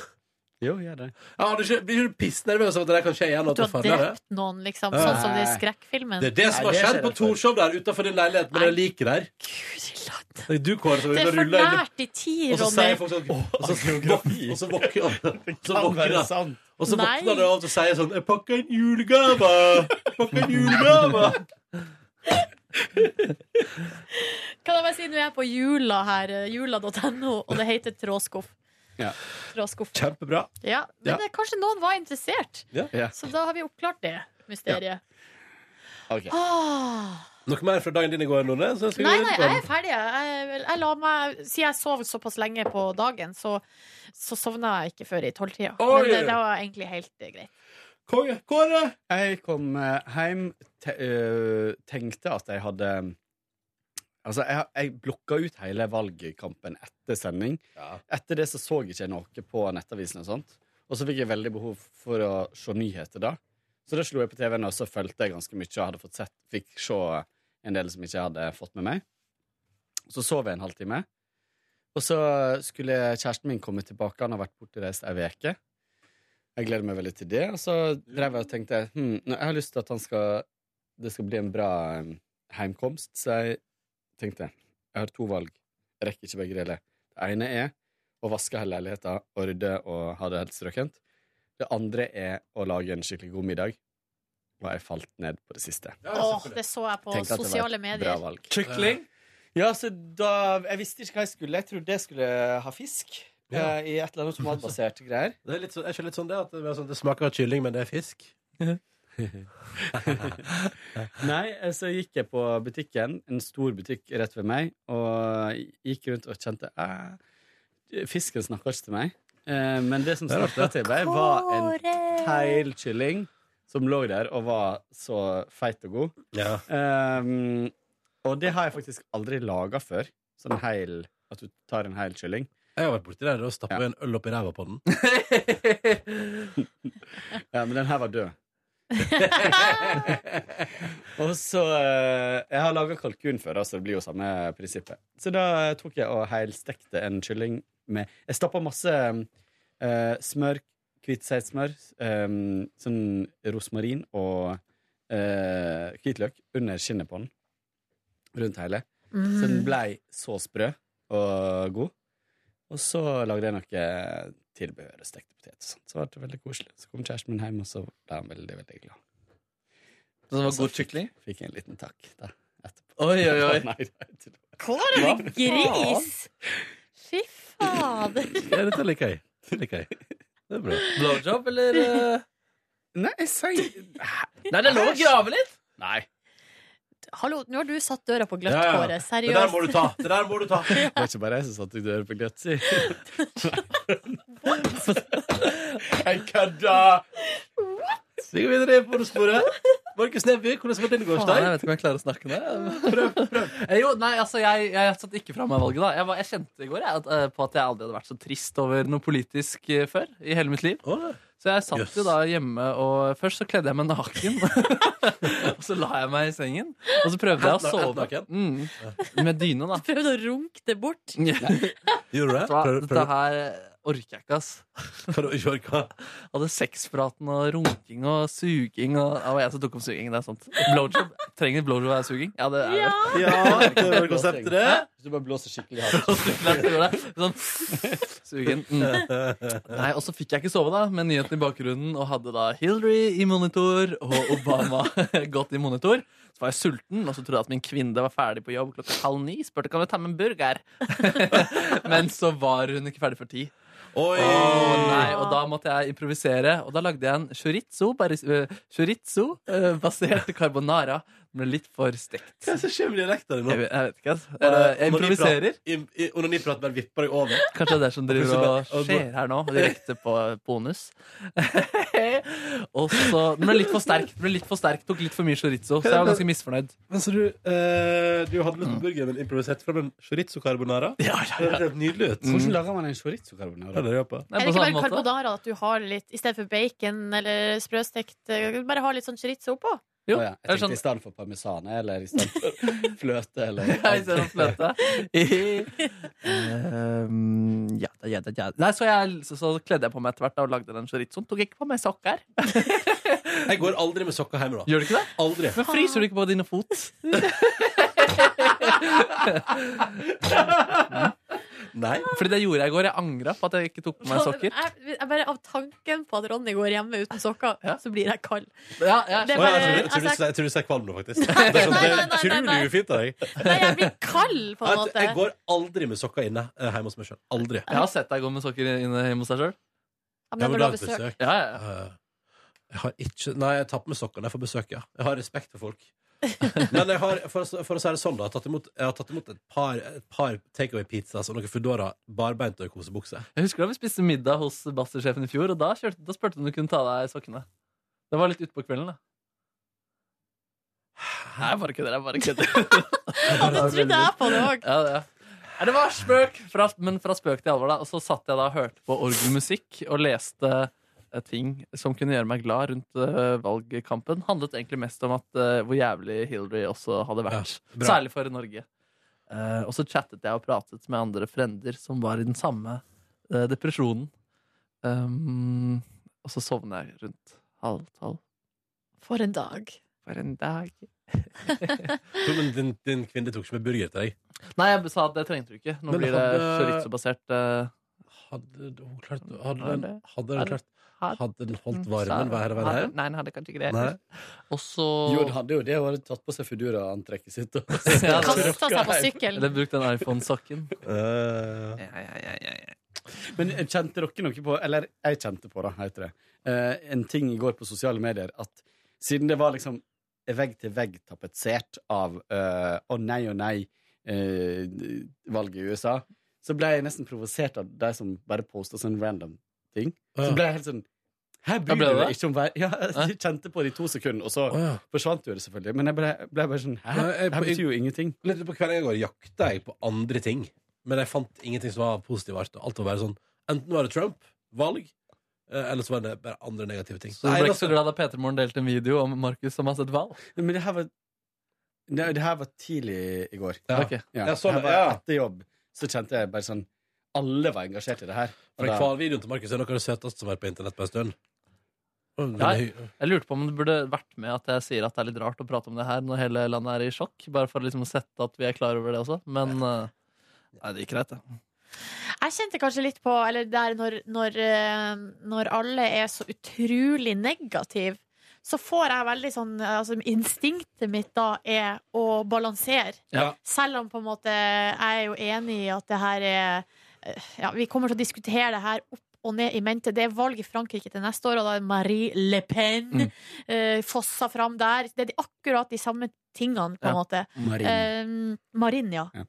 G: Jo, gjør det.
B: Jeg har ikke, blir ikke du pissnervøs av at det der kan skje igjen? og At
C: Du
B: det
C: har
B: farligere?
C: drept noen, liksom.
B: Ja.
C: Sånn som det i
B: Det
C: skrekkfilmen.
B: er det som har
G: Nei, det
B: skjedd
G: skjer
B: på
G: det for.
B: Torshov der utenfor din leilighet med det liket der.
C: Guri land.
B: Det er du, Kåre, som
C: Det er
B: ruller
C: for
B: ruller inn
C: nært i tid,
B: og så
C: Ronny.
B: sier folk sånn Og så
G: geografi.
B: våk- og så våkner så
G: Kan
B: våkner
G: være
B: han.
G: sant.
B: Og så
C: Nei.
B: våkner du av og sier sånn 'Jeg pakka en julegave! Jeg Pakka en julegave!'
C: Kan jeg bare si, nå er jeg på jula her, eh, jula.no, og det heter trådskuff.
G: Ja.
C: Trådskuff.
B: Kjempebra.
C: Ja, men
B: Ja.
C: Det, kanskje noen var interessert,
G: Ja.
C: så da har vi oppklart det mysteriet.
G: Ok.
C: Ah.
B: Noe mer fra dagen din i går, Nordnes? Så skal vi
C: Nei,
B: gå rett
C: nei,
B: på
C: jeg
B: den.
C: er ferdig. Jeg, jeg, jeg la meg, Siden jeg sov såpass lenge på dagen, så, så sovna jeg ikke før i tolvtida.
B: Oi.
C: Men eh, det var egentlig helt eh, greit.
B: Konge. Kåre!
G: Jeg kom eh, hjem, te øh, tenkte at jeg hadde Altså, jeg, jeg blokka ut hele valgkampen etter sending.
B: Ja.
G: Etter det så så ikke jeg noe på nettavisen og sånt. Og så fikk jeg veldig behov for å se nyheter da. Så da slo jeg på TV-en, og så fulgte jeg ganske mye og hadde fått sett, fikk se en del som ikke jeg hadde fått med meg. Så sov jeg en halvtime. Og så skulle kjæresten min komme tilbake. Han har vært bortreist ei uke. Jeg gleder meg veldig til det. Og så drev jeg og tenkte hm, nå- jeg har lyst til at han skal, det skal bli en bra eh, heimkomst. Så jeg tenkte jeg har to valg. Jeg rekker ikke begge deler. Det ene er å vaske hele leiligheta og rydde og ha det helt strøkent. Det andre er å lage en skikkelig god middag. Og jeg falt ned på det siste.
C: Åh, det så jeg på
G: Tenkte at det var et
C: sosiale
G: Bra
C: medier.
G: valg.
D: Kykling?
G: Ja, så da Jeg visste ikke hva jeg skulle. Jeg trodde jeg skulle ha fisk.
B: Ja.
G: eh, I et eller annet tomatbasert greier.
B: Det er, litt sånn, er ikke litt sånn det at det, er sånn, det smaker av kylling, men det er fisk?
G: Nei, eh, så gikk jeg på butikken, en stor butikk rett ved meg, og gikk rundt og kjente eh, Fisken snakker ikke til meg. Eh, men det som
B: Det er
G: snakka til meg, var en heil kylling som lå der og var så feit og god.
B: Ja.
G: Um, og det har jeg faktisk aldri laga før. Sånn heil At du tar en heil kylling.
B: Jeg har vært borti der og stappa
G: Ja.
B: en øl opp i ræva på den.
G: Ja, men den her var død. og så eh, Jeg har laga kalkun før, da, så det blir jo samme prinsippet. Så da tok jeg og heilstekte en kylling med Jeg stappa masse eh, smør, hvit seitsmør, eh, sånn rosmarin og eh, hvitløk under skinnet på den. Rundt hele. Så den blei så sprø og god. Og så lagde jeg noe tilbehør og stekte potet. og sånt. Så var det veldig koselig. Så kom kjæresten min hjem, og så ble han veldig, veldig glad.
D: Så det var god
G: fikk-
D: kykling?
G: Fikk jeg en liten takk da, etterpå.
D: Oi, oi, oi.
G: [LAUGHS] Nei, nei, til-
C: Kåre, din gris! Fy fader.
B: Ja, dette liker jeg. Dette liker jeg. Det er bra.
D: Blowjob, [LAUGHS] eller? eh?
G: Nei, jeg sier
D: Nei, det er lov å grave litt!
G: Nei.
C: Hallo, nå har du satt døra på gløtt,
B: Ja, ja.
C: Kåre.
B: Det der må
C: Seriøst.
B: du ta! Det der må du ta.
G: Det var ikke bare jeg som satte deg døra på gløtt, si.
B: Jeg kødda! Vi går videre på sporet. Markus Neby, hvordan var din
D: Faen, jeg
B: gårsdag?
D: vet ikke om jeg klarer å snakke med deg. Eh, Jo, nei, altså, jeg, jeg satte ikke fra meg valget da. Jeg, var, jeg kjente i går jeg, at, eh, på at jeg aldri hadde vært så trist over noe politisk eh, før i hele mitt liv.
B: Å,
D: Så jeg satt
B: Jøss.
D: jo da hjemme, og først så kledde jeg meg naken. [LAUGHS] og så la jeg meg i sengen, og så prøvde jeg å
B: Helt na-
D: sove.
B: helt
D: Mm, med dyne, da.
C: Prøvde å runke det bort.
B: Gjorde du det?
D: Så,
B: Prøv-
D: dette
B: prøv-
D: her orker jeg ikke, ass.
B: Kan du ikke orke?
D: Hadde sexpraten og runking og suging og Det var jeg som tok opp suging. det er sant. Blowjob. Trenger blowjob er suging? Ja, det er det.
C: Ja.
D: [LAUGHS]
B: Ja, det var konseptet, det.
G: Hvis du bare blåser skikkelig hardt.
D: Og så klart gjorde jeg Sånn [LAUGHS] sugen. Mm. Nei, og så fikk jeg ikke sove da med nyheten i bakgrunnen og hadde da Hillary i monitor og Obama [LAUGHS] godt i monitor. Så var jeg sulten, og så trodde jeg at min kvinne var ferdig på jobb klokka halv ni. Spurte kan du ta med en burger. [LAUGHS] Men så var hun ikke ferdig for ti.
B: Oi!
D: Å nei, og da måtte jeg improvisere, og da lagde jeg en chorizo, bare, eh, chorizo eh, basert
G: [LAUGHS]
D: carbonara. Den ble litt for stekt.
B: Hva er det som skjer med dialekten din
D: Jeg,
B: nå?
D: vet- jeg vet ikke, altså.
B: Bare
D: Eh, Jeg improviserer.
B: onaniprat- im- i- Onaniprat bare vipper deg over.
D: Kanskje det er det som driver
B: Kanskje det-
D: og skjer her nå, direkte på eh, bonus. [LAUGHS] og så Den ble litt for sterk. Den ble litt for sterk, Tok litt for mye chorizo, så jeg var ganske misfornøyd.
B: Men så du, eh, du hadde lyst på burger, men improvisert fra en chorizo carbonara?
D: Ja,
B: Det høres helt nydelig ut.
D: Mm.
G: Hvordan lager man en chorizo carbonara?
B: Eller, ja, på.
C: Er
D: Nei, på
C: det ikke
D: samme
C: bare
D: måte.
C: carbonara at du har litt I stedet for bacon eller sprøstekt eh, Bare ha litt sånn chorizo oppå?
D: Jo,
G: Å ja,
D: det er
G: jeg tenkte
D: sånn-
G: i
D: [LAUGHS]
G: stedet for parmesan eller i stedet for fløte eller
D: Ja, i stedet for fløte. [LAUGHS] Ehm, ja, da, ja, da, ja. Nei, så, jeg, så, så kledde jeg på meg etter hvert da, og lagde den chorizoen. Tok ikke på meg sokker.
B: Jeg går aldri med sokker hjemme, da.
D: Gjør du ikke det?
B: Aldri.
D: Men fryser du ikke på dine [LAUGHS] fot?
B: Nei.
D: Fordi det gjorde jeg i går. Jeg angra på at jeg ikke tok på meg sokker.
C: Jeg, jeg bare Av tanken på at Ronny går hjemme uten sokker,
D: Ja.
C: så blir jeg kald.
D: Ja, jeg,
C: Det
B: Å,
C: var-
B: ja, jeg tror- jeg tror du-
C: altså-
B: jeg tror du ser kvalm nå,
C: [LAUGHS]
B: faktisk. Det er sånn- det er
C: Nei, nei, nei, nei,
B: utrolig
C: nei.
B: ufint av deg.
C: Nei, jeg blir kald, på en
B: Jeg,
C: måte.
B: jeg går aldri med sokker inne eh, hjemme hos meg sjøl. Aldri.
D: jeg har sett deg gå med sokker inne hjemme hos deg sjøl.
C: Ja, men
B: Jeg
C: når
B: må
C: du
B: ha
C: har
B: et
C: besøk.
B: besøk.
D: Ja, ja.
B: Eh, Jeg har ikke Nei, jeg tar på meg sokkene for besøk, ja. Jeg har respekt for
C: [LAUGHS]
B: folk. Men jeg har, for, å- for å si det sånn, da, jeg har tatt imot, jeg har tatt imot et par, et par takeaway-pizzas og noen Foodora barbeint og i kosebukse.
D: Jeg husker da vi spiste middag hos Buster-sjefen i fjor, og da, kjørte, da spurte hun om du kunne ta av deg sokkene. Det var litt utpå kvelden, da. Nei, jeg bare kødder. Jeg bare kødder.
C: Ja, det trodde jeg på det òg.
D: ja, det, ja. Nei, det var spøk, fra, men fra spøk til alvor, da. Og så satt jeg da og hørte på orgelmusikk og leste eh, ting som kunne gjøre meg glad rundt eh, valgkampen. Handlet egentlig mest om at, eh, hvor jævlig Hillary også hadde vært.
B: Ja, bra.
D: Særlig for Norge. Eh, og så chattet jeg og pratet med andre frender som var i den samme eh, depresjonen. Um, og så sovner jeg rundt halv tolv.
C: For en dag.
D: For en dag.
B: Jo, Men din, din kvinne tok ikke med burger til deg.
D: Nei, jeg sa at det trengte du ikke. Nå
B: Men
D: blir det
B: hadde-
D: chorizo-basert. eh,
B: Hadde hun klart Hadde den, hadde den, klart,
D: Hadde-
B: hadde den holdt varmen hver og hver her?
D: Nei, den hadde kanskje ikke det.
B: Mm. Nei.
D: Og så
G: Jo, [LAUGHS] det hadde jo det. Hun hadde tatt på seg Foodora-antrekket sitt. Og
D: Ja, det-
C: Kasta seg på sykkelen.
D: Eller brukt den iPhone-sokken.
B: Eh,
G: Men kjente dere noe på Eller jeg kjente på, da, heter det. eh, en ting i går på sosiale medier at siden det var liksom vegg-til-vegg-tapetsert av eh, å nei og nei eh, valget i USA, så ble jeg nesten provosert av de som bare posta sånn random ting. Så
B: ja.
G: ble jeg helt sånn Her
D: Ja,
G: bryr
D: ble
G: du
D: det
G: deg ikke om vei... Ja, jeg kjente på det i to sekunder, og så
B: Å, ja.
G: forsvant jo det selvfølgelig. Men jeg ble, ble bare sånn Hæ?
B: Ja, jeg-
G: Det her betyr jo ingenting.
B: Litt på kvelden i går jakta jeg på andre ting, men jeg fant ingenting som var positiv art. Alt var bare sånn, Enten var det Trump, valg, eh, eller så var det bare andre negative ting.
D: Så du ble ikke så
B: altså,
D: glad da Peter Morgen delte en video om Markus som har sett hval?
G: Men det her var Det, det her var tidlig i går.
B: ja.
D: Ok.
G: Ja.
B: Ja, sånn,
G: Her var
B: ja.
G: Etter jobb så kjente jeg bare sånn Alle var engasjert i det her. Og
B: For
G: da-
B: Kvalvideoen til Markus er noe av det søteste som har vært på internett på en stund. Og den
D: Nei.
B: er hy-
D: Jeg lurte på om det burde vært med at jeg sier at det er litt rart å prate om det her når hele landet er i sjokk. Bare for liksom å sette at vi er klar over det også. Men eh, nei, det gikk greit, det.
C: Jeg kjente kanskje litt på Eller der når, når, eh, når alle er så utrolig negative, så får jeg veldig sånn altså, Instinktet mitt da er å balansere.
B: Ja.
C: Selv om på en måte jeg er jo enig i at det her er eh, ja, Vi kommer til å diskutere det her opp og ned i mente. Det er valg i Frankrike til neste år, og da er Marie Le Pen
D: Mm.
C: eh, fossa fram der. Det er de, akkurat de samme tingene, på en
D: Ja.
C: måte.
G: Marin.
C: Eh, Marin, ja.
G: Ja.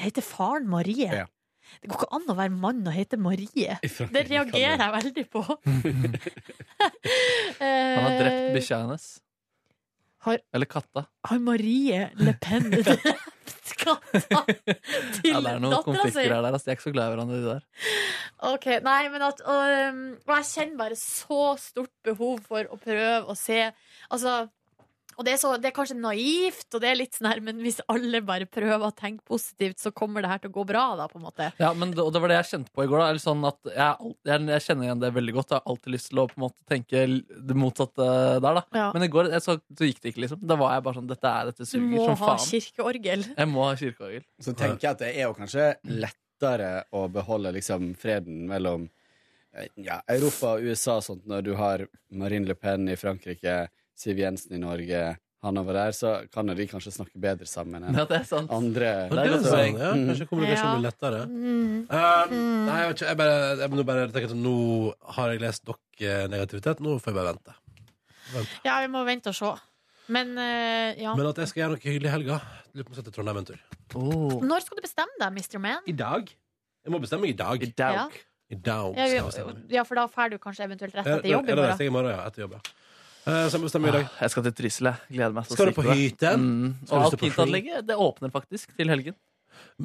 C: Heter faren Marie?
G: Ja.
C: Det går ikke an å være mann og hete Marie.
G: Ifra-
C: Det reagerer jeg veldig [LAUGHS] på.
D: Han har drept
C: Eh,
D: bikkja hennes.
C: Har-
D: Eller katta.
C: Har Marie Le [LAUGHS] Pen drept katta
D: Ja,
C: til
D: det er noen
C: dattera
D: konflikter
C: si?
D: her der. Altså, de er ikke så glad i hverandre, de der.
C: Ok, nei, men at øhm, Og jeg kjenner bare så stort behov for å prøve å se Altså og det er, så, det er kanskje naivt, og det er litt sånn her, men hvis alle bare prøver å tenke positivt, så kommer det her til å gå bra, da, på en måte.
D: Ja, men det, og det var det jeg kjente på i går. Da. Eller sånn at jeg, er al- jeg, jeg kjenner igjen det veldig godt. Jeg har alltid lyst til å på en måte tenke l- det motsatte der, da.
C: Ja.
D: Men i går jeg, så, så gikk det ikke, liksom. Da var jeg bare sånn Dette er dette
C: Du
D: suger
C: må
D: som
C: ha
D: faen.
C: kirkeorgel.
D: Jeg må ha kirkeorgel.
G: Så tenker jeg at det er jo kanskje lettere å beholde liksom freden mellom eh, ja, Europa og USA og sånt, når du har Marine Le Pen i Frankrike, Siv Jensen i Norge, han over der, så kan jo de kanskje snakke bedre sammen enn
D: Ja, det sånn. er sant.
G: andre.
D: det
G: altså,
B: Det
D: er
B: er
D: godt
B: sånn,
D: poeng.
B: ja. Kanskje kommunikasjonen blir lettere.
C: Mm.
B: Eh, nei, jeg vet ikke. Jeg bare, jeg må bare tenke at nå har jeg lest nok eh, negativitet. Nå får jeg bare vente.
C: [LAUGHS] Ja, vi må vente og se. Men øh, ja.
B: Men at jeg skal gjøre noe hyggelig i helga Lurer på om jeg skal til Trondheim en tur. Oh,
C: Når skal du bestemme deg, Mr. Man?
B: I dag? Jeg må bestemme meg i dag.
D: I dag.
B: I dag
C: Ja,
B: skal jeg bestemme.
C: vi- ja, for da drar du kanskje eventuelt rett
B: Er-
C: etter jobb i
B: er det
C: morgen.
B: resten i morgen? Ja, etter jobb, ja. Eh, så jeg må bestemme meg i dag.
D: Ah, Jeg skal til Trysil, jeg. Gleder meg så
B: Skal du
D: sykt
B: på
D: til det.
B: hyten?
D: Mm. Og
B: Skal du stå på ski?
D: alpinanlegget det åpner faktisk til helgen.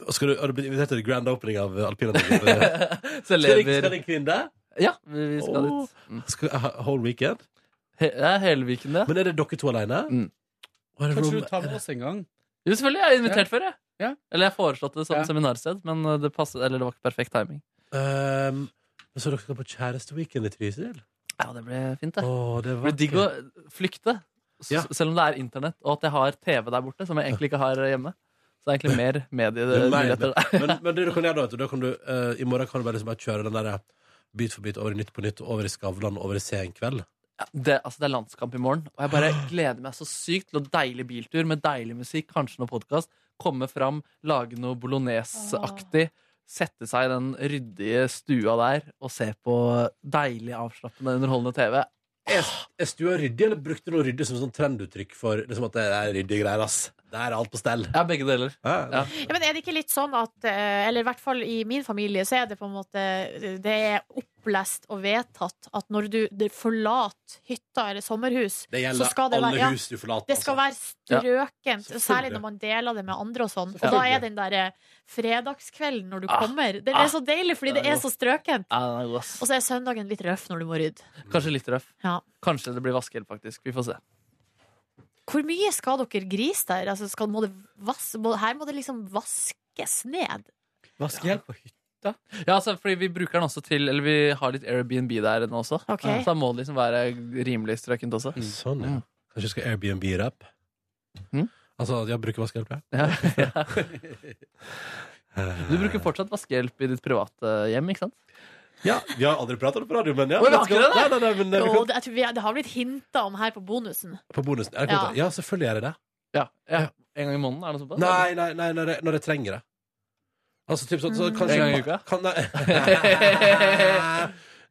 B: Og Skal du, har du blitt invitert til grand opening av eh, alpinanlegget?
D: Så jeg
B: Skal det- skal
D: lever
B: det kvinne?
D: Ja, vi vi skal
B: Åh.
D: dit. Mm.
B: Skal, eh, whole weekend?
D: He jeg er Helviken, det.
B: Men er det dere to alene?
D: Mm.
B: Og er det rom-
G: Kanskje du tar med oss en gang?
D: Jo, selvfølgelig. Jeg er invitert før, jeg.
G: Ja.
D: Eller jeg foreslått det som
G: Ja.
D: seminarsted, men uh, det, passet, eller det var ikke perfekt timing.
B: Ehm, Så dere skal på kjæresteweekend i Trysil?
D: Ja, det ble fint, det.
B: Åh, det
D: Det
B: var
D: blir digg å flykte, s-
B: Ja.
D: selv om det er internett, og at jeg har TV der borte, som jeg egentlig ikke har hjemme.
B: [LAUGHS]
D: Så det er egentlig mer
B: Det er mer
D: mediemuligheter der.
B: Men, men det du kan gjøre da, vet du, da kan du, eh, i morgen kan du bare, liksom bare kjøre den der bit for bit over i Nytt på Nytt, over i Skavlan, over i Senkveld.
D: Ja, [LAUGHS] Det, altså, det er landskamp i morgen, og jeg bare
B: [GASPS]
D: gleder meg så sykt til å deilig biltur med deilig musikk, kanskje noe podkast, komme fram, lage noe bolognese-aktig, sette seg i den ryddige stua der og se på deilig, avslappende, underholdende TV.
B: Er, er stua ryddig, eller brukte du noe ryddig som sånn trenduttrykk for liksom at det er ryddige greier, ass? Det er alt på stell.
D: Ja, begge deler.
B: Ja.
D: Ja.
C: Ja, men er det ikke litt sånn at eh, Eller i hvert fall i min familie så er det på en måte Det er opplest og vedtatt at når du du forlater hytta eller sommerhus,
B: Det
C: Så
B: gjelder
C: skal det
B: alle
C: være- ja.
B: hus du forlater.
C: det skal
B: altså.
C: være strøkent.
B: Selvfølgelig.
C: Særlig når man deler det med andre og sånn. Og da
B: Selvfølgelig.
C: er den derre fredagskvelden når du
D: Ah,
C: kommer Det
D: ah,
C: er så deilig fordi det
D: det er
C: er så strøkent.
D: Ja, den er god, ass.
C: Og så er søndagen litt røff når du må rydde.
D: Kanskje litt røff.
C: Ja.
D: Kanskje det blir vaskehjelp, faktisk. Vi får se.
C: Hvor mye skal dere grise der? Altså, skal, må det vas må, her må det liksom vaskes ned.
G: Vaskehjelp på hytta?
D: Ja, altså, fordi vi bruker den også til Eller vi har litt Airbnb der nå også.
C: Ok.
D: Så da må det liksom være rimelig strøkent også.
B: Sånn, ja. Kanskje jeg skal Airbnb-rapp?
D: Mm.
B: Altså, ja, bruker vaskehjelp, ja.
D: [LAUGHS] Ja, ja. Du bruker fortsatt vaskehjelp i ditt private hjem, ikke sant?
B: Ja, vi har aldri pratet om det på radio, men ja.
D: Oi, vi har ikke det,
B: Nei, nei, nei, men, eh, vi kan,
C: Jo, det, jeg tror vi, det har blitt hinta om her på bonusen.
B: på bonusen. Ja, det kan- ja, selvfølgelig er det det.
D: Ja, ja. En gang i måneden, er det noe sånt?
B: Nei, nei, nei når, jeg, når jeg trenger det. Altså typ sånn så kanskje
D: Mm. En gang i uka?
B: Kan,
D: [LAUGHS]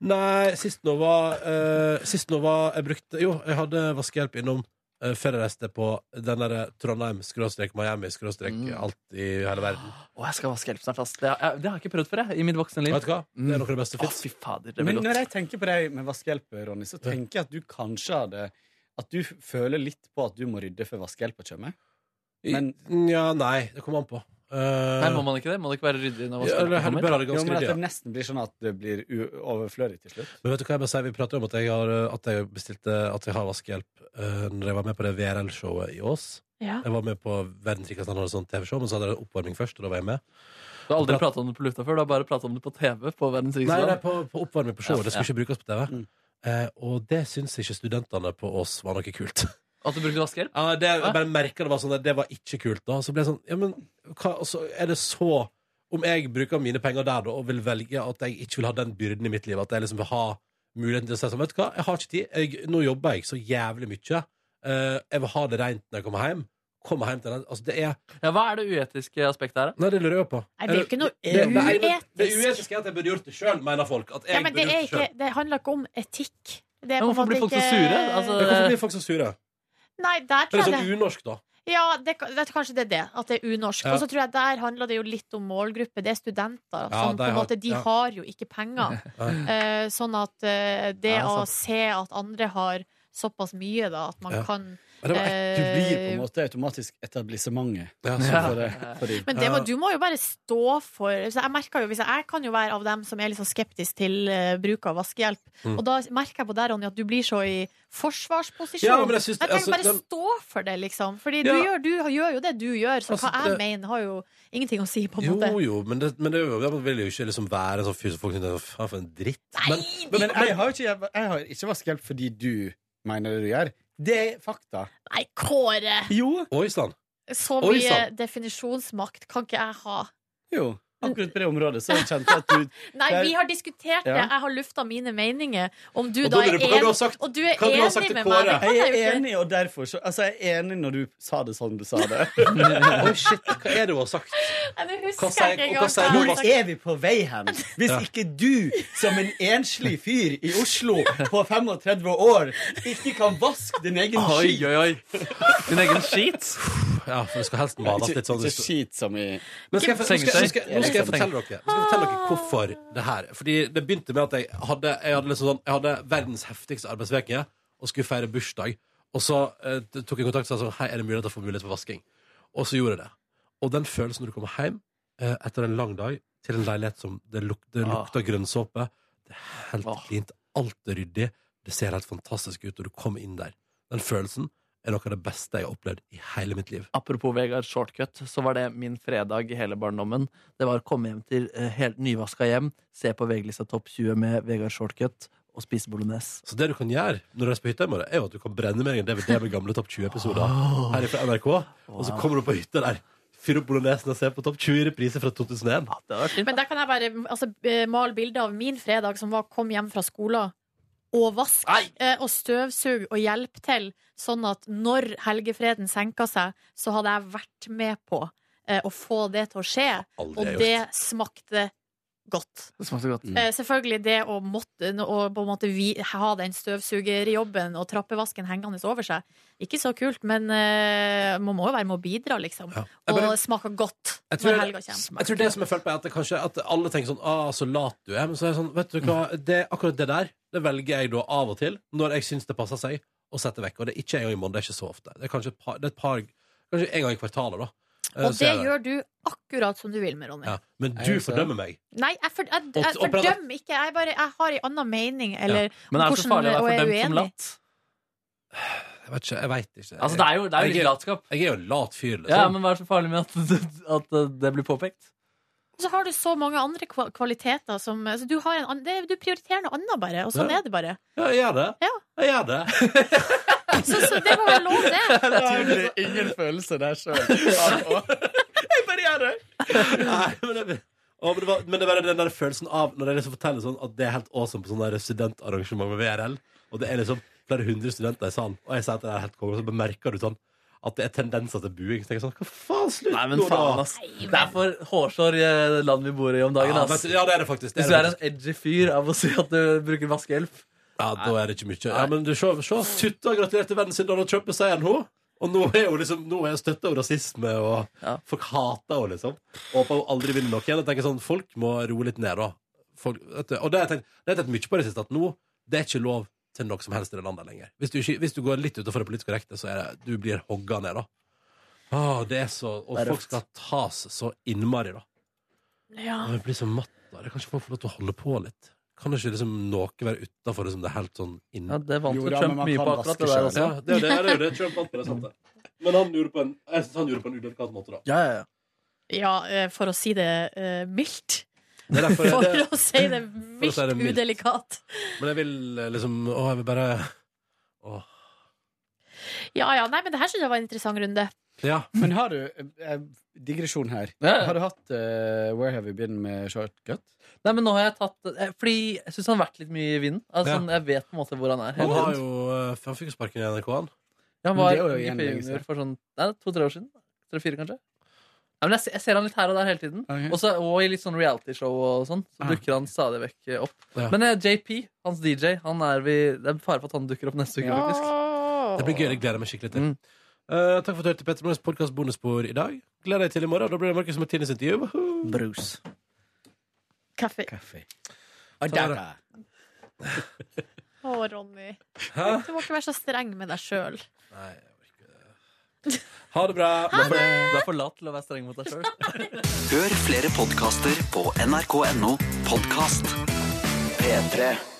B: nei. nei, sist nå var eh, Sist nå var jeg brukte Jo, jeg hadde vaskehjelp innom uh, før jeg reiste på den eh, derre Trondheim-Miami-alt
D: Mm.
B: i hele verden.
D: Å, jeg skal vaske hjelp snart, ass. Det, har- jeg, det har jeg ikke prøvd før, jeg, i mitt voksne liv.
B: Vet du hva? Det er noe av det beste
D: Å,
B: fins.
D: fy fader, det blir
G: Men når
D: godt.
G: jeg tenker på deg med vaskehjelp, Ronny, så tenker jeg at du kanskje hadde At du føler litt på at du må rydde før vaskehjelpa kommer. Men-
B: Ja, nei, det kommer an på. Eh,
D: Nei, må man ikke det? Må det ikke være ryddig når
B: ja, eller
D: vaskehjelpen
B: heller
D: kommer? altså-
B: bør ha det
G: Jo,
B: ganske
G: men at
B: ryddig.
G: det
B: ja.
G: nesten blir sånn at det blir u- overflødig til slutt.
B: Men vet du hva jeg bare sier? Vi prater jo om at jeg har, eh, at jeg bestilte at jeg har vaskehjelp uh, når jeg var med på det VRL-showet i Ås.
C: Ja.
B: Jeg var med på Verdens rikeste land, hadde et sånt TV-show, men så hadde jeg oppvarming først, og da var jeg med.
D: Du har aldri prata om det på lufta før, du har bare prata om det på TV. På verdens rikeste
B: Nei, nei
D: land.
B: på, på oppvarming på showet.
D: Ja,
B: Det skulle ikke brukes på TV.
G: Mm.
B: Eh, og det syns ikke studentene på oss var noe
D: [LAUGHS]
B: kult.
D: At du brukte vaskehjelp?
B: Ja, det, jeg bare merket det var sånn der, det var ikke kult da. Så ble jeg sånn, ja, men hva, altså, er det så om jeg bruker mine penger der da, og vil velge at jeg ikke vil ha den byrden i mitt liv, at jeg liksom vil ha muligheten til å si sånn, vet du hva, jeg har ikke tid, jeg, nå jobber jeg så jævlig mye, Eh, jeg vil ha det rent når jeg kommer hjem, kommer hjem til den, altså det er,
D: Ja, hva er det uetiske aspektet her? da?
B: nei det lurer jeg på.
C: Nei, det er jo ikke noe
B: Det- det er- Det
C: uetisk.
B: uetiske er at jeg burde gjort det sjøl, mener folk. At jeg
C: Ja, men det,
B: burde
C: er
B: gjort det
C: ikke,
B: selv.
C: det handler ikke om etikk. Det er
D: Men
C: på en
D: hvorfor
C: måte
D: blir folk så
C: ikke-
D: sure? Altså-
B: Men Hvorfor blir folk så sure?
C: Nei, der
B: Er det
C: tror jeg
B: sånn
C: det.
B: unorsk, da?
C: Ja, det, vet, du, kanskje det er det. At det er unorsk.
B: Ja.
C: Og så tror jeg der handler det jo litt om målgruppe. Det er
B: Ja,
C: studenter. som
B: de
C: på en
B: har-
C: måte, de
B: ja.
C: har jo ikke penger.
B: [LAUGHS] Ja.
C: Eh, sånn at eh, det
D: Ja,
C: å se at andre har såpass mye, da, at man
B: Ja.
C: kan
B: Men det var et-
G: Du blir på
C: Eh,
G: en måte automatisk etablissementet.
B: Ja,
G: Ja.
B: sånn.
G: For det, for de.
C: [LAUGHS] Men det må,
B: Ja.
C: du må jo bare stå for så jeg, merker jo, hvis jeg, jeg kan jo være av dem som er litt sånn skeptisk til eh, bruk av vaskehjelp.
B: Mm.
C: Og da merker jeg på deg, Ronny, at du blir så i forsvarsposisjon.
B: Ja, men jeg syns-
C: tenker
B: altså,
C: bare
B: den-
C: stå for det, liksom. Fordi du,
B: Ja.
C: gjør, du gjør jo det du gjør, så
B: Altså,
C: hva jeg
B: det-
C: mener, har jo ingenting å si, på en
B: Jo,
C: måte.
B: jo, men det, men det, er jo- det vil jo ikke liksom være sånn fyr som folk syns Faen, for en dritt. Men,
G: Men jeg har jo ikke, jeg har ikke vaskehjelp fordi du mener det du gjør. Det er fakta.
C: Nei, Kåre!
G: Jo.
B: oi sann!
C: Så
B: Oi,
C: mye
B: sant.
C: definisjonsmakt kan ikke jeg ha.
G: Jo. Akkurat på det området så kjente jeg at du
C: Nei,
G: Der-
C: vi har diskutert det.
G: Ja.
C: Jeg har lufta mine meninger. Om du
B: Og
C: da
B: da lurer
C: er
B: jeg på hva du har
C: enig
B: sagt.
C: Og du er
B: Hva du har sagt
C: enig
B: til
C: med
B: Kåre.
C: meg. Det kan
G: Jeg
C: jeg jo
G: er
C: ikke.
G: enig, og derfor så Altså, jeg er enig når du sa det sånn du sa det.
C: [LAUGHS]
B: Oi, shit, hva er det hun har sagt?
C: Nei, det
B: Hva
C: husker
B: sier- og
C: jeg ikke
B: hva
C: engang.
B: sier
C: hva
B: du,
C: jeg
B: Vaske?
C: har sagt.
G: er vi på vei hen? Hvis
B: Ja.
G: ikke du, som en enslig fyr i Oslo på 35 år, ikke kan vaske din egen
D: Oi, oi, oi. Din
B: [LAUGHS]
D: egen skit?
B: Ja, for det skal helst males litt sånn.
G: skit som i
B: Nå skal, jeg, nå, skal, nå, skal, nå skal jeg fortelle
D: Sengetøy.
B: dere Nå skal jeg fortelle dere hvorfor det her. Fordi det begynte med at jeg hadde, jeg hadde, liksom sånn, jeg hadde verdens heftigste arbeidsveke og skulle feire bursdag. Og så eh, tok jeg kontakt og sa sånn Hei, er det mulig at jeg får mulighet for vasking? Og så gjorde jeg det. Og den følelsen når du kommer hjem eh, etter en lang dag til en leilighet som det, luk, det
D: Ah.
B: lukter grønnsåpe Det er helt
D: Ah.
B: klint. Alt er ryddig. Det ser helt fantastisk ut, og du kommer inn der. Den følelsen er noe av det beste jeg har opplevd i hele mitt liv.
D: Apropos Vegard Shortcut, så var det min fredag i hele barndommen. Det var å komme hjem til eh, helt nyvaska hjem, se på VG-lista Topp 20 med Vegard Shortcut og spise bolognese.
B: Så det du kan gjøre når du reiser på hytta i morgen, er jo at du kan brenne med deg en DVD med gamle Topp 20-episoder her fra NRK, og så kommer du på hytta der, fyrer opp bolognesen og ser på Topp 20 repriser fra 2001.
D: Ja, det var fint.
C: Men der kan jeg bare altså, eh, male bilde av min fredag som var kom hjem fra skolen og vask
D: Nei.
C: eh, og støvsug og hjelpe til, sånn at når helgefreden senka seg, så hadde jeg vært med på eh, å få det til å skje,
B: Aldri
C: og
B: har
C: det
B: gjort.
C: smakte godt.
D: Det smakte godt.
B: Mm.
C: Eh, selvfølgelig det å måtte å på en måte vi, ha den støvsugerjobben og trappevasken hengende over seg, ikke så kult, men eh, man må jo være med å bidra, liksom.
B: Ja. Jeg
C: Og
B: bare-
C: det smaker godt
B: Jeg tror,
C: når helga
B: jeg,
C: kommer.
B: jeg tror det som jeg følte på, er at, det kanskje, at alle tenker sånn ah, 'Så lat du er.' Men så er jeg sånn, vet du hva, det, akkurat det der Det velger jeg da av og til, når jeg syns det passer seg, å sette vekk. Og det er ikke en gang i måneden. Det er ikke så ofte. Det er kanskje et par, det er et par Kanskje en gang i kvartalet, da. Eh,
C: Og
B: så
C: det
B: er
C: gjør du akkurat som du vil med, Ronny.
B: ja. Men
G: Jeg
B: du
G: gjør så.
B: fordømmer meg.
C: Nei, jeg, for, jeg,
B: Og-
C: jeg
B: og prøv-
C: fordømmer ikke. Jeg, bare, jeg har en annen mening. Eller,
D: Men er det
C: Hvordan-
D: så farlig å
C: og er
D: være
C: du
D: fordømt som
C: enig?
D: latt?
B: Jeg vet ikke. Jeg vet ikke.
D: Altså, det er jo, det er Sånn. jo
B: Jeg-
D: litt latskap.
B: Jeg er jo en lat fyr, liksom.
D: Ja, men hva er det så farlig med at, [LAUGHS] at det blir påpekt?
C: Og så har du så mange andre kva- kvaliteter som altså, du, har en, ann- det, du prioriterer noe annet, bare. Og sånn
B: Ja.
C: er det bare.
B: Ja, jeg gjør det.
C: Ja.
B: Jeg gjør det.
C: Så, så det må være lov, det.
B: [LAUGHS]
G: Det er ingen følelse der sjøl. Jeg bare gjør det.
B: Nei, men, det Å, men, det var, men det var den der følelsen av Når jeg liksom forteller sånn at det er helt awesome på sånne der studentarrangement med VRL, og det er liksom flere hundre studenter i salen, og jeg sier at det er helt konge, og så bemerker du sånn at det er tendenser til buing. Så tenker jeg sånn Hva faen, slutt
D: Nei, men
B: nå,
D: faen,
B: da!
D: ass. Det er for hårsår i eh, landet vi bor i om dagen,
B: Ja,
D: ass.
B: vet du, ja, det er det faktisk. Det
D: Hvis
B: er det
D: du er en
B: faktisk.
D: edgy fyr av å si at du bruker vaskehjelp
B: Ja, da er det ikke mye. Ja, men du, se, se. Tutta gratulerte vennen sin Donald Trump med seieren, hun. Og nå er hun liksom, nå er hun støtta av rasisme, og
D: Ja.
B: folk hater henne, liksom. Og Håper hun aldri vinner noe igjen. Jeg tenker sånn, Folk må roe litt ned, da. Folk, vet du, og det har jeg tenkt, det har jeg tenkt mye på i det siste, at nå det er ikke lov til noe som helst i det landet lenger. Hvis du, ikke, hvis du går litt utenfor det politisk korrekte, så er det, du blir hogga ned, da. Åh, det er så, og
D: Det er
B: folk
D: røft.
B: skal tas så innmari, da.
C: Ja.
B: Åh, Jeg blir så matt av det. Kan ikke folk få lov til å holde på litt? Kan det ikke liksom noe være utafor det som det er helt sånn inne?
D: Ja, det vant
G: Jo,
D: jo
G: da, men
D: Trump
G: man
D: mye
G: kan
D: på akkurat
G: vaske
D: det der altså.
G: selv.
D: også.
B: Ja, det er jo det. det, er jo det. Trump vant på det, sant det. Men han gjorde på en, jeg synes han gjorde på en udelikat måte, da.
D: Ja, ja, ja.
C: ja, eh, for å si det eh, mildt.
B: Det er derfor
C: For
B: jeg, det,
C: å si
B: [LAUGHS]
C: det
B: å si
C: mildt
B: det mildt.
C: udelikat.
B: men jeg vil eh, liksom Å, jeg vil bare Å.
C: Ja ja. Nei, men det her syns jeg var en interessant runde.
B: Ja.
G: Men har du eh, Digresjon her.
D: Ja, ja.
G: Har du hatt eh, Where Have You Been med Shortcut?
D: Nei, men nå har jeg tatt eh, Fordi jeg syns han har vært litt mye i vinden. Altså,
B: Ja.
D: sånn, Jeg vet på en måte hvor han er.
B: Han
D: hele
B: har
D: tiden.
B: jo eh, Han fikk jo sparken i NRK, han.
D: Ja, Han
G: Men
D: var
G: det er jo
D: i
G: igjen lenge
D: junior
G: siden.
D: for sånn nei, to-tre år siden. Tre-fire, kanskje. Nei, men jeg, se- jeg ser han litt her og der hele tiden.
G: Ok.
D: Også, og i litt sånn realityshow og sånn. Så
G: Ja.
D: dukker han stadig vekk eh, opp.
B: Ja.
D: Men eh, JP, hans DJ, han er vi, det er fare for at han dukker opp neste uke, faktisk.
B: Det blir gøy. Det gleder jeg meg skikkelig til.
D: Mm.
B: Eh, takk for at du hørte Petter Morgens podkast bonusspor i dag. Gleder deg til i morgen. Da blir det Markus Martines intervju. Woohoo!
G: Brus.
C: Kaffe.
G: Kaffe.
B: Ta det.
G: Adaka.
C: Å, Ronny. Du må ikke være så streng med deg sjøl.
B: Nei, jeg orker ikke det. Ha det bra.
D: Du er for- du er for lat til å være streng mot deg sjøl.
H: Hør flere podkaster på nrk.no podkast P3.